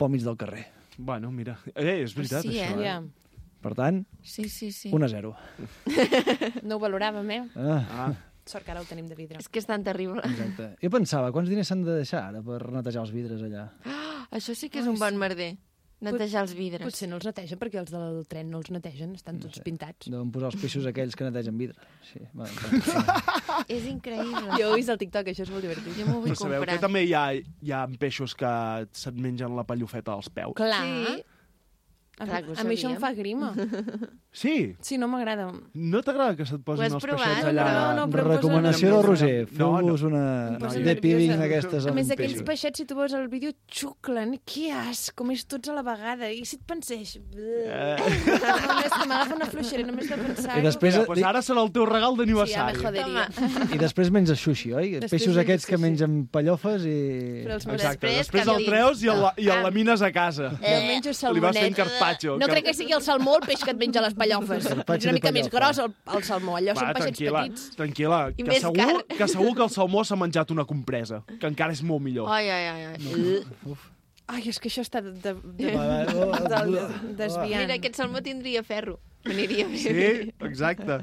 F: pel mig del carrer.
L: Bueno, mira. Eh, és veritat,
A: Sí, eh?
L: això.
A: Ja.
F: Per tant,
B: Sí, sí, sí.
F: 1 a 0.
A: No ho valoràvem, eh?
F: Ah.
A: Sort que ara ho tenim de vidre.
B: És que és tan terrible.
F: Exacte. Jo pensava, quants diners s'han de deixar ara per netejar els vidres allà?
B: Ah, això sí que és un bon merder. Netejar els vidres.
A: Potser no els neteja perquè els del tren no els netegen, estan tots pintats.
F: Deuen posar els peixos aquells que netegen vidre. Sí, va,
B: És increïble.
A: Jo ho he vist al TikTok, això és molt divertit.
B: Jo m'ho
L: Però sabeu que també hi ha, hi ha peixos que se't mengen la pallofeta als peus.
A: Clar.
B: Sí.
A: A,
B: Clar que ho
A: a mi això em
B: sabíem.
A: fa grima.
L: Sí?
A: Sí, no m'agrada.
L: No t'agrada que se't posin
A: Ho has
L: els
A: provat?
L: peixets
A: No,
L: allà?
A: però- no, però em posa
F: Recomanació del Roger.
L: No, no.
F: Feu-vos una...
A: Em posa
F: de peeling
A: nerviosa.
F: d'aquestes
A: A
F: amb
A: més, aquells
F: peixos.
A: peixets, si tu veus el vídeo, xuclen. Que asco, més tots a la vegada. I si et penseix... Eh. No, és que m'agafa una fluixera, només de pensar-ho.
F: I després-
L: Mira, pues ara serà el teu regal d'aniversari.
A: Sí, ja me joderia.
F: I després menges sushi, oi? Els
A: Després
F: peixos
A: menges
F: aquests que
A: sushi.
F: mengen pallofes i...
A: Però els
L: Exacte,
A: Després,
L: després, el
A: canvi.
L: treus i el, la- i el
A: Ah.
L: lamines a casa.
A: Eh, jo menjo
L: Li vas fent
A: salmonet.
L: carpaccio.
A: No crec que sigui el salmó el peix que et menja les pallofes. És
L: de
A: una mica més
L: pallofa.
A: gros el, el salmó. Allò són peixets
L: tranquil·la,
A: petits.
L: tranquil·la,
A: I
L: que
A: més
L: segur,
A: car.
L: que segur que el salmó s'ha menjat una compresa, que encara és molt millor.
B: Ai, ai, ai. ai. No.
A: Ai, és que això està de, de, de,
L: Va, va, va,
A: de, de,
L: va.
A: desviant.
B: Mira, aquest salmó tindria ferro. M'aniria bé.
L: Sí, exacte.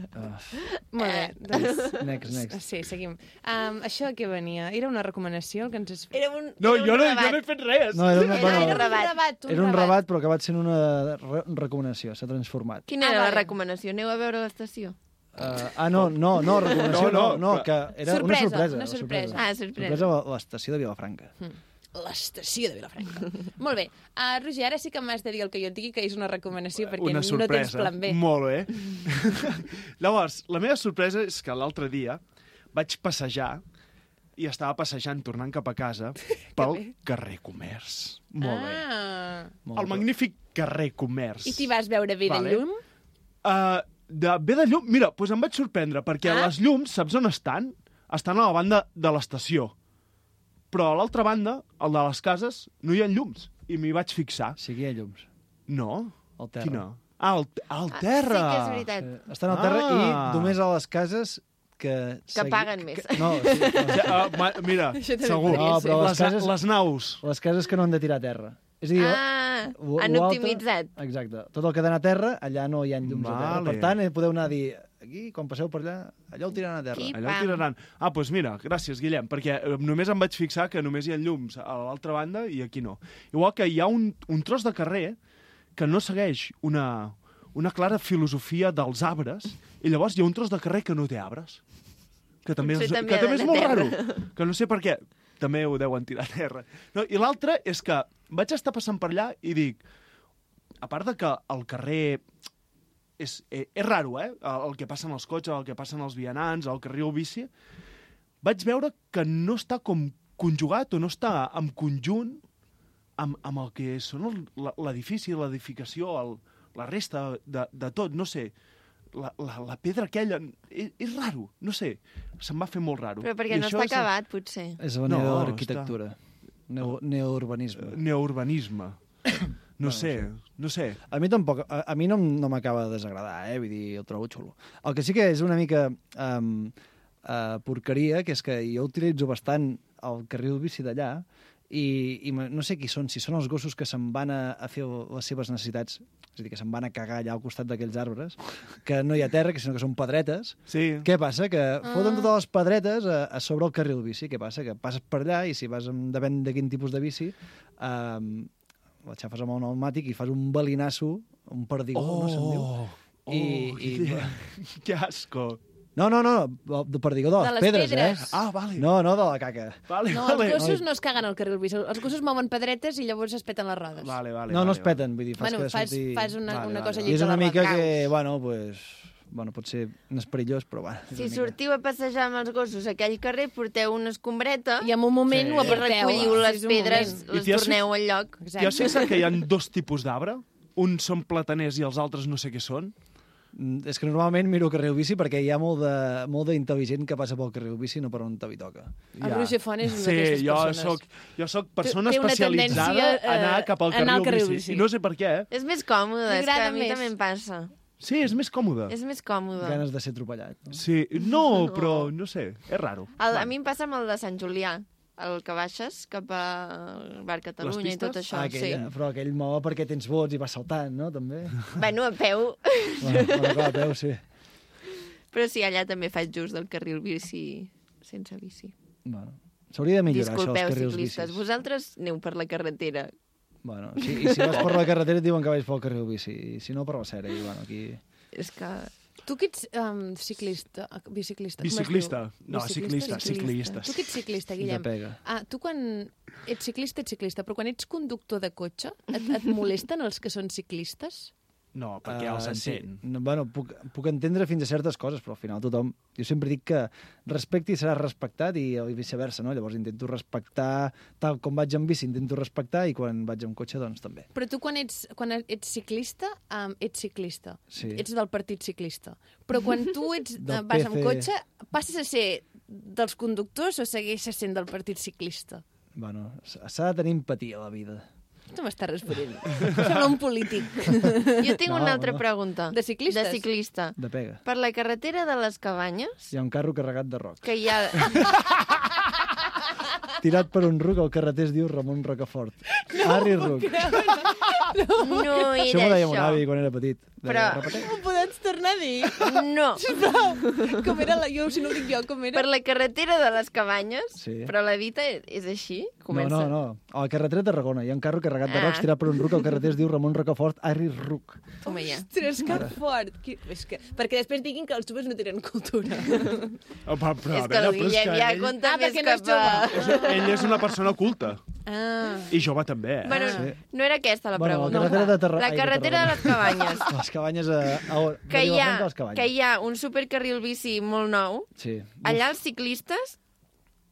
A: Molt bé,
B: Eh.
A: doncs...
F: Next, next.
A: Sí, seguim. Um, això que venia? Era una recomanació el que ens... has-
B: Era un,
L: No, jo no, jo no he fet res.
F: No, era, una, bueno,
A: Era un rebat.
F: era un rebat, però que va ser una re recomanació, s'ha transformat.
B: Quina era la recomanació? Aneu a veure l'estació.
F: Uh, ah, no, no, no, recomanació, no, no,
L: No, no,
F: no que era
A: Sorpresa,
F: una sorpresa.
A: una sorpresa. Ah, sorpresa. Hmm.
F: Sorpresa a l'estació de Vilafranca.
A: L'estació de Vilafranca. Molt bé. Uh, Roger, ara sí que m'has de dir el que jo et digui, que és una recomanació, perquè no
L: una
A: tens
L: sorpresa.
A: plan B.
L: Molt bé. Llavors, la meva sorpresa és que l'altre dia vaig passejar i estava passejant, tornant cap a casa, pel carrer Comerç. Molt bé.
A: ah.
L: El magnífic carrer Comerç.
A: I t'hi vas veure bé
L: Vale.
A: de llum?
L: Uh, de bé de llum, mira, doncs em vaig sorprendre, perquè ah? les llums, saps on estan? Estan a la banda de l'estació. Però a l'altra banda, el de les cases, no hi ha llums. I m'hi vaig fixar.
F: Sí que hi ha llums.
L: No.
F: Al terra.
L: Quina? Ah, al, al
B: Ah,
L: terra!
B: sí que és veritat.
F: Eh, Estan al terra ah.
L: Ah.
F: i només a les cases que... segui-
B: paguen més.
F: No, sí,
L: Ja, ah, ma- mira,
B: Això també
L: segur.
F: No, però les,
L: les,
F: cases,
L: les naus.
F: Les cases que no han de tirar a terra. És a dir,
B: Ah,
F: o- o
B: han
F: altre-
B: optimitzat.
F: Exacte. Tot el que ha d'anar a terra, allà no hi ha llums a terra.
L: Vale.
F: Per tant, eh, podeu anar a dir, aquí, quan passeu per allà, allò ho tiraran a terra.
L: Allà ho tiraran. Ah, doncs mira, gràcies, Guillem, perquè eh, només em vaig fixar que només hi ha llums a l'altra banda i aquí no. Igual que hi ha un, un tros de carrer que no segueix una, una clara filosofia dels arbres i llavors hi ha un tros de carrer que no té arbres. Que també,
B: Potser
L: és,
B: també
L: que
B: ha
L: també és
B: d'anar
L: molt
B: a
L: raro.
B: terra.
L: Que no sé per què. També ho deuen tirar a terra. No, I l'altre és que vaig estar passant per allà i dic... A part de que el carrer és, eh, és raro, eh? El, el que passen els cotxes, el que passen els vianants, el carril bici, vaig veure que no està com conjugat o no està en conjunt amb, amb el que són el- la- l'edifici, l'edificació, el- la resta de, de tot, no sé. La, la, la pedra aquella és, és raro, no sé. Se'm va fer molt raro.
B: Però perquè
L: I
B: no
L: això
B: està
L: és-
B: acabat, potser.
F: És la no,
L: està-
F: arquitectura. Neo, neourbanisme.
L: Neourbanisme. No sé, no sé.
F: A mi tampoc, a, a mi no, m- no m'acaba de desagradar, eh? Vull dir, el trobo xulo. El que sí que és una mica um, uh, porqueria, que és que jo utilitzo bastant el carril bici d'allà i, i me- no sé qui són, si són els gossos que se'n van a, a fer les seves necessitats, és a dir, que se'n van a cagar allà al costat d'aquells arbres, que no hi ha terra, que sinó que són pedretes.
L: Sí.
F: Què passa? Que foten totes les pedretes a, a sobre el carril bici. Què passa? Que passes per allà i si vas amb, depèn de quin tipus de bici, um, la xafes amb el pneumàtic i fas un balinasso, un perdigó, no se'n diu?
L: Oh, i... Que asco.
F: No, no, no, de perdigó de les,
A: De les
F: pedres,
A: pedres.
F: eh?
A: Ah,
L: vale.
F: No, no, de la caca.
L: Vale,
A: No, els gossos no es caguen al carril bici. Els gossos mouen pedretes i llavors es peten les rodes.
L: Vale, vale,
F: no,
L: vale,
F: no es peten, vull dir, fas
A: Bueno,
F: que
A: fas-
F: surti...
A: fas una- Vale, una vale, cosa vale.
F: I és
A: lletja
F: una
A: de
F: mica
A: recaus.
F: que, bueno, pues, bueno, potser no és perillós, però bueno. és
B: Si
F: una mica-
B: sortiu a passejar amb els gossos a aquell carrer, porteu una escombreta i
A: en un moment
F: Sí.
B: ho aparteu. Recolliu les
A: És un
B: pedres,
A: moment.
L: I
B: les
L: t'hi has
B: torneu
L: fix-
B: al lloc.
L: Ja sé que hi ha dos tipus d'arbre. Uns són plataners i els altres no sé què són.
F: Mm, És que normalment miro carril bici perquè hi ha molt de- molt d'intel·ligent que passa pel carril bici, no per on te li toca.
A: El Roger Font és una
L: sí,
A: d'aquestes
L: jo
A: persones.
L: Soc, jo soc persona
A: Té- té una
L: especialitzada
A: tendència,
L: a anar
A: eh,
L: cap al
A: a anar al
L: carril,
A: carril
L: bici.
A: bici.
L: I no sé per què, eh?
B: És més còmode, és que
A: M'agrada
B: a mi
A: més.
B: també em passa.
L: Sí, és més còmode.
B: És més còmode.
F: Ganes de ser atropellat. No?
L: Sí, no, però no sé, és raro.
B: El, a mi em passa amb el de Sant Julià, el que baixes cap al Bar Catalunya i tot això.
F: Ah, aquell,
B: sí.
F: Però aquell mou perquè tens vots i va saltant, no? També.
B: Bueno, a peu.
F: bueno, bueno, clar, veu, sí.
B: Però sí, allà també faig just del carril bici sense bici.
F: Bueno. S'hauria de millorar això,
B: Disculpeu,
F: els carrils
B: ciclistes.
F: bicis.
B: Vosaltres aneu per la carretera.
F: Bueno, sí, I si vas per la carretera et diuen que vais pel carril bici, i si no per la cera, i bueno, aquí...
B: És que...
A: Tu que ets um, ciclista, ah, biciclista... com es
L: Biciclista.
A: diu?
L: No, ciclista, ciclista.
A: Tu que ets ciclista,
L: De
A: Guillem.
L: pega.
A: Ah, tu quan ets ciclista, ets ciclista, però quan ets conductor de cotxe, et, et molesten els que són ciclistes?
L: No, perquè els
F: Ah,
L: entén.
F: Sí. No, bueno, puc, puc entendre fins a certes coses, però al final tothom... Jo sempre dic que respecti serà respectat i, i viceversa, no? Llavors intento respectar, tal com vaig amb bici, intento respectar, i quan vaig amb cotxe, doncs també.
A: Però tu quan ets, quan ets ciclista, um, ets ciclista.
F: Sí.
A: Ets del partit ciclista. Però quan tu ets,
F: Del
A: eh, vas amb
F: PC.
A: cotxe, passes a ser dels conductors o segueixes sent del partit ciclista?
F: Bueno, s'ha de tenir empatia a la vida.
A: Tu m'estàs responent. Sembla un polític.
B: Jo tinc
F: No,
B: una altra
F: no.
B: pregunta.
A: De ciclistes?
B: De ciclista.
F: De pega.
B: Per la carretera de les Cabanyes,
F: Hi ha un carro carregat de roc.
B: que hi ha...
F: Tirat per un ruc, el carreter es diu Ramon Rocafort. No, Harry Ruc.
B: No era
F: això m'ho deia mon
B: això.
F: avi quan era petit. Deia,
B: Però
F: "Repeteix".
A: No podem pots tornar a dir?
B: No.
A: Sisplau. Com era la... Jo, si no ho dic jo, com era?
B: Per la carretera de les cabanyes,
F: Sí.
B: sí. però la dita és, és així,
F: No,
B: comença.
F: no, no. A la carretera de Tarragona. Hi ha un carro carregat de
B: Ah.
F: rocs tirat per un ruc. El carreter es diu Ramon Rocafort, Harry Ruc.
A: Toma ja. Ostres, que
F: Mare.
A: fort. Que... És que... Perquè després diguin que els joves no tenen cultura.
L: Oh, però, però,
B: És que el Guillem ja
L: ell,
B: compta
A: Ah,
B: més
A: perquè no és
B: cap a...
L: ell és una persona culta.
B: Ah.
L: I jove també, eh?
B: Bueno, sí. no era aquesta la
F: Ah, Bueno, la
B: pregunta.
F: carretera de Tarra-
B: La
F: ai, de
B: carretera de les cabanyes.
F: les cabanyes a... a on?
B: que, hi
F: Vilafranca a
B: ha,
F: les cabanyes.
B: que hi ha un supercarril bici molt nou,
F: Sí.
B: allà els ciclistes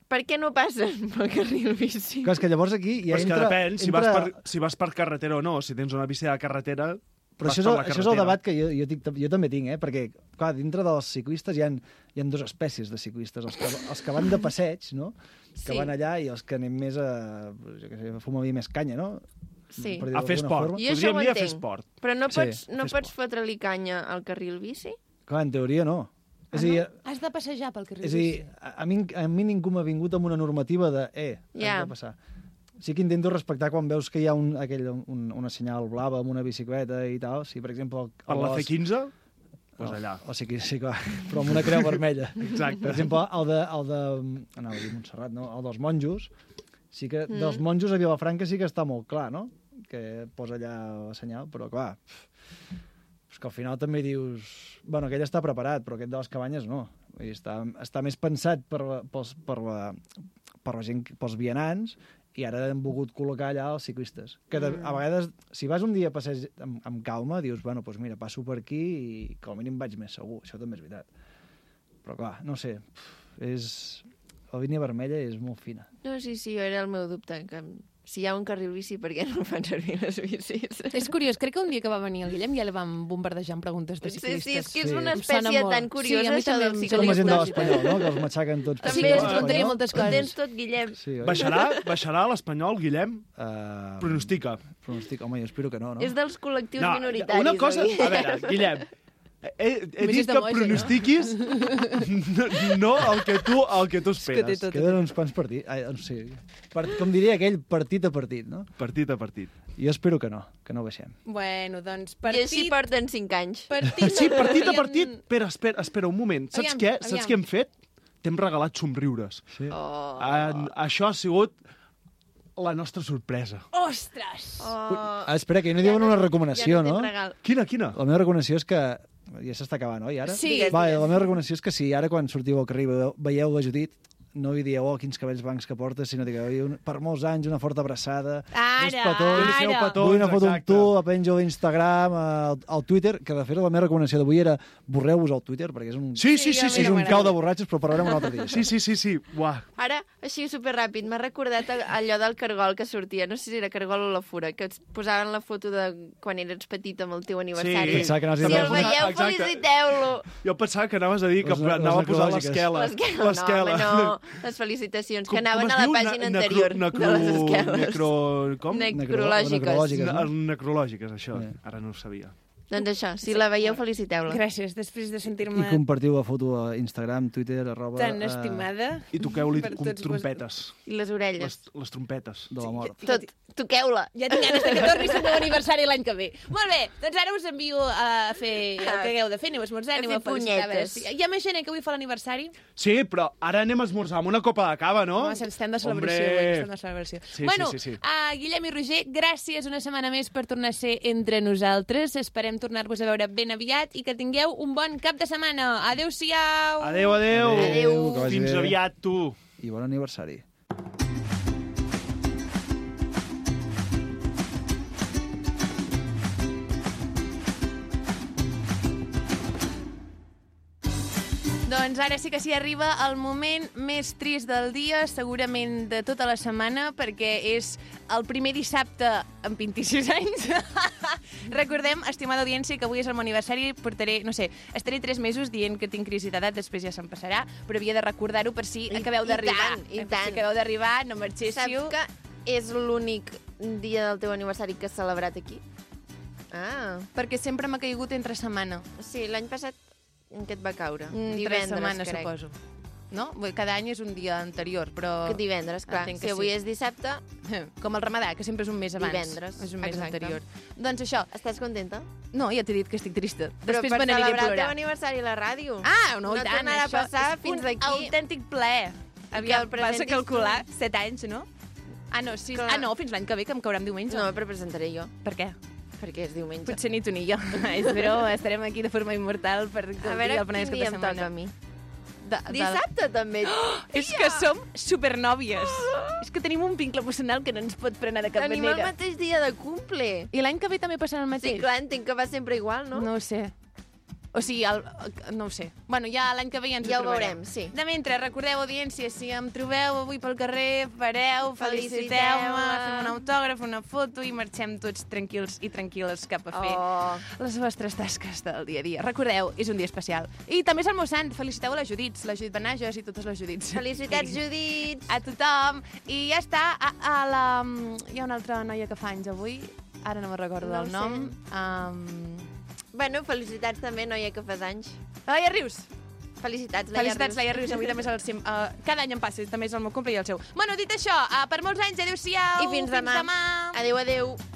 B: per què no passen pel carril bici?
F: Clar, és que llavors aquí ja
L: Però és
F: entra...
L: que depèn si,
F: entra...
L: vas per, si vas per carretera o no. Si tens una bici de carretera,
F: Però
L: vas
F: això és,
L: per
F: el,
L: la
F: això és el
L: carretera.
F: debat que jo, jo, tinc, jo també tinc, eh? perquè clar, dintre dels ciclistes hi han hi han dues espècies de ciclistes, els que, els que van de passeig, no? que
B: Sí.
F: van allà, i els que anem més a, pues, jo què sé, a fumar vi més canya, no?
B: Sí.
F: Per dir-ho d'alguna forma.
B: Jo això ho entenc, Però no
F: Sí.
B: pots, no pots fotre-li canya al carril bici?
F: Clar, en teoria no. És a dir,
A: Has de passejar pel carril
F: és a, dir a, a, mi, a mi ningú m'ha vingut amb una normativa de eh,
A: Ja.
F: yeah. has de passar. Sí que intento respectar quan veus que hi ha un, aquell, un, una senyal blava amb una bicicleta i tal. Si, per exemple... El,
L: Per la
F: les-
L: C15, doncs
F: No,
L: allà.
F: O sigui, sí, clar, però amb una creu vermella.
L: Exacte.
F: Per exemple, el de, el de mm, anava a dir Montserrat, no? El dels monjos, sí que,
L: Mm.
F: mm. dels monjos a Vilafranca sí que està molt clar, no? Que posa allà el senyal, però clar, pff, és que al final també dius... Bueno, aquell està preparat, però aquest de les cabanyes no. Vull dir, està, està més pensat per, la- pels, per, la, per la gent, pels vianants, i ara hem volgut col·locar allà els ciclistes. Que de,
L: Mm.
F: a vegades, si vas un dia a passeig amb, amb calma, dius, bueno, doncs mira, passo per aquí i com a mínim vaig més segur. Això també és veritat. Però clar, no ho sé, pff, és... La línia vermella és molt fina.
B: No, sí, sí, era el meu dubte, que si hi ha un carril bici, per què no fan servir les bicis?
A: És curiós, crec que un dia que va venir el Guillem ja el vam bombardejar amb preguntes de
B: Sí,
A: ciclistes.
B: sí, és que és
F: Sí.
B: una
A: Em sona
B: espècie
A: molt.
B: tan curiosa,
A: sí, a mi
B: això
A: també
B: dels
A: em
F: Som la gent de
A: sona.
F: l'Espanyol, no? Que els matxaquen tots. per
B: També
F: ser
B: és
F: de l'Espanyol.
B: tonteria moltes coses. Ho tens tot, Guillem.
F: Sí, oi?
L: Baixarà, baixarà l'Espanyol, Guillem?
F: Uh,
L: Pronostica.
F: Pronostica, home, jo espero que no, no?
B: És dels col·lectius
L: No,
B: minoritaris.
L: una cosa-
B: oi?
L: a veure, Guillem, He, he
B: Més
L: dit que
B: emoji, no?
L: pronostiquis no, no el que tu, el que tu esperes.
F: Queden uns quants partits. Ai, no sé, part, com diria aquell, partit a partit, no?
L: Partit a partit.
F: Jo espero que no, que no baixem.
A: Bueno, doncs,
B: I així porten 5 anys.
A: Partit,
L: Sí, partit a partit. Espera, espera, espera un moment. Saps
B: Aviam,
L: què? Saps
B: aviam.
L: què hem fet? T'hem regalat somriures.
F: Sí.
B: Oh.
L: En, això ha sigut la nostra sorpresa.
A: Ostres!
B: Oh.
F: Ah, espera, que jo no diuen una recomanació,
H: Oh.
F: no?
L: Quina, quina?
F: La meva recomanació és que... Ja s'està acabant, oi, ara?
A: Sí. Digues,
F: Va,
A: digues.
F: la meva recomanació és que si ara quan sortiu al carrer veieu- veieu la Judit, no li dieu, oh, quins cabells blancs que portes, sinó digueu, "Oi, un, per molts anys, una forta abraçada,
A: Ara,
F: dos petons,
A: ara. Doneseu petons,
F: vull una foto amb
A: exacte.
F: tu, la penjo a l'Instagram, al, al Twitter, que de fet la meva recomanació d'avui era borreu-vos al Twitter, perquè és un,
L: Sí, sí, sí, sí,
F: és
L: ja
F: un
L: m'agrada.
F: cau de borratxos, però parlarem un altre dia.
L: Sí, sí, sí, sí. Uah.
B: Ara, així superràpid, m'ha recordat a- allò del cargol que sortia, no sé si era cargol o la fura, que et posaven la foto de quan eres petit amb el teu aniversari.
L: Sí, pensava que anaves a dir
B: si
L: una
B: el
L: cosa-
B: veieu,
L: Exacte.
B: feliciteu-lo.
L: Jo pensava que anaves a dir que
F: Les- les
L: anava a posar
F: necrològiques.
L: l'esquela.
B: L'esquela, no, home, no, les felicitacions, que
L: Com-
B: anaven
L: com es
B: a la
L: diu? Ne-
B: pàgina
L: necro-
B: anterior
L: necro-
B: de les esqueles.
L: Necro... Com?
B: Necrològiques.
F: Necrològiques, no?
L: Ne- necrològiques, això. Ara no ho sabia.
B: Doncs això, si la veieu, feliciteu-la.
A: Gràcies, després de sentir-me...
F: I compartiu la foto a Instagram, Twitter, arroba...
A: Tan
F: eh,
A: estimada.
L: I toqueu-li
A: Per
L: com
A: tots
L: trompetes.
B: I les orelles.
L: Les, les trompetes.
F: De la mort.
B: Tot, toqueu-la.
A: Ja tinc ganes de que tornis el meu aniversari l'any que ve. Molt bé, doncs ara us envio a fer el que hagueu de fer, aneu a esmorzar,
B: Ah. A
A: aneu
B: fer
A: a felicitar. A veure,
B: punyetes.
A: si... Hi ha més gent eh, que avui fa l'aniversari?
L: Sí, però ara anem a esmorzar amb una copa de cava, no?
A: Home, estem de celebració, avui, estem de celebració.
L: Sí,
A: bueno,
L: sí, sí, sí.
A: Uh, Guillem i Roger, gràcies una setmana més per tornar a ser entre nosaltres. Esperem tornar-vos a veure ben aviat i que tingueu un bon cap de setmana. Adeu-siau!
L: Adeu, adeu.
F: Adeu, que vagi
L: Fins
F: bé.
L: aviat, tu.
F: I bon aniversari.
A: Doncs ara sí que s'hi arriba el moment més trist del dia, segurament de tota la setmana, perquè és el primer dissabte amb 26 anys. Recordem, estimada audiència, que avui és el meu aniversari, portaré, no sé, estaré 3 mesos dient que tinc crisi d'edat, després ja se'n passarà, però havia de recordar-ho per si acabeu
B: i
A: d'arribar.
B: tant, i
A: Eh, per
B: tant.
A: Si acabeu d'arribar, no marxéssiu.
B: Saps que és l'únic dia del teu aniversari que has celebrat aquí? Ah.
A: Perquè sempre m'ha caigut entre setmana.
B: Sí, l'any passat en què et va caure?
A: Mm,
B: Divendres,
A: tres setmanes,
B: crec.
A: suposo. No? Vull dir, Cada any és un dia anterior, però...
B: Que divendres, clar.
A: Entenc
B: Si avui és
A: dissabte... Com el ramadà, que sempre és un mes abans.
B: Divendres,
A: És un mes
B: exacte.
A: anterior. Doncs això.
B: Estàs contenta?
A: No, ja t'he dit que estic trista.
B: Però
A: Després
B: per
A: me n'aniré a
B: celebrar el teu
A: plorar.
B: aniversari a la ràdio.
A: Ah, no, i
B: no
A: tant,
B: tornarà a
A: això
B: passar
A: és
B: fins
A: un
B: aquí.
A: autèntic plaer.
B: el
A: Aviam, vas a
B: presentis
A: calcular
B: tu.
A: 7 anys, no? Ah, no, sis... ah, no fins l'any que ve, que em caurà en diumenge.
B: No, però presentaré jo.
A: Per què?
B: Perquè és diumenge. Ah,
A: Potser ni tu ni jo. És broma, estarem aquí de forma immortal per gaudir
B: veure
A: del
B: quin
A: Penedès
B: dia em
A: setmana.
B: toca a mi.
A: De,
B: Dissabte, també.
A: Oh, és que som supernòvies.
B: Ah!
A: És que tenim un vincle emocional que no ens pot frenar de cap
B: Tenim el
A: manera.
B: mateix dia de cumple.
A: I l'any que ve també passarà el mateix?
B: Sí, clar, entenc que va sempre igual, no?
A: No ho sé. O sigui, el, no ho sé. Bueno, ja l'any que ve ja ens
B: Ja ho
A: trobarem.
B: veurem, sí.
A: De mentre, recordeu, audiència, si em trobeu avui pel carrer, pareu, feliciteu-me,
B: Feliciteu-me.
A: fem un autògraf, una foto i marxem tots tranquils i tranquil·les cap a fer oh. les vostres tasques del dia a dia. Recordeu, és un dia especial. I també és el meu sant. Feliciteu a la Judits, la Judit Benages i totes les Judits.
B: Felicitats,
A: I-
B: Judit!
A: A tothom. I ja està. A, a la... Hi ha una altra noia que fa anys avui. Ara no me'n recordo
B: No
A: el
B: ho
A: nom. Um...
B: Bueno, felicitats també, noia, que fa anys.
A: Laia Rius!
B: Felicitats, Laia
A: Felicitats, Laia Rius. Avui també és el... cim- eh, cada any em passa, també és el meu cumple i el seu. Bueno, dit això, eh, per molts anys, adéu-siau.
B: I fins demà.
A: demà.
B: Adéu, adéu.